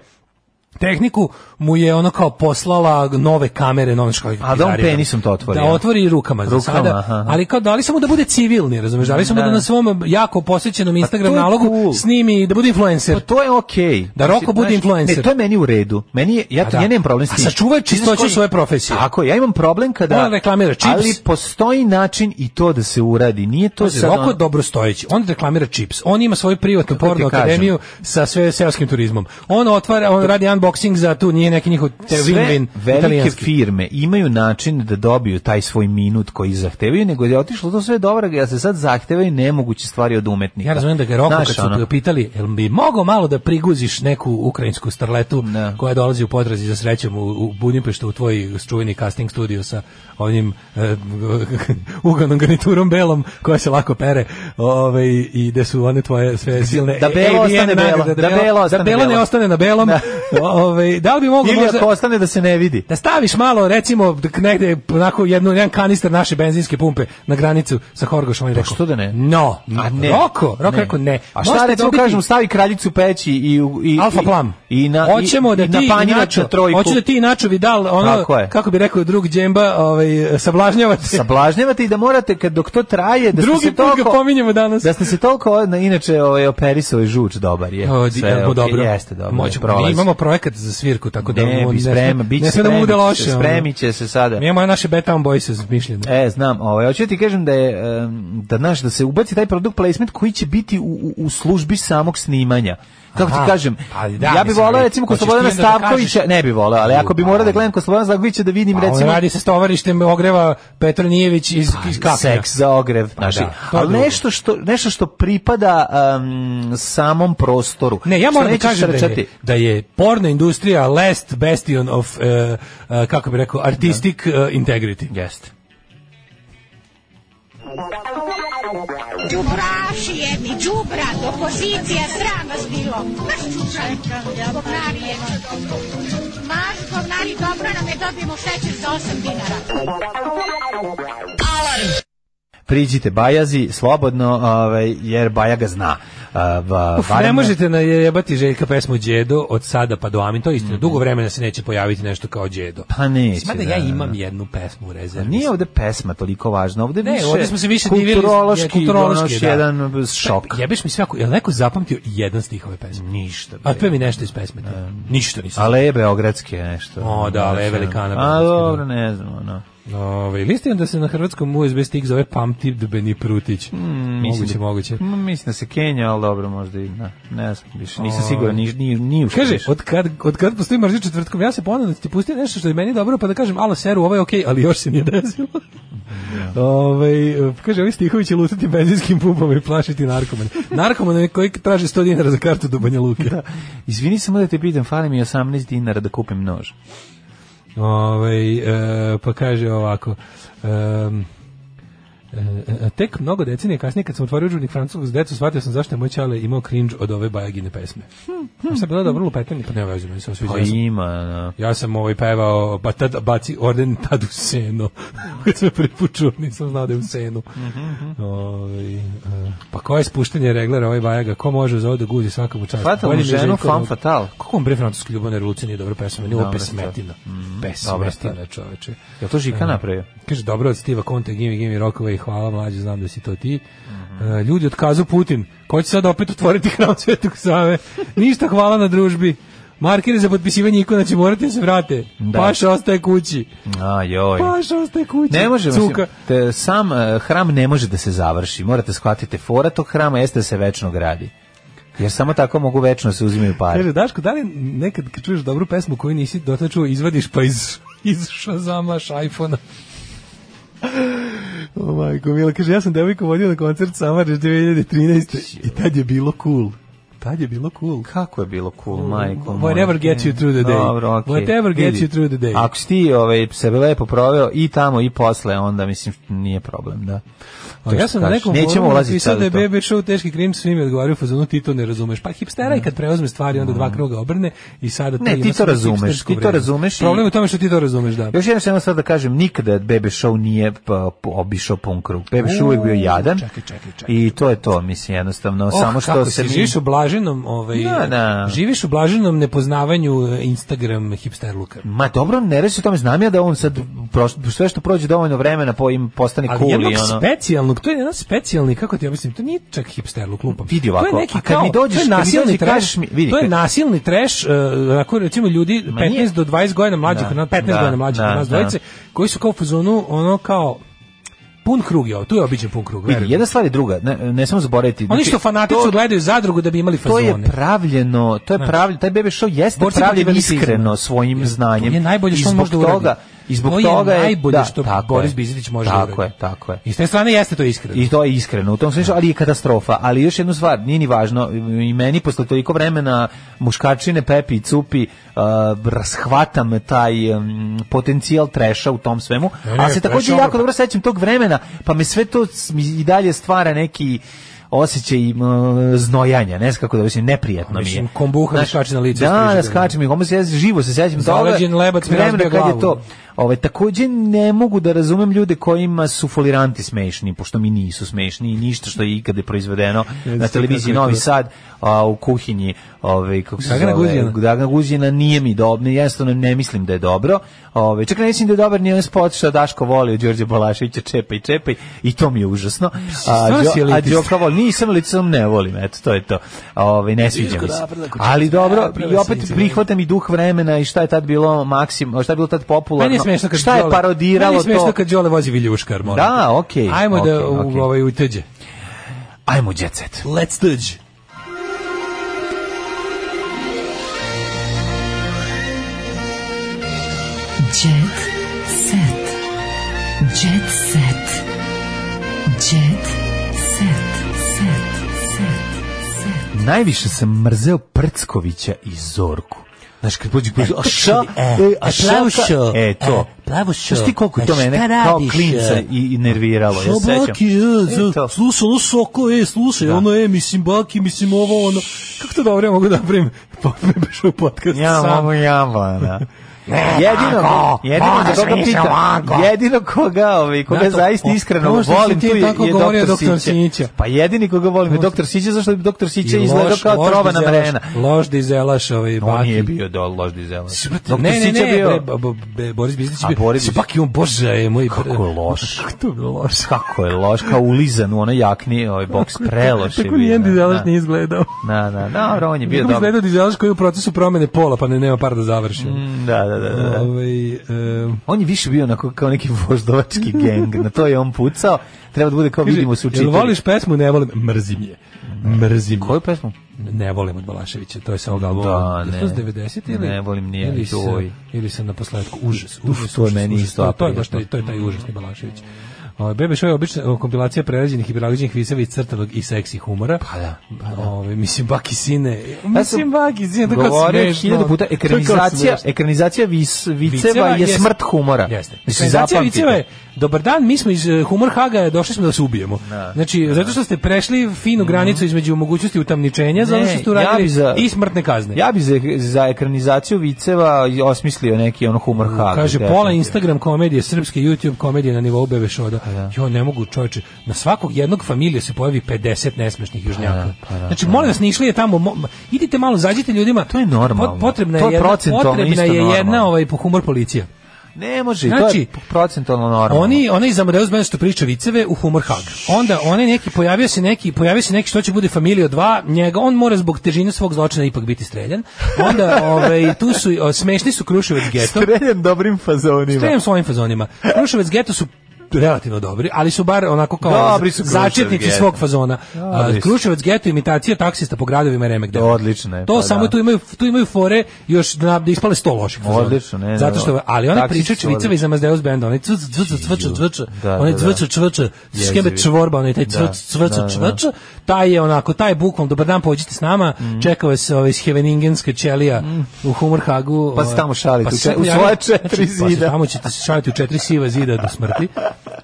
tehniku mu je ono kao poslala nove kamere, nove škole. A da on penisom to otvori, Da ja? otvori rukama za Rukama, sada, aha. ali kao dali samo da bude civilni, razumeš? Dali samo da, Da. Pa na svom jako posvećenom to Instagram je nalogu cool. snimi i da bude influencer. Pa to je okej. Da Roko Znači, bude znaš, influencer. Ne, to je meni u redu. Meni je, ja, A to da. ja nemam problem s A tim. sačuvaj Ti znaš čistoću koji- svoje profesije. Tako, je, ja imam problem kada... On reklamira čips. Ali postoji način i to da se uradi. Nije to Pazi, sad Roko ono- je dobrostojeći. On reklamira čips. On ima svoju privatnu Kako ti porno kažem? akademiju sa sve seoskim turizmom. On otvara, on radi unboxing za tu, nije neki njihov te win-win velike italijanski. firme imaju način da dobiju taj svoj minut koji zahtevaju, nego je otišlo to sve dobro, ja se sad zahtevaju nemoguće stvari od umetnika. Ja razumijem da ga je Roko Znaš, kad su ono, ga pitali, jel bi mogao malo da priguziš neku ukrajinsku starletu Ne. koja dolazi u potrazi za srećom u, u Budimpeštu u tvoj čuveni casting studio sa onim e, uganom garniturom belom koja se lako pere ovaj, i gde su one tvoje sve silne Da belo AVN ostane belo, nagrade, da belo da ostane belo ne belo. ostane na belom. Da. ovaj, da li bi mogao Ili možda... ako ostane da se ne vidi. da staviš malo recimo dok negde onako jednu jedan kanister naše benzinske pumpe na granicu sa Horgošom i rekao Pa što da ne? no A ne. Roko Roko Ne. rekao ne A šta Možete recimo dobiti kažem, stavi kraljicu peći i... u- i Alfa i- Plam. I na, Hoćemo i, da i ti napanjirač Inačo, na trojku. hoću da ti Inačo Vidal, ono, Tako je. kako bi rekao drug Đemba, ovaj, sablažnjava se. sablažnjavate i da morate kad dok to traje da Drugi ste se put ga toliko pominjemo danas. da ste se toliko na inače ovaj operisali žuč dobar je O, E, di- Sve jel je bo okej, dobro. jeste dobro Moćemo, mi prolazi. imamo projekat za svirku, tako da ne mu bi sprema sme- biće ne sme da mu bude spremit će loše. se, ono. spremit će se sada Mi imamo naše Betown Boys mišljeno. E, znam, ovaj, hoću ti kažem da je, em, da znaš, da se ubaci taj produkt placement koji će biti u, u, u službi samog snimanja. Kako ti Aha, kažem, pa da, ja bi mislim, volao ali recimo kod hoćeš ti Slobodana onda da kažeš- Stavkovića, ne bi volao, ali ako bi Pa, morao da gledam kod Slobodana Stavkovića da vidim Pa, on recimo Pa, radi se stovarištem ogreva Petronijević iz, iz Kapnja. seks za ogrev znači Pa da, to je ali drugo. nešto što nešto što pripada um, samom prostoru Ne, ja Što moram da nećeš kažem da je, trčati. da je porno industrija last bastion of, uh, uh, kako bi rekao, artistic uh, integrity. jeste Đubraši jedni, đubra, opozicija, sram vas bilo. Maš čučan, govnari jedni. Maš govnari, dobro nam je dobijemo šećer za 8 dinara. priđite Bajazi slobodno ovaj jer Baja ga zna Uh, va- Uf, ne barem- možete najebati Željka pesmu Đedo od sada pa do Amin, to je istina. Dugo vremena se neće pojaviti nešto kao Đedo. Mhm. pa neće Mislim da ja da, imam da. Pa jednu pesmu u rezervi. Nije ovde pesma toliko važna, ovde Ne, više ovde smo se više divili- je, kulturološki, kulturološki, kulturološki da. jedan šok. Jebeš pa, mi sve ako, jel neko zapamtio jedan stih ove pesme? Ništa. A bre. otpeva mi nešto iz pesme. ti. Ništa nisam. Ale je beogradske nešto. ono. O, da, Ale je velikana A beogradske, dobro, da. ne znam, ono. Ove, listim Ovaj, da se na hrvatskom USB stik zove Pamtibdbeni Prutić. Mm, Mislim moguće, da- moguće. M, Mislim da se Kenja, ali dobro, možda i ne, ne znam, više, nisam siguran, ni, ni, ni u što Ovaj. Kaže, više. od kad, od kad postoji mržnja četvrtkom, ja se ponavljam da ti pusti nešto što je meni dobro, pa da kažem, alo seru, ovo je okej, ali još se nije desilo. Ovaj, kaže, ovi stihovi će lutati benzinskim pumpama i plašiti narkomane. Narkomane koji traži 100 dinara za kartu do Banja Luke. Izvini samo da te pitam, fali mi 18 dinara da kupim nož. Ovaj, e, pa kaže ovako, em, e, e, tek mnogo decenije kasnije kad sam otvorio učbenik francuskog za decu shvatio sam zašto je moj čale imao cringe od ove bajagine pesme. Sam se bilo dobro lupetanje, pa ne veze, meni se osviđa. Pa Ja sam- ima, no. Ja sam ovaj pevao ba, tad, baci orden tad u seno. Kad sam prepučuo, nisam znao da je u senu. Mhm, Ovaj, eh, pa koje spuštanje reglera ovaj Bajaga? Ko može za ovo da guzi svakamu čast? Fatal Bolje mi je ženu, Željko femme Rog- fatale. Kako vam bre francuska ljubavna revolucija nije dobra pesma? Meni je ovo Dobra stvar. pesmetina. Mhm. dobra Pesmetina, stvar. čoveče. Je to Žika napravio? Kaže, dobro od Stiva Conte, gimme, gimme rokova i hvala mlađe, znam da si to ti. Mhm. Eh, ljudi otkazu Putin. Ko će sad opet otvoriti hram Svetog Save? Ništa hvala na družbi. Markere za potpisivanje ikona će morati da se vrate. Da. Paša ostaje kući. A, joj. Paša ostaje kući. Ne može, mislim, Cuka. te, sam eh, hram ne može da se završi. Morate shvatiti, fora tog hrama jeste da se večno gradi. Jer samo tako mogu večno da se uzimaju pare. Kaže, Daško, da li nekad kad čuješ dobru pesmu koju nisi dotle čuo, izvadiš pa iz, iz šazama, šajfona? O majko, Mila, kaže, ja sam devojku vodio na koncert Samarđe 2013. I tad je bilo cool. Tad je bilo cool. Kako je bilo cool, majko moja. Whatever gets you through the day. Dobro, okej. Whatever gets Vidi, you through the day. Ako si ti ovaj, sebe lepo proveo i tamo i posle, onda mislim nije problem, da. A To ja što sam na kažeš. nekom Nećemo forumu ulaziti napisao sad da je u to. BB show teški cringe, svi mi odgovaraju u fazonu ti to ne razumeš. Pa hipstera i kad preuzme stvari onda dva kruga obrne i sada Ne, ima ti to samo razumeš, hipstersku ti to vrednost. razumeš i- Problem je u tome što ti to razumeš, da. Još jednom samo sad da kažem, nikada Bebe Show nije pa, po- obišao pun krug. Bebe Show uvijek bio jadan. čekaj, čekaj, čekaj. I to je to, mislim, jednostavno. Oh, Pa samo što kako se si mi... Žišo Blažić blaženom, ovaj, Da, da. živiš u blaženom nepoznavanju eh, Instagram hipster luka. Ma dobro, ne reći se o tome, znam ja da on sad proš- sve što prođe dovoljno vremena po im postane Ali cool jednog i ono. specijalnog, to je jedan specijalni, kako ti objasnim, to nije čak hipster luk lupam. Vidi to ovako, je neki a kad kao, mi dođeš- to kad je mi nasilni dođe i trash, kažeš mi- vidi, to je kad- nasilni trash, uh, onako recimo ljudi 15 nije- do 20 godina mlađih, Da, od nas, 15 da, godina mlađih da, od nas da. dvojice, koji su kao u fazonu, ono kao, pun krug je ovo, tu je običan pun krug, Vidi, verujem. jedna stvar je druga, ne, ne smemo zaboraviti. Oni Znači, što fanatično to- gledaju zadrugu da bi imali To fazone. je pravljeno, to je Znaš. pravljeno, taj baby show jeste Znači, Borci pravljen protiv iskreno. iskreno svojim znanjem. To je najbolje I što on zbog može da uradi. toga- I zbog To je toga je najbolje da, što tako Boris je. Bizidić može da tako uradi. je, tako je. I s te strane jeste to iskreno. I to je iskreno u tom smislu, ali je katastrofa. Ali još jednu stvar, nije ni važno, i meni posle toliko vremena muškačine Pepi i Cupi uh, rashvatam taj um, potencijal treša u tom svemu, Ne, ne, a se trash također je jako ono- dobro sećam tog vremena, pa me sve to s- mi i dalje stvara neki osjećaj m, znojanja, ne znam kako da mislim, neprijatno mi je. Mislim, kombuha Znaš, da skače na lice Da, ispred da židova. skače mi, kombuha, ja živo se sećam toga. Zaleđen lebac mi vremena razbija kad je glavu. to. Ovaj takođe ne mogu da razumem ljude kojima su foliranti smešni, pošto mi nisu smešni i ništa što je ikada proizvedeno na televiziji kako je Novi to. Sad, a u kuhinji, ovaj kako se Dragana zove, Guđina. Dragana Guđina nije mi dobro, jednostavno ne mislim da je dobro. Ovaj čak ne mislim da je dobar ni onaj spot što Daško voli od Đorđe Balaševića čepaj čepaj i to mi je užasno. A stvarno si Đo- a elitist. Đoka voli, nisam licom ne volim, eto to je to. Ovaj ne sviđa mi se. napredak, Ali dobro, napredak, i opet sviđa. prihvatam i duh vremena i šta je tad bilo maksim, šta je bilo tad popularno Meni je smešno kad šta je Đole- Meni parodiralo je smešno to? kad Đole vozi viljuškar, moram. Da, okej, Ajmo da okej, u okej. ovaj uteđe. Ajmo jet set. Let's tuđe. Jet set. Jet set. Jet set. Set. Set. Set. Najviše sam mrzeo Prckovića i Zorku. Znaš, kad pođe kuzu, a ša, e, a plavu šaka, šo, e, to. e, plavu šo, Znaš ti koliko je to e, šta mene kao radiš, klinca e? i, i nerviralo, Pa ja Što Baki, sećam. je, za- E, to. slušaj, ono soko, e, slušaj, ono, e, mislim, Baki, mislim, ovo, ono, kako to dobro, ja mogu da napravim, pa prebaš u podcast Ja, sam. mamu, ja, da. Jedino, jedino da koga pita, jedino koga, ovaj, koga Zato, zaista o, iskreno ovo što si volim, ti tu je, tako govorio je o doktor doktor Sića. Sića. Pa jedini koga volim je doktor Sića, zašto bi doktor Sića I izgledao loš- kao loš trovana dizelaš- mrena. Loš dizelaš, ovaj, On Baki. nije bio do loš dizela. Ne, ne, ne, bre, ba- ba- be- Boris Biznić A, je bio. Boris Mislim, Biznić. Baki, on, bože, je moj... Kako je loš. Kako to je bilo loš. Kako je loš, kao ulizan u onoj jakni, ovaj boks preloš je bio. Tako ni jedan dizelaš da. nije izgledao. Da, da, dobro, on je bio Bio dobar. izgledao dizelaš koji je u procesu promene pola, pa ne nema par da završi. Mm, Da, da, da, da. da. Ovaj, e, On je više bio onako kao neki voždovački geng, na to je on pucao, treba da bude kao Kaže, vidimo se u Jel čitari. voliš pesmu? Ne volim. Mrzim je. Mrzim je. Koju pesmu? Ne volim od Balaševića. To je sa ovog albuma. Da, Jel ne. to s 90 ili? Ne volim ni ja ili ni sa- tvoj. Ili sam na posledku. Užas. Uf, užas, to je užas, meni užas. isto To- To je baš aprijatno. taj, to je taj užasni Balašević. Ovaj Bebe Show je obična kompilacija prerađenih i prerađenih viseva iz crtanog i seksi humora. Pa da, Ovaj, mislim, Baki Sine. Ja Mislim, sam Baki Sine, to kao Govorio smešno. je hiljadu puta, To je kao ekranizacija, smešno. ekranizacija vis, viceva je jest- smrt humora. Jeste. Mislim, Ekranizacija zapamtite. Viceva je, dobar dan, mi smo iz eh, Humor Haga, došli smo da se ubijemo. Znači, zato što ste prešli finu granicu između mogućnosti utamničenja, zato što ste Mhm. Ne, ja uradili bi za- i smrtne kazne. Ja bi za, za ekranizaciju viceva osmislio neki ono humor haga. Kaže, pola definitivno. Instagram komedije, srpske YouTube komedije na nivou bebe šoda. Pa Jo, ne mogu, čovječe, na svakog jednog familije se pojavi 50 nesmešnih Pa južnjaka. Znači, molim vas, ne išli je tamo, mo- idite malo, zađite ljudima. To je normalno. Pot- Potrebna To je je jedna, procentualno potrebna isto je jedna normalno. ovaj, po humor policija. Ne može, to Znači, je procentualno normalno. Oni, oni iz Amadeus Band što priča viceve u Humor Hag. Onda onaj neki pojavio se neki, pojavio se neki što će bude familija 2, njega on mora zbog težine svog zločina ipak biti streljan. Onda ovaj tu su o, smešni su Kruševac geto. Streljan dobrim fazonima. Streljan svojim fazonima. Kruševac geto su relativno dobri, ali su bar onako kao Dobri su Kruševac začetnici geto. svog fazona. Dobri A, su. Kruševac geto imitacija taksista po gradovima i Remek Dela. Odlično je, To pa samo da. tu imaju tu imaju fore još da, da ispale 100 loših fazona. Odlično, ne, ne, Zato što ali oni taksisti su pričaju čvicevi odlični. iz Amadeus benda, oni cvc cvc cvc cvc Da, oni da, cvc da. cvc skebe Jezivi. čvorba, onaj taj Da, cvc cvc da, da. cvc taj je onako taj je bukvalno dobar dan pođite s nama, Mhm. čekao vas ovaj iz Heveningenske ćelija u Humor Hagu. Pa se ovaj, tamo šalite u se čet- u pojavio- svoja četiri znači, pa se zida. tamo ćete se šaliti u četiri siva zida do smrti.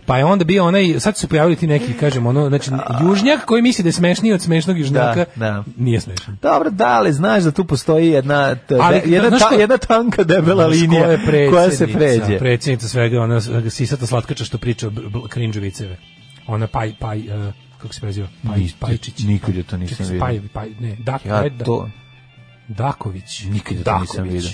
Pa je onda bio onaj, sad su se pojavili ti neki, kažem, ono, znači, južnjak koji misli da je smešniji od smešnog južnjaka, da. nije smešan. Dobro, da, ali znaš da tu postoji jedna, t- Ali, jedna, znaš ta- ko- jedna tanka debela Znaš, linija Znači, ko je predsjednica? koja se pređe. Predsjednica svega, ona s- sisata slatkača što priča b- b- krinđoviceve. Ona paj, paj, uh, kako se preziva? Pajić, Pajčić. Nikad ja to nisam Čekaj, vidio. Pajevi, Paj, ne, Dak, Ja Eda- to- Daković. Nikad ja to Daković. nisam vidio.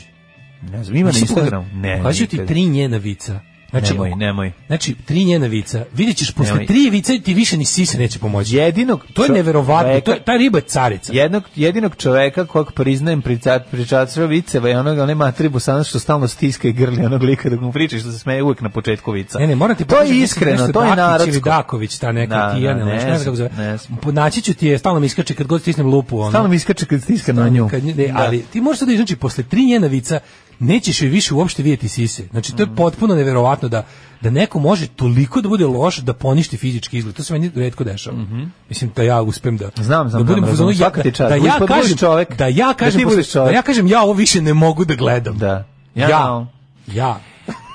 Ne znam, ima na Mislim, pogledaj, Instagramu? Ne, pokazuju ti nikad. tri njena vica. Znači, Nemoj, ako- nemoj. Znači, tri njena vica. Vidjet ćeš, posle Nemoj. tri vica ti više ni sise neće pomoći. Jedinog To je čo- neverovatno. čoveka- To je, ta riba je carica. Jednog, jedinog čoveka kojeg priznajem pričat, pričača viceva je onog, onaj matri busanac što stalno stiska i grli onog lika dok mu priča što se smeje uvijek na početku vica. Ne, ne, morate to je iskreno, to je Ili narodsko. Daković, ta neka Da, Tijana, da, ne, ne znam kako zove. znam, ne znam. Po- Naći ću ti je, stalno mi iskače kad god stisnem lupu. Ono. Stalno mi iskače kad stiska na nju. Kad nje- ne, ali ti možeš sad da znači posle tri njena vica nećeš joj više uopšte vidjeti sise. Znači to je Mm. potpuno neverovatno da da neko može toliko da bude loš da poništi fizički izgled. To se meni retko dešava. Mislim da ja uspem da Mhm. Znam, znam, da znam, budem u fazonu, razumem, ja- svaka ti čast. da Budeš- ja pa budeš kažem čovek. da ja Da ti kažem budeš da čovek. ja kažem ja ovo više ne mogu da gledam. Da. Ja. Ja. Ja.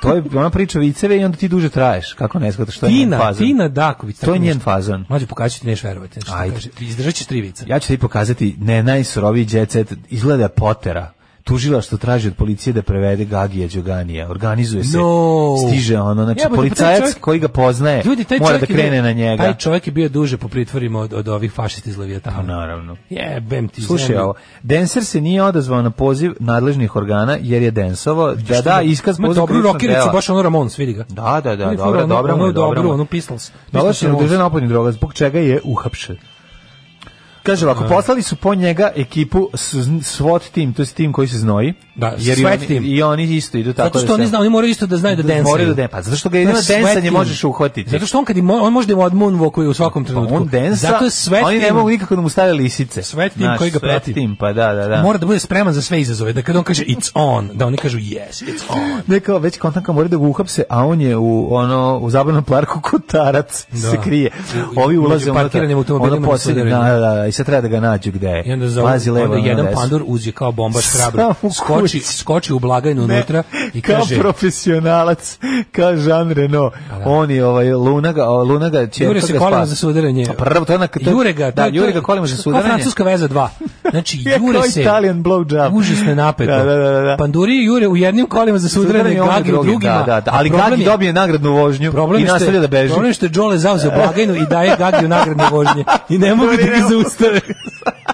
To je ona priča viceve i onda ti duže traješ. Kako ne shvataš što je njen Tina, fazon. Tina Daković. To je njen fazon. fazon. Mlađe pokazat ću ti neš verovati. Znači, Ajde. Kaže, izdržat ćeš tri vica. Ja ću ti pokazati ne najsuroviji djecet, izgleda potera. Tužila što traži od policije da prevede Gagija Đoganija. Organizuje se, No. stiže ono, znači Jebote, pa taj policajac čovjek- koji ga poznaje Ljudi, taj e, mora da čovjek je bio- krene na njega. Taj čovjek je bio duže po pritvorima od, od ovih fašista iz Pa Leviatana. naravno. Jebem ti Slušaj zemlju. ovo, Denser se nije odazvao na poziv nadležnih organa jer je densovao da Što da mu- iskaz Ma poza dobro krivično rokericu, delo. baš ono Ramones, vidi ga. Da, da, da, Vidi dobro, fura, ono- dobro mu ono je, dobro dobro, mu je. ono Pistols. Pistols Dolazi na Ramones. duže opojnih droga, zbog čega je uhapšen. Kaže ovako, poslali su po njega ekipu s- SWAT tim, to je tim koji se znoji. Da, i sweat oni, team. I oni isto idu tako Zato što da oni se- znaju, oni moraju isto da znaju da densaju. Moraju da den- pa zato što ga jedino To je densanje sweat team. možeš uhvatiti. Zato što on kad im, on može da im odmunvokuje u svakom Pa trenutku. on densa, Zato je sweat oni ne team- mogu nikako da mu stave lisice. Sweat team Znaš, koji ga sweat prati. team, pa da, da, da. Mora da bude spreman za sve izazove, da kad on kaže it's on, da oni kažu yes, it's on. Ne kao već kontanka mora da ga uhapse, a on je u ono u zabavnom parku kotarac Da. se krije. U- Ovi među ulaze unutra, parkiranim automobilima ono na posljednje, sudarinu. da, da, da, i sad treba da ga nađu gde je. I onda za Pazi levo, onda ono jedan desno. pandur uđe kao bombaš Samo hrabro, u skoči, kući. skoči u blagajnu Ne, unutra i kao kaže... Pa profesionalac, kao Jean Reno. da. On je ovaj Lunaga, o, Lunaga će Jure se kolima za sudaranje. A Pa prvo to je onako- to je- Jure ga, to da, je- to je- Jure ga kolima za kao sudaranje. francuska veza 2. Znači, Je Jure kao se... Italian blowjob. Užasno je napeto. Da, da, da, da. Panduri i Jure u jednim kolima za sudaranje, on je Gagi u drugi, drugima. Da, da, da. a Ali problem Gagi je- dobije nagradnu vožnju Problem i je što je- nastavlja da beži. Problem je što je Đole zauzeo blagajnu i daje Gagiju nagradne vožnje. I ne mogu da ga zaustave.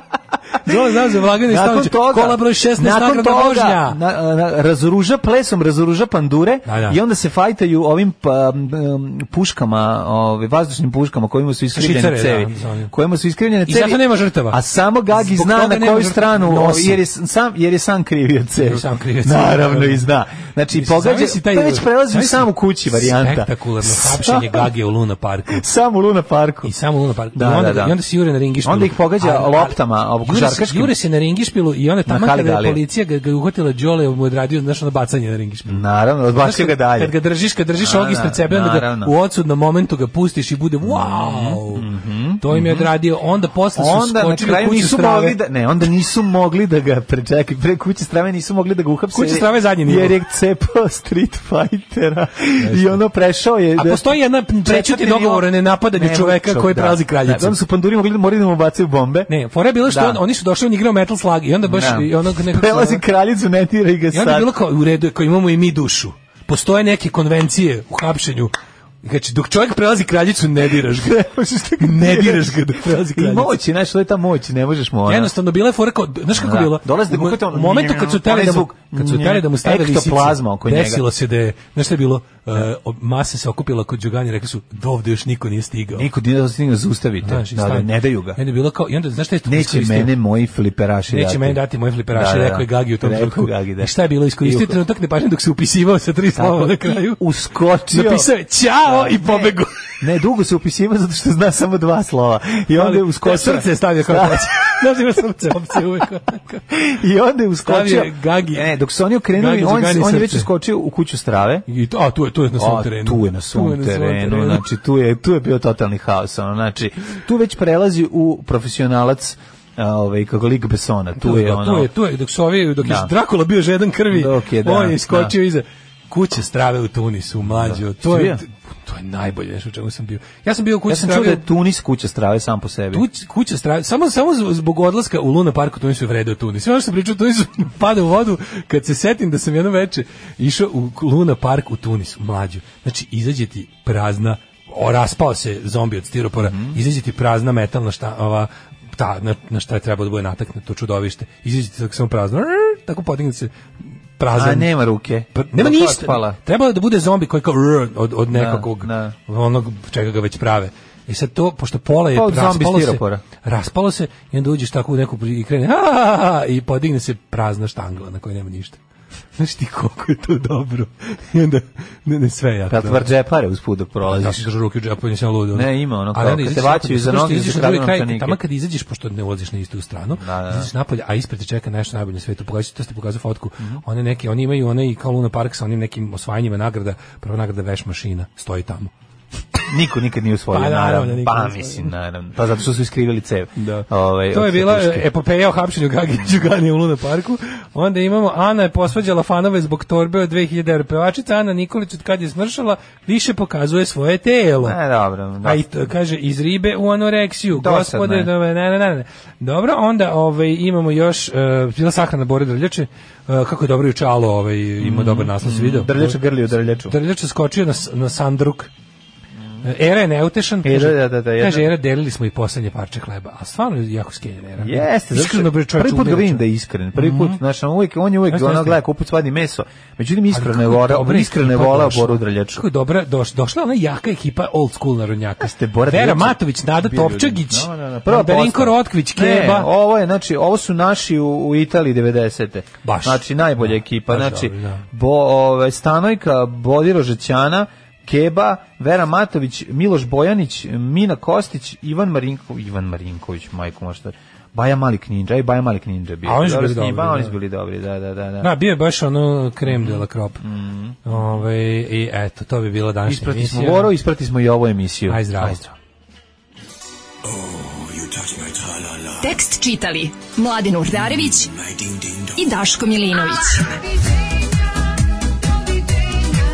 Đole zauzeo blagajnu i stavio će kola broj 16 nagradna vožnja. na- na- razoruža plesom, razoruža pandure Da, da. i onda se fajtaju ovim pa, um, puškama, ovaj, vazdušnim puškama kojima su iskrivljene Šicare, cevi. da, za- kojima su iskrivljene I cevi. zato nema žrtava. A samo Gagi Zbog zna toga na nema koju žrtava. stranu, o, Nosi. jer je s- sam, jer je sam krivio Jer cev. je sam krivio cev. Naravno i zna. Znači, Mislim, pogađa, zamisli taj- to već prelazi u zamisli samu kući varijanta. Spektakularno hapšenje Gagije u Luna parku. Samo u Luna parku. I samo u Luna parku. Da, I onda, da, da. I onda se jure na ringišpilu. Onda ih pogađa loptama, ovog jure, se, košarkaškim. jure se na ringišpilu i onda tamo kada je Haligalije. policija ga, ga uhvatila Đole, mu je odradio znaš ono bacanje na ringišpilu. Naravno, Znaš, odbacio Mm. ga kad- dalje. Kad ga držiš, kad držiš ovog ispred sebe, onda ga Naravno. Mhm, u odsudnom momentu ga pustiš i bude wow. to im je odradio. Onda posle su onda na skočili kraju u kuću nisu strave. mogli da ne onda nisu mogli da ga prečekaj pre kuće strave nisu mogli da ga uhapse Kuća strave je zadnji nivo. jer je cepao Street Fightera i ono prešao je A da- postoji jedna prečuti Četvrti dogovor o nivo- nenapadanju Ne, čoveka čov- koji da. prelazi Da, kraljicu. onda su panduri mogli morali da mu bacaju bombe Ne, fora je bila što Da. on, oni su došli, on igrao Metal Slug i onda baš Da. i ono- onog nekog... prelazi kraljicu ne tira i ga I onda je sad bilo kao, u redu je, kao imamo i mi dušu. Postoje neke konvencije u hapšenju. Znači, dok čovjek prelazi kraljicu, ne diraš ga. ne diraš ga dok prelazi i kraljicu. moć, znaš, to je ta moć, ne možeš mu ona. Jednostavno bila je fora kao, znaš kako Da. bilo? Dolazi da U ga mo- uhvate, ono, u momentu kad su teli onaj da mu zvuk, kad su teli da mu stave lisice. Ektoplazma oko njega. Desilo se da je, znaš šta je bilo? E, o- masa se okupila kod Đugani, rekli su, dovde još niko nije stigao. Niko nije da stigne zaustavite. Znaš, i Da, da, stani. ne daju ga. I onda je bilo kao, i onda, znaš šta je tu Neće iskoristio? mene moji fliperaši dati. Neće meni dati moje Da, fliperaše, da, da. rekao je Gagi u tom Rekao je trenutku. Gagi, da. I šta je bilo iskoristio I je uho- trenutak nepažnje dok se upisivao sa tri slova na kraju. uskočio. Napisao je ćao Da, i ne. pobegao. Ne, dugo se upisivao zato što zna samo dva slova. I onda je Ali uskočio. Srce je stavio kao Da. treće. Znaš ima srce, opcija uvijek. I onda je uskočio. Stavio je Gagi. Ne, dok su oni okrenuli, Gagi za on, Gagi on je srce. već uskočio u kuću strave. I to, a tu je, tu je na svom A, terenu. tu je na svom terenu, znači tu je, tu je bio totalni haos, ono, znači tu već prelazi u profesionalac a, ovaj, kako lik Besona, tu, je ono... Tu je, tu je, dok su ovi, dok je Da. Drakula bio žedan krvi, Dok je, da, on je iskočio da. iza kuće strave u Tunisu, mlađo. To Jesi je, bio? to je najbolje nešto u čemu sam bio. Ja sam bio u kući Ja sam čuo da je Tunis kuća strave sam po sebi. Tu kuća stra... samo samo zb- zbog odlaska u Luna parku Tunisu je vredeo Tunis. Sve ono što sam pričao o Tunisu pada u vodu kad se setim da sam jedno veče išao u Luna park u Tunisu, mlađu. Znači izađe ti prazna o, raspao se zombi od stiropora, izađe ti prazna metalna šta, ova, ta, na, na šta je trebao da bude nataknuto čudovište. Izađe ti tako samo prazno, rrr, tako podigne se prazan. A nema ruke. Pa, nema Dok je ništa. otpala. Trebalo je da bude zombi koji kao rrr, od, od Da, nekakvog, da. onog čega ga već prave. I sad to, pošto pola je Pa od zombi raspalo se, stiropora. raspalo se i onda uđeš tako u neku pri- i krene "Ha, ha, ha, ha", i podigne se prazna štangla na kojoj nema ništa. Znaš ti koliko je to dobro. I onda, ne, ne sve ja. Kad tvar džepare Pa, usput dok Ja prolaziš. sam držao ruke u džepu, nisam ludo. Ne, ima ono, kao Ali onda kad te izađeš vaćaju napolje, za zato što noge i izađeš za na drugi kradu kraj, novčanike. Tamo kad izađeš, pošto ne ulaziš na istu stranu, da. izađeš napolje, a ispred te čeka nešto najbolje na svetu. Pokazat ću, to ste pokazali fotku. Mhm. One neke, oni imaju one i kao Luna Park sa onim nekim osvajanjima nagrada, prva nagrada veš mašina, stoji tamo. Niko nikad nije usvojio, Pa, naravno, naravno. niko Pa nije mislim, naravno. Pa zato što su iskrivili cev. Ovaj, to je od bila satuške. epopeja o hapšenju Gagi Đuganija u Luna Parku. Onda imamo Ana je posvađala fanove zbog torbe od 2000 euro pevačica. Ana Nikolić od kad je smršala više pokazuje svoje telo. E, dobro. Da. A i to, kaže iz ribe u anoreksiju. Dosadno Gospode, je. do, ne, ne, ne, ne. Dobro, onda ovaj imamo još e, bila sahrana Bore Drljače. E, kako je dobro juče Alo, ovaj Mm-hmm. ima dobar naslov se video. Drljača grli u drljaču. Drljače skočio na s- na sandruk. E, Era je neutešan. Era, kaže- da, da, da, jedna- Kaže, Era, delili smo i poslednje parče hleba. A stvarno je jako skenjer, Era. Jeste, zato što- Iskreno, bre, čovječe, Mhm. prvi put ga umiruće. vidim da je iskren. Prvi put, znaš, on uvijek, on je uvijek Jeste, ono jeste. gleda kuput svadi meso. Međutim, iskreno je kako vora, dobra iskreno je ekipa volao došla. Boru Drljaču. Kako je dobra, doš, došla ona jaka ekipa old school narodnjaka. Jeste, Bora Vera Drljača- Matović, Nada Bio ljudi. Topčagić, Da, da, da. Prva no, Berinko postava. Rotkvić, Ne, Keba. ovo je, znači, ovo su naši u, u Italiji 90. Baš. Znači, najbolja Da, ekipa. baš Znači, dobro, da. bo, ove, Stanojka, Bodiro Žećana, Keba, Vera Matović, Miloš Bojanić, Mina Kostić, Ivan Marinković, Ivan Marinković, majko možda, Baja Malik Ninja, i Baja Malik Ninja je bio. A oni su Dobro bili snima, dobri, Oni da. su bili dobri, da, da, da. da. Da, bio je baš ono krem de la crop. Ovaj, I eto, to bi bila današnja Mhm. Isprati smo emisija. Voro, isprati smo i ovu emisiju. Aj, zdravo. Tekst čitali Mladin Urdarević i Daško Milinović.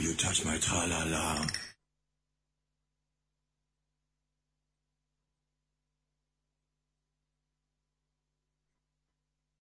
You touch my tra-la-la.